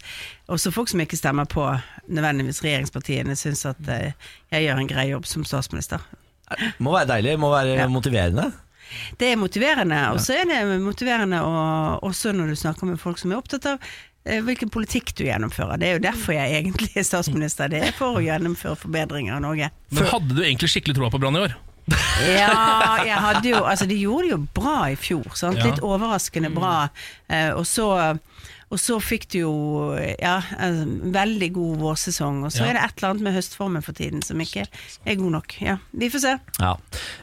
Speaker 9: også folk som ikke stemmer på nødvendigvis regjeringspartiene, syns at eh, jeg gjør en grei jobb som statsminister.
Speaker 1: Må være deilig, må være motiverende.
Speaker 9: Det er motiverende, og så er det motiverende å- også når du snakker med folk som er opptatt av eh, hvilken politikk du gjennomfører. Det er jo derfor jeg egentlig er statsminister, det er for å gjennomføre forbedringer av Norge.
Speaker 10: Men hadde du egentlig skikkelig troa på Brann i år?
Speaker 9: Ja, jeg hadde jo Altså, de gjorde det jo bra i fjor. Sant?
Speaker 10: Ja.
Speaker 9: Litt overraskende bra. Eh, og så og så fikk du jo ja, altså, veldig god vårsesong, og
Speaker 1: Ja.
Speaker 9: så er det et eller annet med høstformen for tiden som ikke er god nok. Ja, Vi får se.
Speaker 1: Ja.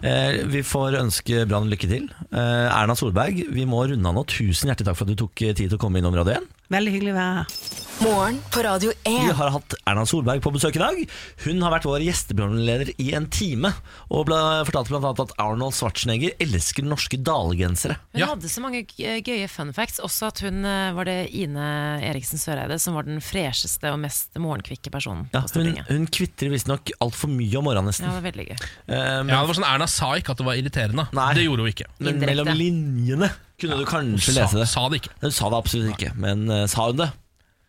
Speaker 1: Eh, vi får ønske Brann lykke til. Eh, Erna Solberg, vi må runde av nå. Tusen hjertelig takk for at du tok eh, tid til å komme innom Radio 1.
Speaker 9: Veldig hyggelig å være her.
Speaker 4: Morgen på Radio 1.
Speaker 1: Vi har hatt Erna Solberg på besøk i dag. Hun har vært vår gjesteprogramleder i en time, og ble, fortalte bl.a. at Arnold Schwarzenegger elsker norske dalgensere.
Speaker 3: Hun hadde så mange g- eh, gøye fun facts. Også at hun eh, var det Ine Eriksen Søreide som var den fresheste og mest morgenkvikke personen.
Speaker 1: Ja, hun, hun kvitrer visstnok altfor mye om morgenen, nesten. Eh,
Speaker 3: Ja, det var veldig gøy.
Speaker 10: ja, det var sånn Erna sa ikke at det var irriterende. Det gjorde hun ikke.
Speaker 1: Men mellom linjene kunne du kanskje
Speaker 10: sa-
Speaker 1: lese det. Sa det ikke. Hun sa det absolutt ikke, men eh, sa hun det?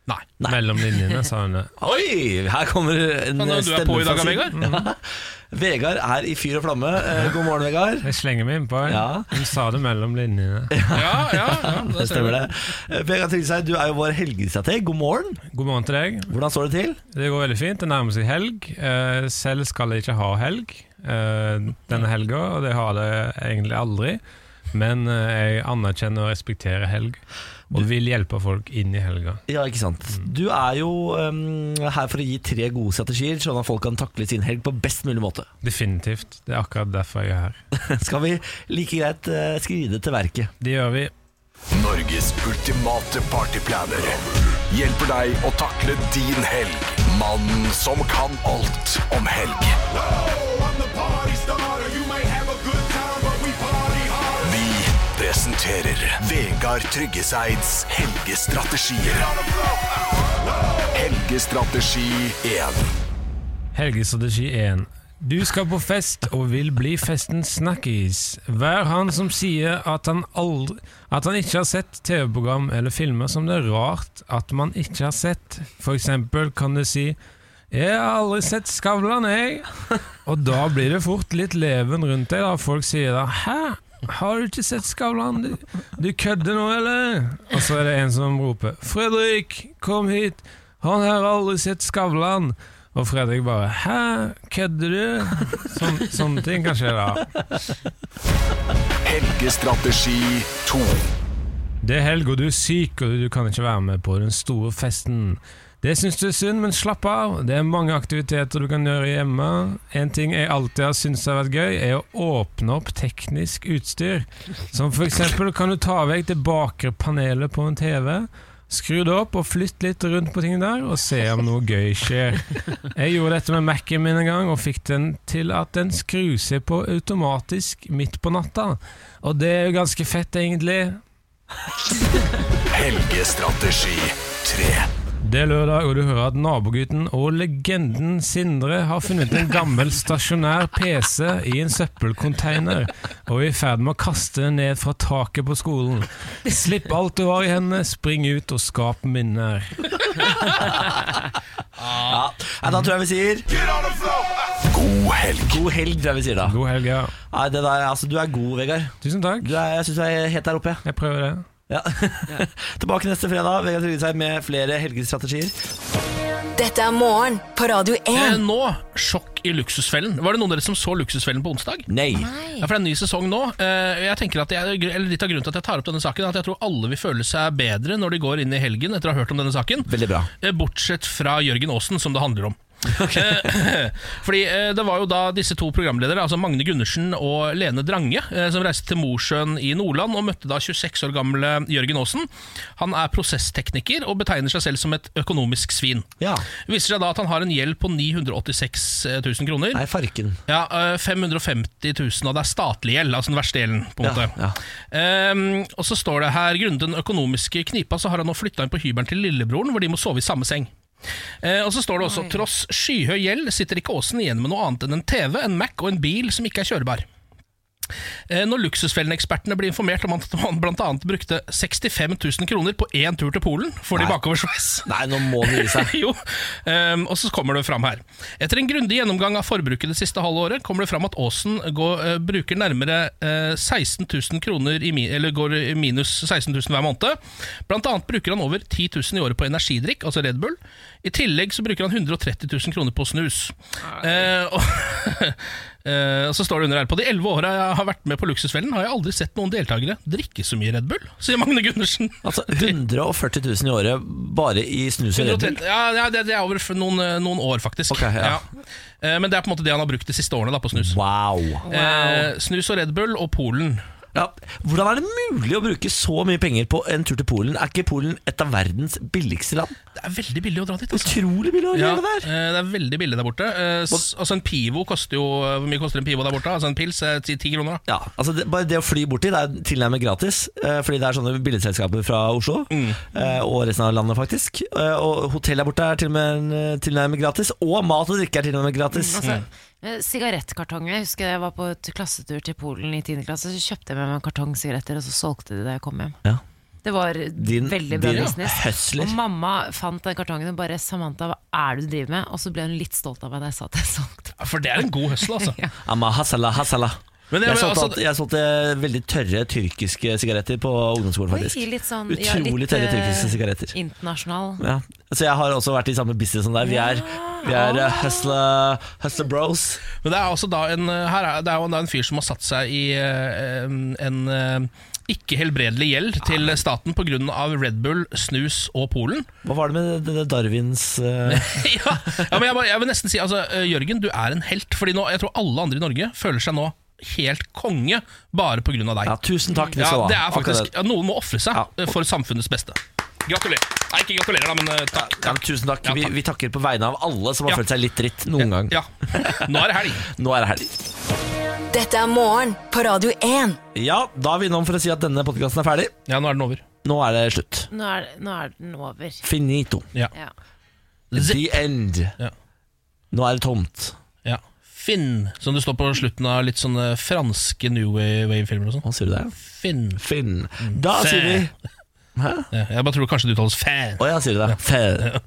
Speaker 1: Nei. Mellom linjene sa hun det. Oi, her kommer en
Speaker 2: Sånn,
Speaker 1: eh,
Speaker 2: du
Speaker 1: stemme
Speaker 2: er på i dag,
Speaker 1: fra
Speaker 2: Vegard. Mm.
Speaker 1: siden. Ja. Vegard er i fyr og flamme. Eh, God morgen, Vegard.
Speaker 2: Jeg slenger meg innpå.
Speaker 1: Ja.
Speaker 2: Hun sa det mellom linjene.
Speaker 1: Det stemmer det. Eh, Vegard Tryggeseid, du er jo vår helgestrateg. God morgen.
Speaker 2: God morgen til deg.
Speaker 1: Hvordan står det til?
Speaker 2: Det går veldig fint. Det nærmer seg helg. Eh, Selv skal jeg ikke ha helg eh, denne helga, og det har jeg egentlig aldri. Men eh, jeg anerkjenner og respekterer helg, og vil hjelpe folk inn i helga.
Speaker 1: Ja, ikke sant. Du er jo eh, her for å gi tre gode strategier, sånn at folk kan takle sin helg på best mulig måte.
Speaker 2: Definitivt. Det er akkurat derfor jeg er her.
Speaker 1: Skal vi like greit eh, skride til verket?
Speaker 2: Det gjør vi.
Speaker 8: Norges ultimate partyplaner hjelper deg å takle din helg. Mannen som kan alt om helg. Vi presenterer Vegard Tryggeseids helgestrategier. Helgestrategi 1.
Speaker 2: Helgestrategi 1. Du skal på fest og vil bli festens snakkis. Vær han som sier at han, aldri, at han ikke har sett TV-program eller filmer som det er rart at man ikke har sett. For eksempel kan du si 'Jeg har aldri sett Skavlan, jeg'. Og da blir det fort litt leven rundt deg, da folk sier da 'Hæ? Har du ikke sett Skavlan? Du, du kødder nå, eller?' Og så er det en som roper 'Fredrik, kom hit! Han her har aldri sett Skavlan'. Og Fredrik bare 'hæ, kødder du?' Sånn, sånne ting kan skje, da.
Speaker 8: Helgestrategi 2.
Speaker 2: Det er helg, og du er syk, og du kan ikke være med på den store festen. Det syns du er synd, men slapp av. Det er mange aktiviteter du kan gjøre hjemme. En ting jeg alltid har syntes har vært gøy, er å åpne opp teknisk utstyr. Som for eksempel kan du ta vekk det bakre panelet på en TV. Skru det opp og flytt litt rundt på ting der, og se om noe gøy skjer. Jeg gjorde dette med Mac-en min en gang, og fikk den til at den skrur seg på automatisk midt på natta. Og det er jo ganske fett, egentlig.
Speaker 18: Helgestrategi 3.
Speaker 2: Det er lørdag, og du hører at nabogutten og legenden Sindre har funnet en gammel stasjonær PC i en søppelcontainer og er i ferd med å kaste den ned fra taket på skolen. Slipp alt du har i hendene, spring ut og skap minner.
Speaker 1: Ja. Nei, da tror jeg vi sier
Speaker 18: God helg.
Speaker 1: God helg, tror jeg vi sier da.
Speaker 2: God helg, ja.
Speaker 1: Nei, det der, altså, du er god, Vegard.
Speaker 2: Tusen takk.
Speaker 1: Du er, jeg syns du er helt der oppe.
Speaker 2: Jeg, prøver det.
Speaker 1: Ja. Tilbake neste fredag. Vegard Tryggeseid med flere helgestrategier.
Speaker 4: Dette er morgen på Radio 1.
Speaker 8: Eh, nå, sjokk i Luksusfellen. Var det noen av dere som så Luksusfellen på onsdag?
Speaker 1: Nei.
Speaker 8: Ja, for det er en ny sesong nå. Eh, Jeg tenker at jeg, eller Litt av grunnen til at jeg tar opp denne saken, er at jeg tror alle vil føle seg bedre når de går inn i helgen etter å ha hørt om denne saken. Eh,
Speaker 1: Veldig bra.
Speaker 8: Bortsett fra Jørgen Aasen, som det handler om. Eh, Fordi eh, Det var jo da disse to programledere, altså Magne Gundersen og Lene Drange, eh, som reiste til Mosjøen i Nordland og møtte da 26 år gamle Jørgen Aasen. Han er prosesstekniker og betegner seg selv som et økonomisk svin. Det viser seg da at han har en gjeld på 986 000 kroner.
Speaker 1: Nei, farken.
Speaker 8: Ja, eh, 550 000, og det er statlig gjeld, altså den verste gjelden. på en
Speaker 1: Ja,
Speaker 8: måte. Ehm, og så står det her, grunnet den økonomiske knipa, så har han nå flytta inn på hybelen til lillebroren, hvor de må sove i samme seng. Eh, og så står det også tross skyhøy gjeld sitter ikke Aasen igjen med noe annet enn en TV, en Mac og en bil som ikke er kjørbar. Eh, Når luksusfellenekspertene ble informert om at han bl.a. brukte 65 000 kroner på én tur til Polen, får de bakoversveis.
Speaker 1: Nei, nå må det gi seg.
Speaker 8: jo. Ehm, og så kommer det fram her. Etter en grundig gjennomgang av forbruket det siste halve året, kommer det fram at Aasen går, eh, bruker nærmere eh, 16 000 kroner i, mi- eller går i minus 16 000 hver måned. Blant annet bruker han over 10 000 i året på energidrikk, altså Red Bull. I tillegg så bruker han 130 000 kroner på snus. Eh, og, eh, og så står det under her På de elleve åra jeg har vært med på Luksusfellen, har jeg aldri sett noen deltakere drikke så mye Red Bull, sier Magne Gundersen.
Speaker 1: Altså 140 000 i året bare i snus og Red Bull.
Speaker 8: 130 ja, ja, det, det er over for noen, eh, noen år, faktisk.
Speaker 1: ja.
Speaker 8: Ja. Eh, Men det er på en måte det han har brukt de siste årene da, på snus. Eh, snus og Red Bull og Polen.
Speaker 1: Ja, hvordan er det mulig å bruke så mye penger på en tur til Polen? Er ikke Polen et av verdens billigste land?
Speaker 8: Det er veldig billig å dra dit. Altså.
Speaker 1: Utrolig billig å
Speaker 8: Ja,
Speaker 1: gjøre det der.
Speaker 8: eh, det er veldig billig der borte. Eh, s- altså En pivo koster jo eh, Hvor mye koster en pivo der borte? Altså En pils er ti ti kroner. da.
Speaker 1: Ja, altså det, Bare det å fly bort dit er tilnærmet gratis, eh, fordi det er sånne billedselskaper fra Oslo
Speaker 8: Mm.
Speaker 1: eh, og resten av landet, faktisk. Eh, og hotell der borte er til og med eh, tilnærmet gratis, og mat og drikke er tilnærmet gratis.
Speaker 3: Altså, eh, Sigarettkartonger. Jeg husker jeg var på et klassetur til Polen i 10. klasse. Så kjøpte jeg med meg en kartong sigaretter, og så solgte de det da jeg kom hjem.
Speaker 1: Ja.
Speaker 3: Det var
Speaker 1: Din-
Speaker 3: veldig bra
Speaker 1: din
Speaker 3: business.
Speaker 1: hustler.
Speaker 3: Og mamma fant den kartongen og bare 'Samantha, hva er det du driver med?' Og så ble hun litt stolt av meg da jeg sa at jeg solgte.
Speaker 8: Ja, For det er en god høsle, altså.
Speaker 1: Amma hasala, hasala.
Speaker 8: Men det-
Speaker 1: jeg, solgte,
Speaker 8: altså-
Speaker 1: alt- jeg solgte veldig tørre tyrkiske sigaretter på ungdomsskolen,
Speaker 3: Oi,
Speaker 1: faktisk.
Speaker 3: litt sånn, ja,
Speaker 1: Utrolig
Speaker 3: litt,
Speaker 1: tørre
Speaker 3: eh,
Speaker 1: tyrkiske sigaretter.
Speaker 3: Internasjonal.
Speaker 1: Ja. Så jeg har også vært i samme business som deg. Vi er, vi er eh, hustler, hustler bros.
Speaker 8: Men det er altså da en, her er, det er jo da en fyr som har satt seg i eh, en eh, ikke helbredelig gjeld til staten pga. Red Bull, snus og Polen.
Speaker 1: Hva var det med denne Darwins eh,
Speaker 8: Ja, men jeg, bare- jeg vil nesten si altså, eh, Jørgen, du er en helt. Fordi nå, jeg tror alle andre i Norge føler seg nå helt konge bare pga. deg.
Speaker 1: Ja, tusen takk, det
Speaker 8: Ja,
Speaker 1: skal du ha.
Speaker 8: det er faktisk,
Speaker 1: Akkurat.
Speaker 8: ja, noen må ofre seg eh, for samfunnets beste. Gratulerer. Nei, ikke gratulerer, da, men eh, takk.
Speaker 1: Ja, men tusen takk. Vi, vi takker på vegne av alle som har følt seg litt dritt noen gang.
Speaker 8: Nå er det helg.
Speaker 1: Nå er det helg.
Speaker 4: Dette er morgen på Radio 1.
Speaker 1: Ja, da er vi innom for å si at denne podkasten er ferdig.
Speaker 8: Ja, nå er den over.
Speaker 1: Nå er det slutt.
Speaker 3: Nå er, nå er den over.
Speaker 1: Finito.
Speaker 3: Ja.
Speaker 1: The end. Nå er det tomt.
Speaker 8: Ja. Finn, som det står på slutten av litt sånne franske New Wave-filmer og sånn.
Speaker 1: Hva sier du der?
Speaker 8: Finn.
Speaker 1: Finn. Da
Speaker 8: Fæ.
Speaker 1: sier vi Hæ?
Speaker 8: Jeg bare tror kanskje det uttales fæ.
Speaker 1: Å ja, sier du det? Fæ.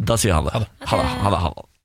Speaker 1: Da sier vi ha det. Ha det. Ha det. Ha det.